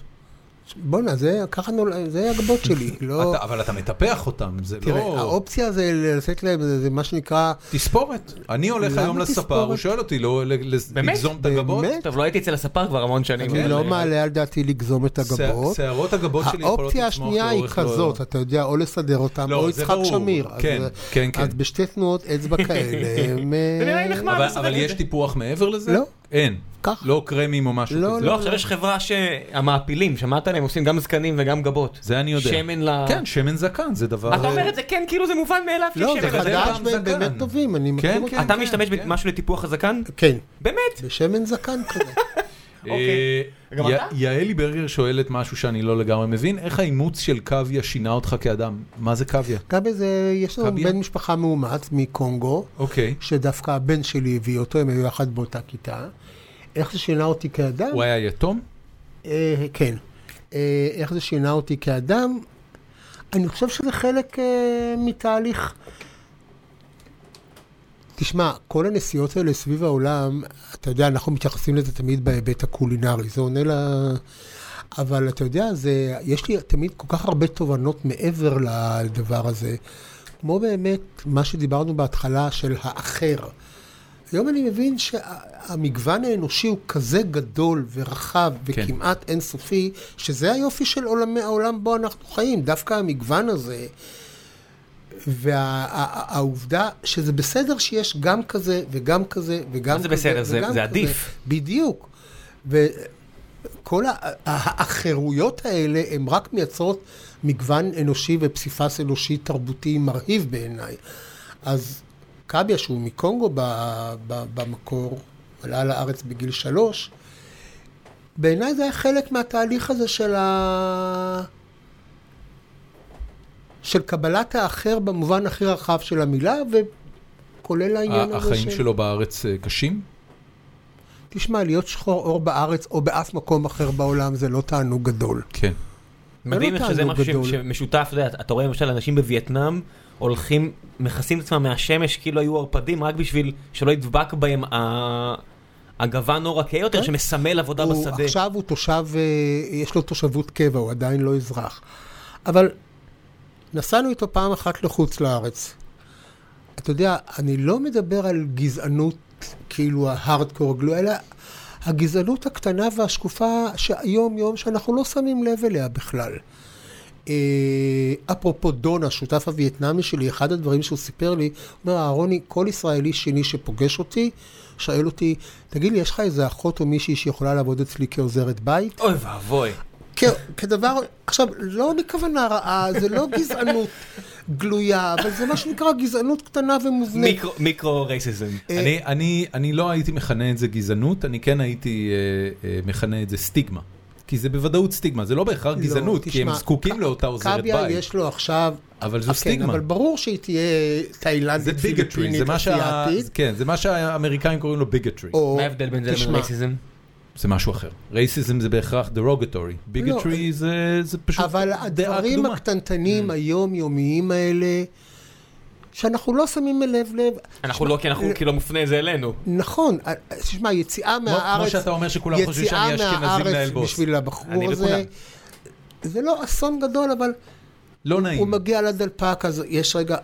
Speaker 3: בואנה, זה ככה נולד, זה הגבות שלי, לא...
Speaker 1: אתה- אבל אתה מטפח אותם, זה
Speaker 3: תראה,
Speaker 1: לא...
Speaker 3: האופציה זה לתת להם, זה זה מה שנקרא,
Speaker 1: תספורת. אני הולך
Speaker 3: למה
Speaker 1: היום לספר, הוא
Speaker 3: תספורת?
Speaker 1: שואל אותי, לא ל- לז-
Speaker 4: באמת?
Speaker 1: לגזום את הגבות?
Speaker 3: באמת,
Speaker 4: טוב, לא הייתי אצל הספר כבר המון שנים.
Speaker 3: אני לא מעלה על דעתי לגזום את
Speaker 1: שער-
Speaker 3: הגבות.
Speaker 1: שערות הגבות שלי יכולות
Speaker 3: האופציה
Speaker 1: לצמוח
Speaker 3: השנייה היא
Speaker 1: לאורך לא-
Speaker 3: כזאת, אתה יודע, או לסדר אותם,
Speaker 1: לא,
Speaker 3: או
Speaker 1: זה
Speaker 3: יצחק
Speaker 1: ברור.
Speaker 3: שמיר.
Speaker 1: כן,
Speaker 3: אז- אה,
Speaker 1: כן, כן.
Speaker 3: אז בשתי תנועות אצבע כאלה, הם... אה,
Speaker 4: זה נראה לי נחמד.
Speaker 1: אבל-
Speaker 4: לשחק
Speaker 1: אבל
Speaker 4: את
Speaker 1: יש
Speaker 4: זה.
Speaker 1: טיפוח מעבר לזה?
Speaker 3: לא.
Speaker 1: אין.
Speaker 3: ככה.
Speaker 1: לא קרמים או משהו
Speaker 3: לא,
Speaker 1: כזה.
Speaker 4: לא, עכשיו יש חברה שהמעפילים, שמעת עליהם, עושים גם זקנים וגם גבות.
Speaker 1: זה אני יודע.
Speaker 4: שמן ל...
Speaker 1: כן, שמן זקן זה דבר... אה,
Speaker 4: אתה אומר את זה כן, כאילו זה מובן מאליו שיש
Speaker 3: לא,
Speaker 4: שמן
Speaker 3: זה
Speaker 1: אבל
Speaker 4: לזה.
Speaker 1: זה
Speaker 3: חדש
Speaker 1: פעם
Speaker 3: והם
Speaker 1: זקן.
Speaker 3: באמת טובים, אני מכיר
Speaker 1: כן,
Speaker 3: אותם.
Speaker 1: כן.
Speaker 4: אתה משתמש במשהו לטיפוח הזקן?
Speaker 3: כן,
Speaker 4: באמת?
Speaker 3: בשמן זקן כזה.
Speaker 1: אה,
Speaker 4: אוקיי. גם
Speaker 1: יא-
Speaker 4: אתה?
Speaker 1: יעלי ברגר שואלת משהו שאני לא לגמרי מבין, איך האימוץ של קוויה שינה אותך כאדם? מה זה קוויה?
Speaker 3: גם איזה, יש לנו
Speaker 1: קביה?
Speaker 3: בן משפחה מאומץ מקונגו,
Speaker 1: אוקיי.
Speaker 3: שדווקא הבן שלי הביא אותו, הם היו יחד באותה כיתה. איך זה שינה אותי כאדם?
Speaker 1: הוא היה יתום?
Speaker 3: אה, כן. אה, איך זה שינה אותי כאדם? אני חושב שזה חלק אה, מתהליך. תשמע, כל הנסיעות האלה סביב העולם, אתה יודע, אנחנו מתייחסים לזה תמיד בהיבט הקולינרי, זה עונה ל... אבל אתה יודע, זה, יש לי תמיד כל כך הרבה תובנות מעבר לדבר הזה, כמו באמת מה שדיברנו בהתחלה של האחר. היום אני מבין שהמגוון האנושי הוא כזה גדול ורחב
Speaker 1: כן.
Speaker 3: וכמעט אינסופי, שזה היופי של עולם, העולם בו אנחנו חיים, דווקא המגוון הזה. והעובדה שזה בסדר שיש גם כזה וגם כזה וגם
Speaker 4: מה זה
Speaker 3: כזה.
Speaker 4: בסדר? זה-
Speaker 3: וגם
Speaker 4: זה
Speaker 3: כזה.
Speaker 4: עדיף.
Speaker 3: בדיוק. וכל ה- האחרויות האלה הן רק מייצרות מגוון אנושי ופסיפס אנושי תרבותי מרהיב בעיניי. אז קביה, שהוא מקונגו ב, ב, במקור, עלה לארץ בגיל שלוש, בעיניי זה היה חלק מהתהליך הזה של ה... של קבלת האחר במובן הכי רחב של המילה, וכולל העניין
Speaker 1: ה-
Speaker 3: הזה
Speaker 1: החיים
Speaker 3: של...
Speaker 1: שלו בארץ אה, קשים?
Speaker 3: תשמע, להיות שחור עור בארץ או באף מקום אחר בעולם זה לא תענוג גדול.
Speaker 1: כן.
Speaker 4: מדהים
Speaker 3: לא
Speaker 4: איך שזה
Speaker 3: תענוג
Speaker 4: משהו
Speaker 3: גדול.
Speaker 4: ש- שמשותף, אתה יודע, אתה רואה למשל אנשים בווייטנאם הולכים, מכסים את עצמם מהשמש כאילו היו ערפדים רק בשביל שלא ידבק בהם ה- הגוון לא רכה יותר
Speaker 3: כן.
Speaker 4: שמסמל עבודה
Speaker 3: הוא
Speaker 4: בשדה.
Speaker 3: עכשיו הוא תושב, אה, יש לו תושבות קבע, הוא עדיין לא אזרח. אבל נסענו איתו פעם אחת לחוץ לארץ. אתה יודע, אני לא מדבר על גזענות כאילו ההארדקור, גלו, אלא הגזענות הקטנה והשקופה שהיום-יום שאנחנו לא שמים לב אליה בכלל. אה, אפרופו דון, השותף הווייטנאמי שלי, אחד הדברים שהוא סיפר לי, הוא אומר, אהרוני, כל ישראלי שני שפוגש אותי, שואל אותי, תגיד לי, יש לך איזה אחות או מישהי שיכולה לעבוד אצלי כעוזרת בית?
Speaker 4: אוי ואבוי.
Speaker 3: כ- כדבר, עכשיו, לא מכוונה רעה, זה לא גזענות גלויה, אבל זה מה שנקרא גזענות קטנה ומובנית.
Speaker 4: מיקרו- מיקרו רייסיזם.
Speaker 3: אה,
Speaker 1: אני- אני- אני לא הייתי מכנה את זה גזענות, אני כן הייתי אה, אה, מכנה את זה סטיגמה. כי זה בוודאות סטיגמה, זה לא בהכרח
Speaker 3: לא,
Speaker 1: גזענות, כי
Speaker 3: תשמע,
Speaker 1: הם זקוקים
Speaker 3: ק-
Speaker 1: לאותה עוזרת
Speaker 3: קביה
Speaker 1: בית.
Speaker 3: יש לו עכשיו...
Speaker 1: אבל זו
Speaker 3: אה, כן,
Speaker 1: סטיגמה.
Speaker 3: אבל ברור שהיא תהיה
Speaker 1: זה
Speaker 3: תאילנדית,
Speaker 1: ביגטרי, זה
Speaker 3: פיליפינית,
Speaker 1: מה שה-
Speaker 3: אסיאתית.
Speaker 1: כן, זה מה שהאמריקאים קוראים לו ביגטרי.
Speaker 3: או-
Speaker 4: מה ההבדל בין זה לבין
Speaker 3: תשמע,
Speaker 4: רייסיזם?
Speaker 1: זה משהו אחר. רייסיזם זה בהכרח דרוגטורי. ביגטרי זה זה פשוט
Speaker 3: לא, אבל
Speaker 1: דעה
Speaker 3: הדברים
Speaker 1: קדומה. Mm.
Speaker 3: הקטנטנים היומיומיים האלה, שאנחנו לא שמים לב לב,
Speaker 4: אנחנו לא, כי אנחנו
Speaker 3: אה,
Speaker 4: כאילו מופנה זה אלינו.
Speaker 3: נכון, אה, תשמע, יציאה
Speaker 1: כמו
Speaker 3: מהארץ,
Speaker 1: שאתה אומר שכולם חושבים
Speaker 3: יציאה
Speaker 1: שאני אשכנזי
Speaker 3: מהארץ
Speaker 1: מנהל בוס.
Speaker 3: בשביל הבחור
Speaker 4: אני
Speaker 3: הזה,
Speaker 4: וכולם.
Speaker 3: זה לא אסון גדול, אבל
Speaker 1: לא
Speaker 3: הוא-
Speaker 1: נעים.
Speaker 3: הוא מגיע לדלפק, אז יש רגע,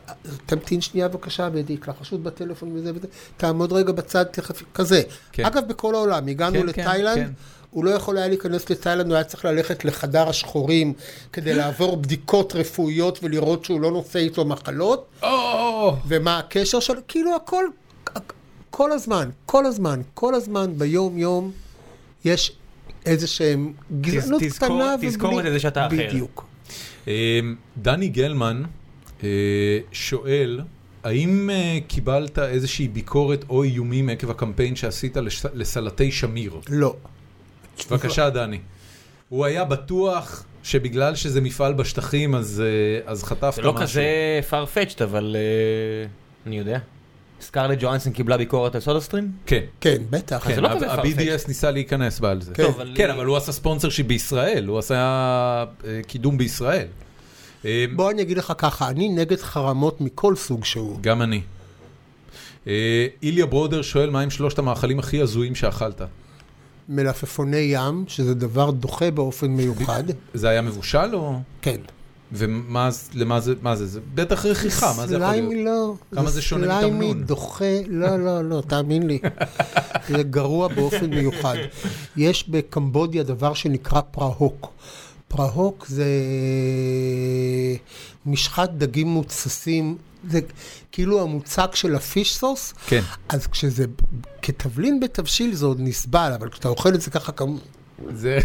Speaker 3: תמתין שנייה בבקשה, בידיק, לחשוד בטלפון וזה וזה, תעמוד רגע בצד, תכף, כזה.
Speaker 1: כן.
Speaker 3: אגב, בכל העולם, הגענו
Speaker 1: כן, כן, כן.
Speaker 3: לתאילנד, הוא לא יכול היה להיכנס לתאילנד, הוא היה צריך ללכת לחדר השחורים כדי לעבור בדיקות רפואיות ולראות שהוא לא נושא איתו מחלות,
Speaker 1: או,
Speaker 3: ומה הקשר שלו, כאילו הכל, כל הזמן, כל הזמן, כל הזמן, ביום-יום, יש איזה שהם גזענות
Speaker 2: תזכור-
Speaker 3: קטנה ובלי...
Speaker 2: תזכור את זה שאתה אחר.
Speaker 3: בדיוק.
Speaker 1: אמ, דני גלמן אה, שואל, האם אה, קיבלת איזושהי ביקורת או איומים עקב הקמפיין שעשית לש- לסלטי שמיר?
Speaker 3: לא.
Speaker 1: בבקשה, דני. הוא היה בטוח שבגלל שזה מפעל בשטחים, אז, אה, אז חטפת משהו.
Speaker 2: זה לא כזה farfetched, אבל אה, אני יודע. סקרלט ג'ואנסון קיבלה ביקורת על סודה סטרים?
Speaker 1: כן.
Speaker 3: כן, בטח.
Speaker 1: כן,
Speaker 2: זה לא כזה
Speaker 1: ה-
Speaker 2: farfetched.
Speaker 1: ה-BDS ניסה להיכנס בה על זה.
Speaker 3: כן.
Speaker 2: טוב, אבל-
Speaker 1: כן, אבל הוא עשה ספונסר שהיא בישראל, הוא עשה אה, קידום בישראל. אה,
Speaker 3: בוא אני אגיד לך ככה, אני נגד חרמות מכל סוג שהוא.
Speaker 1: גם אני. אה, איליה ברודר שואל, מה עם שלושת המאכלים הכי הזויים שאכלת?
Speaker 3: מלפפוני ים, שזה דבר דוחה באופן מיוחד.
Speaker 1: זה היה מבושל או...
Speaker 3: כן.
Speaker 1: ומה זה- למה זה, מה זה? זה בטח רכיחה, מה זה יכול להיות?
Speaker 3: סליימי לא.
Speaker 1: כמה זה שונה מתמנון?
Speaker 3: סליימי דוחה, לא, לא, לא, תאמין לי. זה גרוע באופן מיוחד. יש בקמבודיה דבר שנקרא פרהוק. פרהוק זה משחת דגים מוצסים, זה כאילו המוצק של הפיש סוס,
Speaker 1: כן.
Speaker 3: אז כשזה כתבלין בתבשיל זה עוד נסבל, אבל כשאתה אוכל את זה ככה כמו...
Speaker 1: זה...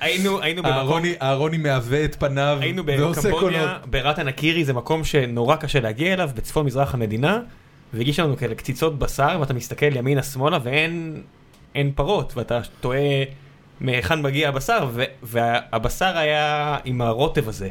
Speaker 2: היינו היינו במקום...
Speaker 1: אהרוני- אהרוני מעווה את פניו
Speaker 2: היינו
Speaker 1: ועושה קולות.
Speaker 2: בקמבודיה, בירת הנקירי זה מקום שנורא קשה להגיע אליו, בצפון מזרח המדינה, והגיש לנו כאלה קציצות בשר, ואתה מסתכל ימינה שמאלה ואין אין פרות, ואתה תוהה מהיכן מגיע הבשר, ו- והבשר היה עם הרוטב הזה,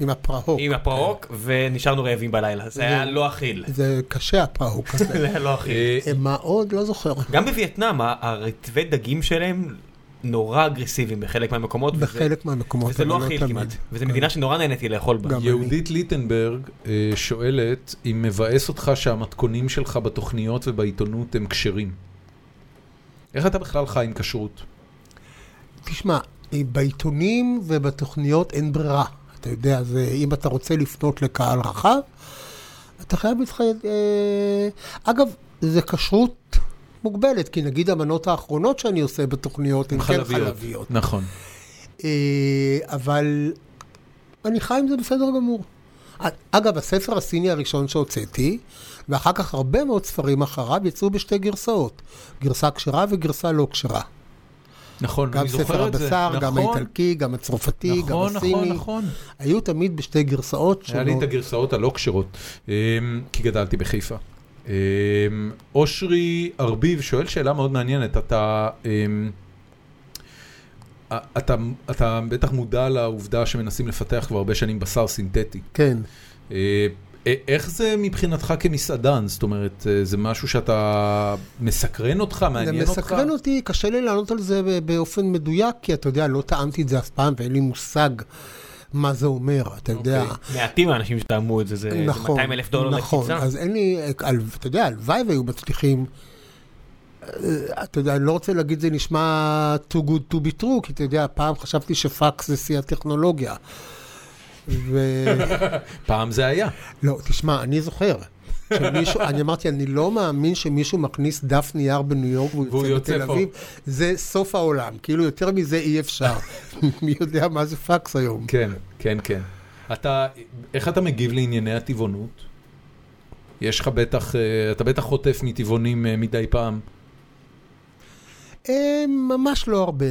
Speaker 3: עם הפרהוק.
Speaker 2: עם הפרוק, ונשארנו רעבים בלילה, זה היה לא אכיל,
Speaker 3: זה קשה הפרהוק הזה.
Speaker 2: זה היה לא אכיל.
Speaker 1: אה,
Speaker 3: מה עוד? לא זוכר.
Speaker 2: גם בווייטנאם, ה- הרטבי דגים שלהם נורא אגרסיביים בחלק מהמקומות, וזה-
Speaker 3: בחלק מהמקומות.
Speaker 2: וזה לא
Speaker 3: אבל
Speaker 2: אכיל
Speaker 3: תמיד.
Speaker 2: כמעט, וזו מדינה שנורא נהניתי לאכול בה.
Speaker 3: גם.
Speaker 1: יהודית ליטנברג אה, שואלת אם מבאס אותך שהמתכונים שלך בתוכניות ובעיתונות הם כשרים. איך אתה בכלל חי עם כשרות?
Speaker 3: תשמע, אה, בעיתונים ובתוכניות אין ברירה. אתה יודע, זה, אם אתה רוצה לפנות לקהל רחב, אתה חייב להתחיל... אה, אגב, זה כשרות מוגבלת, כי נגיד המנות האחרונות שאני עושה בתוכניות הן כן חלביות.
Speaker 1: נכון.
Speaker 3: אה, אבל אני חי עם זה בסדר גמור. אה, אגב, הספר הסיני הראשון שהוצאתי, ואחר כך הרבה מאוד ספרים אחריו, יצאו בשתי גרסאות. גרסה כשרה וגרסה לא כשרה.
Speaker 1: נכון,
Speaker 3: גם
Speaker 1: אני
Speaker 3: ספר
Speaker 1: זוכר את זה.
Speaker 3: הבשר, גם
Speaker 1: נכון,
Speaker 3: האיטלקי, גם הצרפתי, גם
Speaker 1: נכון, נכון,
Speaker 3: הסיני. לא-
Speaker 1: נכון.
Speaker 3: היו תמיד בשתי גרסאות
Speaker 1: היה לי את
Speaker 3: שונות.
Speaker 1: הגרסאות הלא כשרות, אמ, כי גדלתי בחיפה. אמ, אושרי ארביב שואל שאלה מאוד מעניינת, אתה... אמ, אתה, אתה בטח מודע לעובדה שמנסים לפתח כבר הרבה שנים בשר סינתטי.
Speaker 3: כן.
Speaker 1: אה, אה, איך זה מבחינתך כמסעדן? זאת אומרת, אה, זה משהו שאתה מסקרן אותך,
Speaker 3: זה
Speaker 1: מעניין אותך?
Speaker 3: מסקרן אותי, קשה לי לענות על זה ב- באופן מדויק, כי אתה יודע, לא טעמתי את זה אף פעם ואין לי מושג מה זה אומר,
Speaker 1: אוקיי.
Speaker 3: אתה יודע.
Speaker 1: אה,
Speaker 2: מעטים האנשים שטעמו את זה, זה זה
Speaker 3: נכון,
Speaker 2: 200 אלף דולר
Speaker 3: נכון,
Speaker 2: לקציצה.
Speaker 3: אז אין לי, על- אתה יודע, הלוואי והיו מצליחים. אה, אתה יודע, אני לא רוצה להגיד זה נשמע too good to be true, כי אתה יודע, פעם חשבתי שפקס זה שיא הטכנולוגיה. ו...
Speaker 1: פעם זה היה.
Speaker 3: לא, תשמע, אני זוכר. שמישהו, אני אמרתי, אני לא מאמין שמישהו מכניס דף נייר בניו יורק
Speaker 1: והוא
Speaker 3: והוא
Speaker 1: יוצא
Speaker 3: יוצא בתל
Speaker 1: פה.
Speaker 3: אביב. זה סוף העולם, כאילו יותר מזה אי אפשר. מי יודע מה זה פקס היום.
Speaker 1: כן, כן, כן. אתה, איך אתה מגיב לענייני הטבעונות? יש לך בטח, אה, אתה בטח חוטף מטבעונים אה, מדי פעם.
Speaker 3: אה, ממש לא הרבה.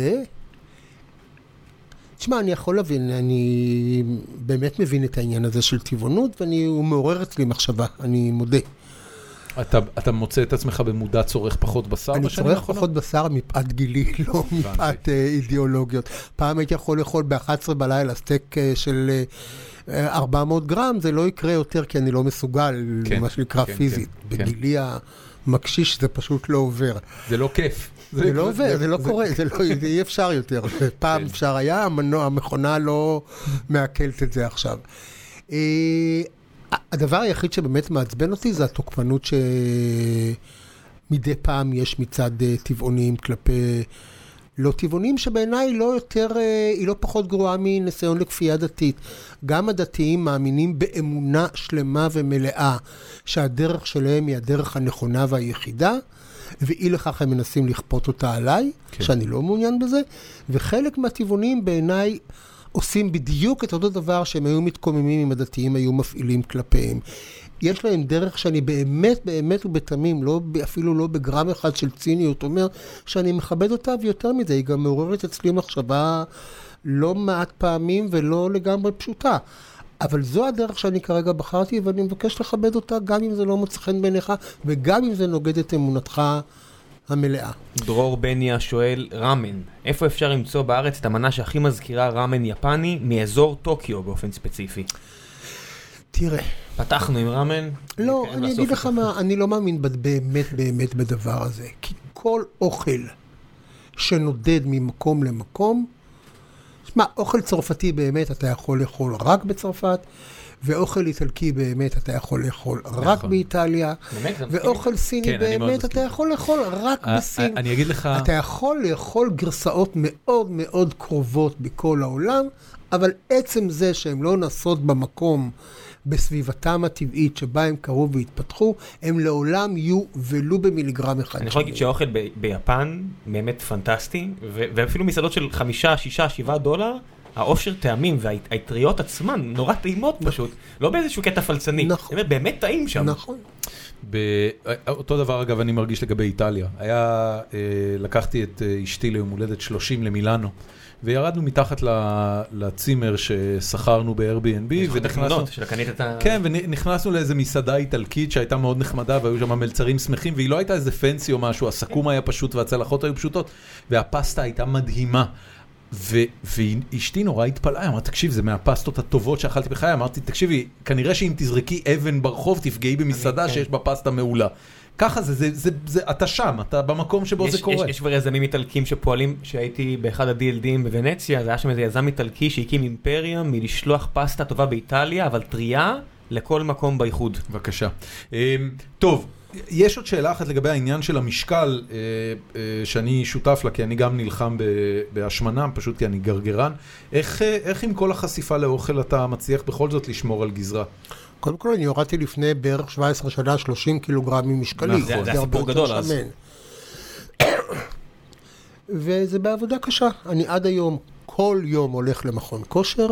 Speaker 3: תשמע, אני יכול להבין, אני באמת מבין את העניין הזה של טבעונות, והוא מעורר אצלי מחשבה, אני מודה.
Speaker 1: אתה, אתה מוצא את עצמך במודע צורך פחות בשר
Speaker 3: אני
Speaker 1: בשנים
Speaker 3: צורך
Speaker 1: האחרונות?
Speaker 3: פחות בשר מפאת גילי, לא מפאת אה, אידיאולוגיות. פעם הייתי יכול לאכול ב-11 בלילה סטייק אה, של אה, 400 גרם, זה לא יקרה יותר כי אני לא מסוגל,
Speaker 1: כן,
Speaker 3: מה שנקרא
Speaker 1: כן,
Speaker 3: פיזית.
Speaker 1: כן, כן.
Speaker 3: בגילי המקשיש זה פשוט לא עובר.
Speaker 1: זה לא כיף.
Speaker 3: זה לא עובר, זה כן. לא קורה, זה לא, זה אי אפשר יותר. פעם אפשר היה, המנוע, המכונה לא מעכלת את זה עכשיו. אה, הדבר היחיד שבאמת מעצבן אותי זה התוקפנות שמדי פעם יש מצד אה, טבעונים כלפי, לא טבעונים, שבעיניי היא לא יותר, אה, היא לא פחות גרועה מניסיון לכפייה דתית. גם הדתיים מאמינים באמונה שלמה ומלאה שהדרך שלהם היא הדרך הנכונה והיחידה, ואי לכך הם מנסים לכפות אותה עליי,
Speaker 1: כן.
Speaker 3: כן. שאני לא מעוניין בזה, וחלק מהטבעונים בעיניי... עושים בדיוק את אותו דבר שהם היו מתקוממים אם הדתיים היו מפעילים כלפיהם. יש להם דרך שאני באמת, באמת ובתמים, לא, ב- אפילו לא בגרם אחד של ציניות, אומר שאני מכבד אותה, ויותר מזה, היא גם מעוררת אצלי מחשבה לא מעט פעמים ולא לגמרי פשוטה. אבל זו הדרך שאני כרגע בחרתי, ואני מבקש לכבד אותה גם אם זה לא מוצא חן בעיניך, וגם אם זה נוגד את אמונתך המלאה.
Speaker 2: דרור בניה שואל, ראמן, איפה אפשר למצוא בארץ את המנה שהכי מזכירה ראמן יפני מאזור טוקיו באופן ספציפי?
Speaker 3: תראה,
Speaker 2: פתחנו עם כן, ראמן.
Speaker 3: לא,
Speaker 2: נתקדם
Speaker 3: אני
Speaker 2: לסוף.
Speaker 3: אגיד לך מה, אני לא מאמין בד- באמת באמת בדבר הזה. כי כל אוכל שנודד ממקום למקום, שמע, אוכל צרפתי באמת אתה יכול לאכול רק בצרפת, ואוכל איטלקי באמת אתה יכול לאכול רק
Speaker 1: נכון.
Speaker 3: באיטליה,
Speaker 2: באמת, אתה מסכים?
Speaker 3: ואוכל סיני
Speaker 1: כן, אני מאוד
Speaker 3: באמת
Speaker 1: מסכים.
Speaker 3: אתה יכול לאכול רק
Speaker 1: אה,
Speaker 3: בסין.
Speaker 1: אני אגיד לך...
Speaker 3: אתה יכול לאכול גרסאות מאוד מאוד קרובות בכל העולם, אבל עצם זה שהן לא נעשות במקום, בסביבתם הטבעית שבה הם קרו והתפתחו, הם לעולם יהיו ולו במיליגרם אחד.
Speaker 2: אני יכול להגיד
Speaker 3: שלי.
Speaker 2: שהאוכל ב- ביפן באמת פנטסטי, ו- ואפילו מסעדות של חמישה, שישה, שבעה דולר, העושר טעמים והאטריות עצמן נורא טעימות פשוט, לא באיזשהו קטע פלצני,
Speaker 3: נכון.
Speaker 2: באמת, באמת טעים שם.
Speaker 3: נכון.
Speaker 1: ב... אותו דבר אגב אני מרגיש לגבי איטליה. היה, אה, לקחתי את אה, אשתי ליום הולדת 30 למילאנו, וירדנו מתחת ל... לצימר ששכרנו ב-Airbnb,
Speaker 2: יש לך
Speaker 1: ונכנסנו...
Speaker 2: תמונות של קנית את ה...
Speaker 1: כן, ונכנסנו לאיזה מסעדה איטלקית שהייתה מאוד נחמדה והיו שם מלצרים שמחים והיא לא הייתה איזה פנסי או משהו, הסכו"ם היה פשוט והצלחות היו פשוטות והפסטה הייתה מדהימה. ו- ואשתי נורא התפלאה, היא אמרה, תקשיב, זה מהפסטות הטובות שאכלתי בחיי, אמרתי, תקשיבי, כנראה שאם תזרקי אבן ברחוב תפגעי במסעדה
Speaker 2: כן.
Speaker 1: שיש בה פסטה מעולה. ככה זה, זה, זה, זה, אתה שם, אתה במקום שבו
Speaker 2: יש,
Speaker 1: זה קורה.
Speaker 2: יש, יש כבר יזמים איטלקים שפועלים, שהייתי באחד ה-DLDים בוונציה, אז היה שם איזה יזם איטלקי שהקים אימפריה מלשלוח פסטה טובה באיטליה, אבל טריה לכל מקום באיחוד.
Speaker 1: בבקשה. אמ, טוב, יש עוד שאלה אחת לגבי העניין של המשקל, אה, אה, שאני שותף לה, כי אני גם נלחם ב- בהשמנה, פשוט כי אני גרגרן. איך אה, איך עם כל החשיפה לאוכל אתה מצליח בכל זאת לשמור על גזרה?
Speaker 3: קודם כל, אני הורדתי לפני בערך 17 שנה 30 קילוגרם ממשקלי.
Speaker 1: נכון. זה-
Speaker 2: זה
Speaker 3: הרבה
Speaker 2: הסיפור
Speaker 3: יותר
Speaker 2: גדול אז.
Speaker 3: שמן. וזה בעבודה קשה. אני עד היום, כל יום הולך למכון כושר,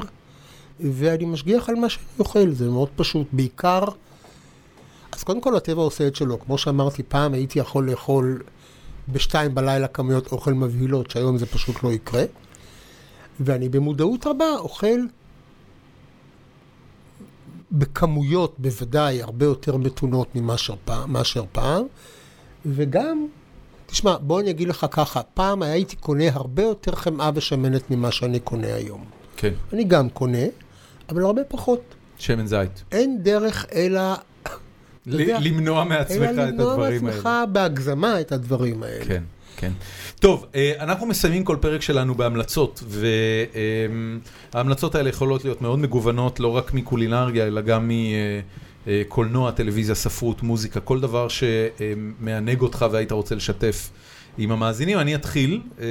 Speaker 3: ואני משגיח על מה שאני אוכל, זה מאוד פשוט. בעיקר, אז קודם כל הטבע עושה את שלו. כמו שאמרתי, פעם הייתי יכול לאכול בשתיים בלילה כמויות אוכל מבהילות, שהיום זה פשוט לא יקרה. ואני במודעות רבה אוכל בכמויות בוודאי הרבה יותר מתונות מאשר פעם, מאשר פעם. וגם, תשמע, בוא אני אגיד לך ככה, פעם הייתי קונה הרבה יותר חמאה ושמנת ממה שאני קונה היום.
Speaker 1: כן.
Speaker 3: אני גם קונה, אבל הרבה פחות.
Speaker 1: שמן זית.
Speaker 3: אין דרך אלא,
Speaker 1: ל-
Speaker 3: יודע,
Speaker 1: למנוע מעצמך
Speaker 3: אלא
Speaker 1: את הדברים האלה.
Speaker 3: למנוע מעצמך בהגזמה את הדברים האלה.
Speaker 1: כן, כן. טוב, אה, אנחנו מסיימים כל פרק שלנו בהמלצות, וההמלצות האלה יכולות להיות מאוד מגוונות, לא רק מקולינריה, אלא גם מקולנוע, טלוויזיה, ספרות, מוזיקה, כל דבר שמענג אותך והיית רוצה לשתף. עם המאזינים, אני אתחיל, אה,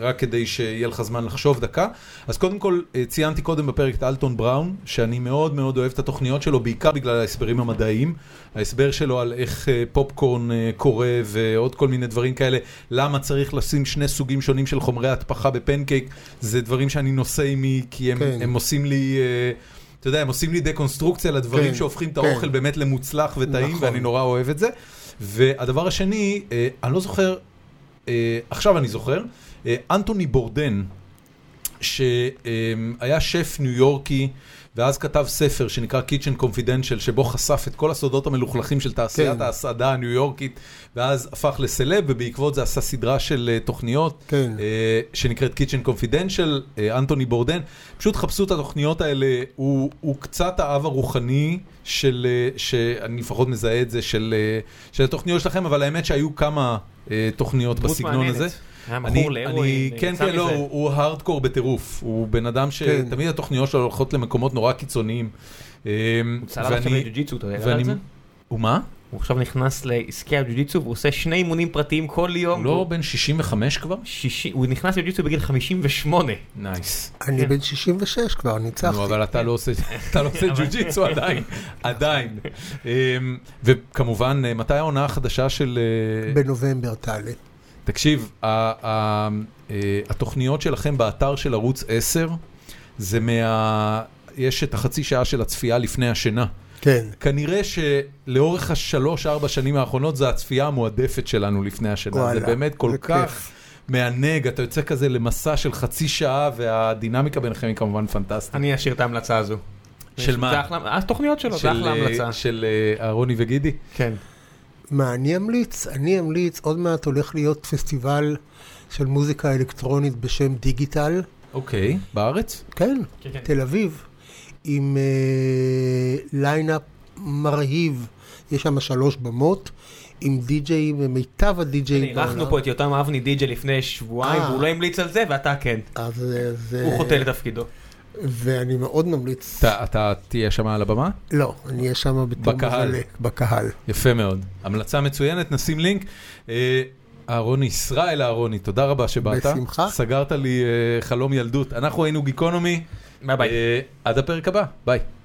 Speaker 1: רק כדי שיהיה לך זמן לחשוב דקה. אז קודם כל, אה, ציינתי קודם בפרק את אלטון בראון, שאני מאוד מאוד אוהב את התוכניות שלו, בעיקר בגלל ההסברים המדעיים. ההסבר שלו על איך אה, פופקורן אה, קורה ועוד כל מיני דברים כאלה, למה צריך לשים שני סוגים שונים של חומרי הדפחה בפנקייק, זה דברים שאני נושא עימי, כי הם,
Speaker 3: כן.
Speaker 1: הם עושים לי... אה, אתה יודע, הם עושים לי דקונסטרוקציה לדברים
Speaker 3: כן,
Speaker 1: שהופכים את
Speaker 3: כן.
Speaker 1: האוכל באמת למוצלח וטעים,
Speaker 3: נכון.
Speaker 1: ואני נורא אוהב את זה. והדבר השני, אה, אני לא זוכר, אה, עכשיו אני זוכר, אה, אנטוני בורדן, שהיה שף ניו יורקי, ואז כתב ספר שנקרא Kitchen Confidential, שבו חשף את כל הסודות המלוכלכים של תעשיית
Speaker 3: כן.
Speaker 1: ההסעדה הניו יורקית, ואז הפך לסלב, ובעקבות זה עשה סדרה של אה, תוכניות,
Speaker 3: כן.
Speaker 1: אה, שנקראת Kitchen Confidential, אה, אנטוני בורדן. פשוט חפשו את התוכניות האלה, הוא, הוא קצת האב הרוחני של, אה, שאני לפחות מזהה את זה, של, אה, של התוכניות שלכם, אבל האמת שהיו כמה אה, תוכניות
Speaker 2: דמות
Speaker 1: בסגנון
Speaker 2: מעניינת.
Speaker 1: הזה.
Speaker 2: היה
Speaker 1: אני,
Speaker 2: מכור
Speaker 1: אני,
Speaker 2: להרואין,
Speaker 1: כן,
Speaker 2: יצא
Speaker 1: כן, לא,
Speaker 2: מזה.
Speaker 1: הוא, הוא הארדקור בטירוף. הוא בן אדם
Speaker 3: כן.
Speaker 1: שתמיד התוכניות שלו הולכות למקומות נורא קיצוניים. אמ,
Speaker 2: צלם עכשיו בג'ו-ג'יצו, אתה יודע על
Speaker 1: ואני-
Speaker 2: זה? לא.
Speaker 1: הוא מה?
Speaker 2: הוא עכשיו נכנס לעסקי הג'ו-ג'יצו והוא עושה שני אימונים פרטיים כל יום.
Speaker 1: הוא לא בן 65 כבר?
Speaker 2: שישי, הוא נכנס לג'ו-ג'יצו בגיל 58.
Speaker 1: נייס.
Speaker 3: אני בן 66 כבר, ניצחתי.
Speaker 1: כן. נו, אבל אתה לא עושה אתה לא עושה ג'ו-ג'יצו עדיין, עדיין. אמ, וכמובן, אה, מתי העונה החדשה של... אה,
Speaker 3: בנובמבר תעלה.
Speaker 1: תקשיב, ה- ה- אה, התוכניות שלכם באתר של ערוץ 10, זה מה... יש את החצי שעה של הצפייה לפני השינה.
Speaker 3: כן.
Speaker 1: כנראה שלאורך השלוש-ארבע שנים האחרונות זו הצפייה המועדפת שלנו לפני השינה. וואלה, זה
Speaker 3: וואלה,
Speaker 1: באמת כל
Speaker 3: זה
Speaker 1: כך
Speaker 3: כיף.
Speaker 1: מענג, אתה יוצא כזה למסע של חצי שעה, והדינמיקה ביניכם היא כמובן פנטסטית.
Speaker 2: אני אשאיר את ההמלצה הזו.
Speaker 1: של מה?
Speaker 2: זה אחלה, אה, התוכניות שלו, זה
Speaker 1: של,
Speaker 2: כן, אחלה
Speaker 1: אה,
Speaker 2: המלצה.
Speaker 1: של אה, אהרוני וגידי.
Speaker 2: כן.
Speaker 3: מה, אני אמליץ? אני אמליץ, עוד מעט הולך להיות פסטיבל של מוזיקה אלקטרונית בשם דיגיטל.
Speaker 1: אוקיי, בארץ?
Speaker 3: כן,
Speaker 2: כן, כן.
Speaker 3: תל אביב, עם אה, ליינאפ מרהיב, יש שם שלוש במות, עם די-ג'אים, מיטב הדי-ג'אים
Speaker 2: אירחנו פה את יותם אבני דיג'ה לפני שבועיים,
Speaker 3: אה.
Speaker 2: והוא לא המליץ על זה, ואתה כן.
Speaker 3: אז אה, זה...
Speaker 2: הוא חוטא לתפקידו.
Speaker 3: ואני מאוד ממליץ...
Speaker 1: אתה, אתה תהיה שם על הבמה?
Speaker 3: לא, אני אהיה שם בתור
Speaker 1: בקהל.
Speaker 3: מבלה, בקהל.
Speaker 1: יפה מאוד. המלצה מצוינת, נשים לינק. אה, אהרוני, ישראל אהרוני, תודה רבה שבאת.
Speaker 3: בשמחה.
Speaker 1: סגרת לי אה, חלום ילדות. אנחנו היינו גיקונומי.
Speaker 2: ביי ביי.
Speaker 1: אה, עד הפרק הבא, ביי.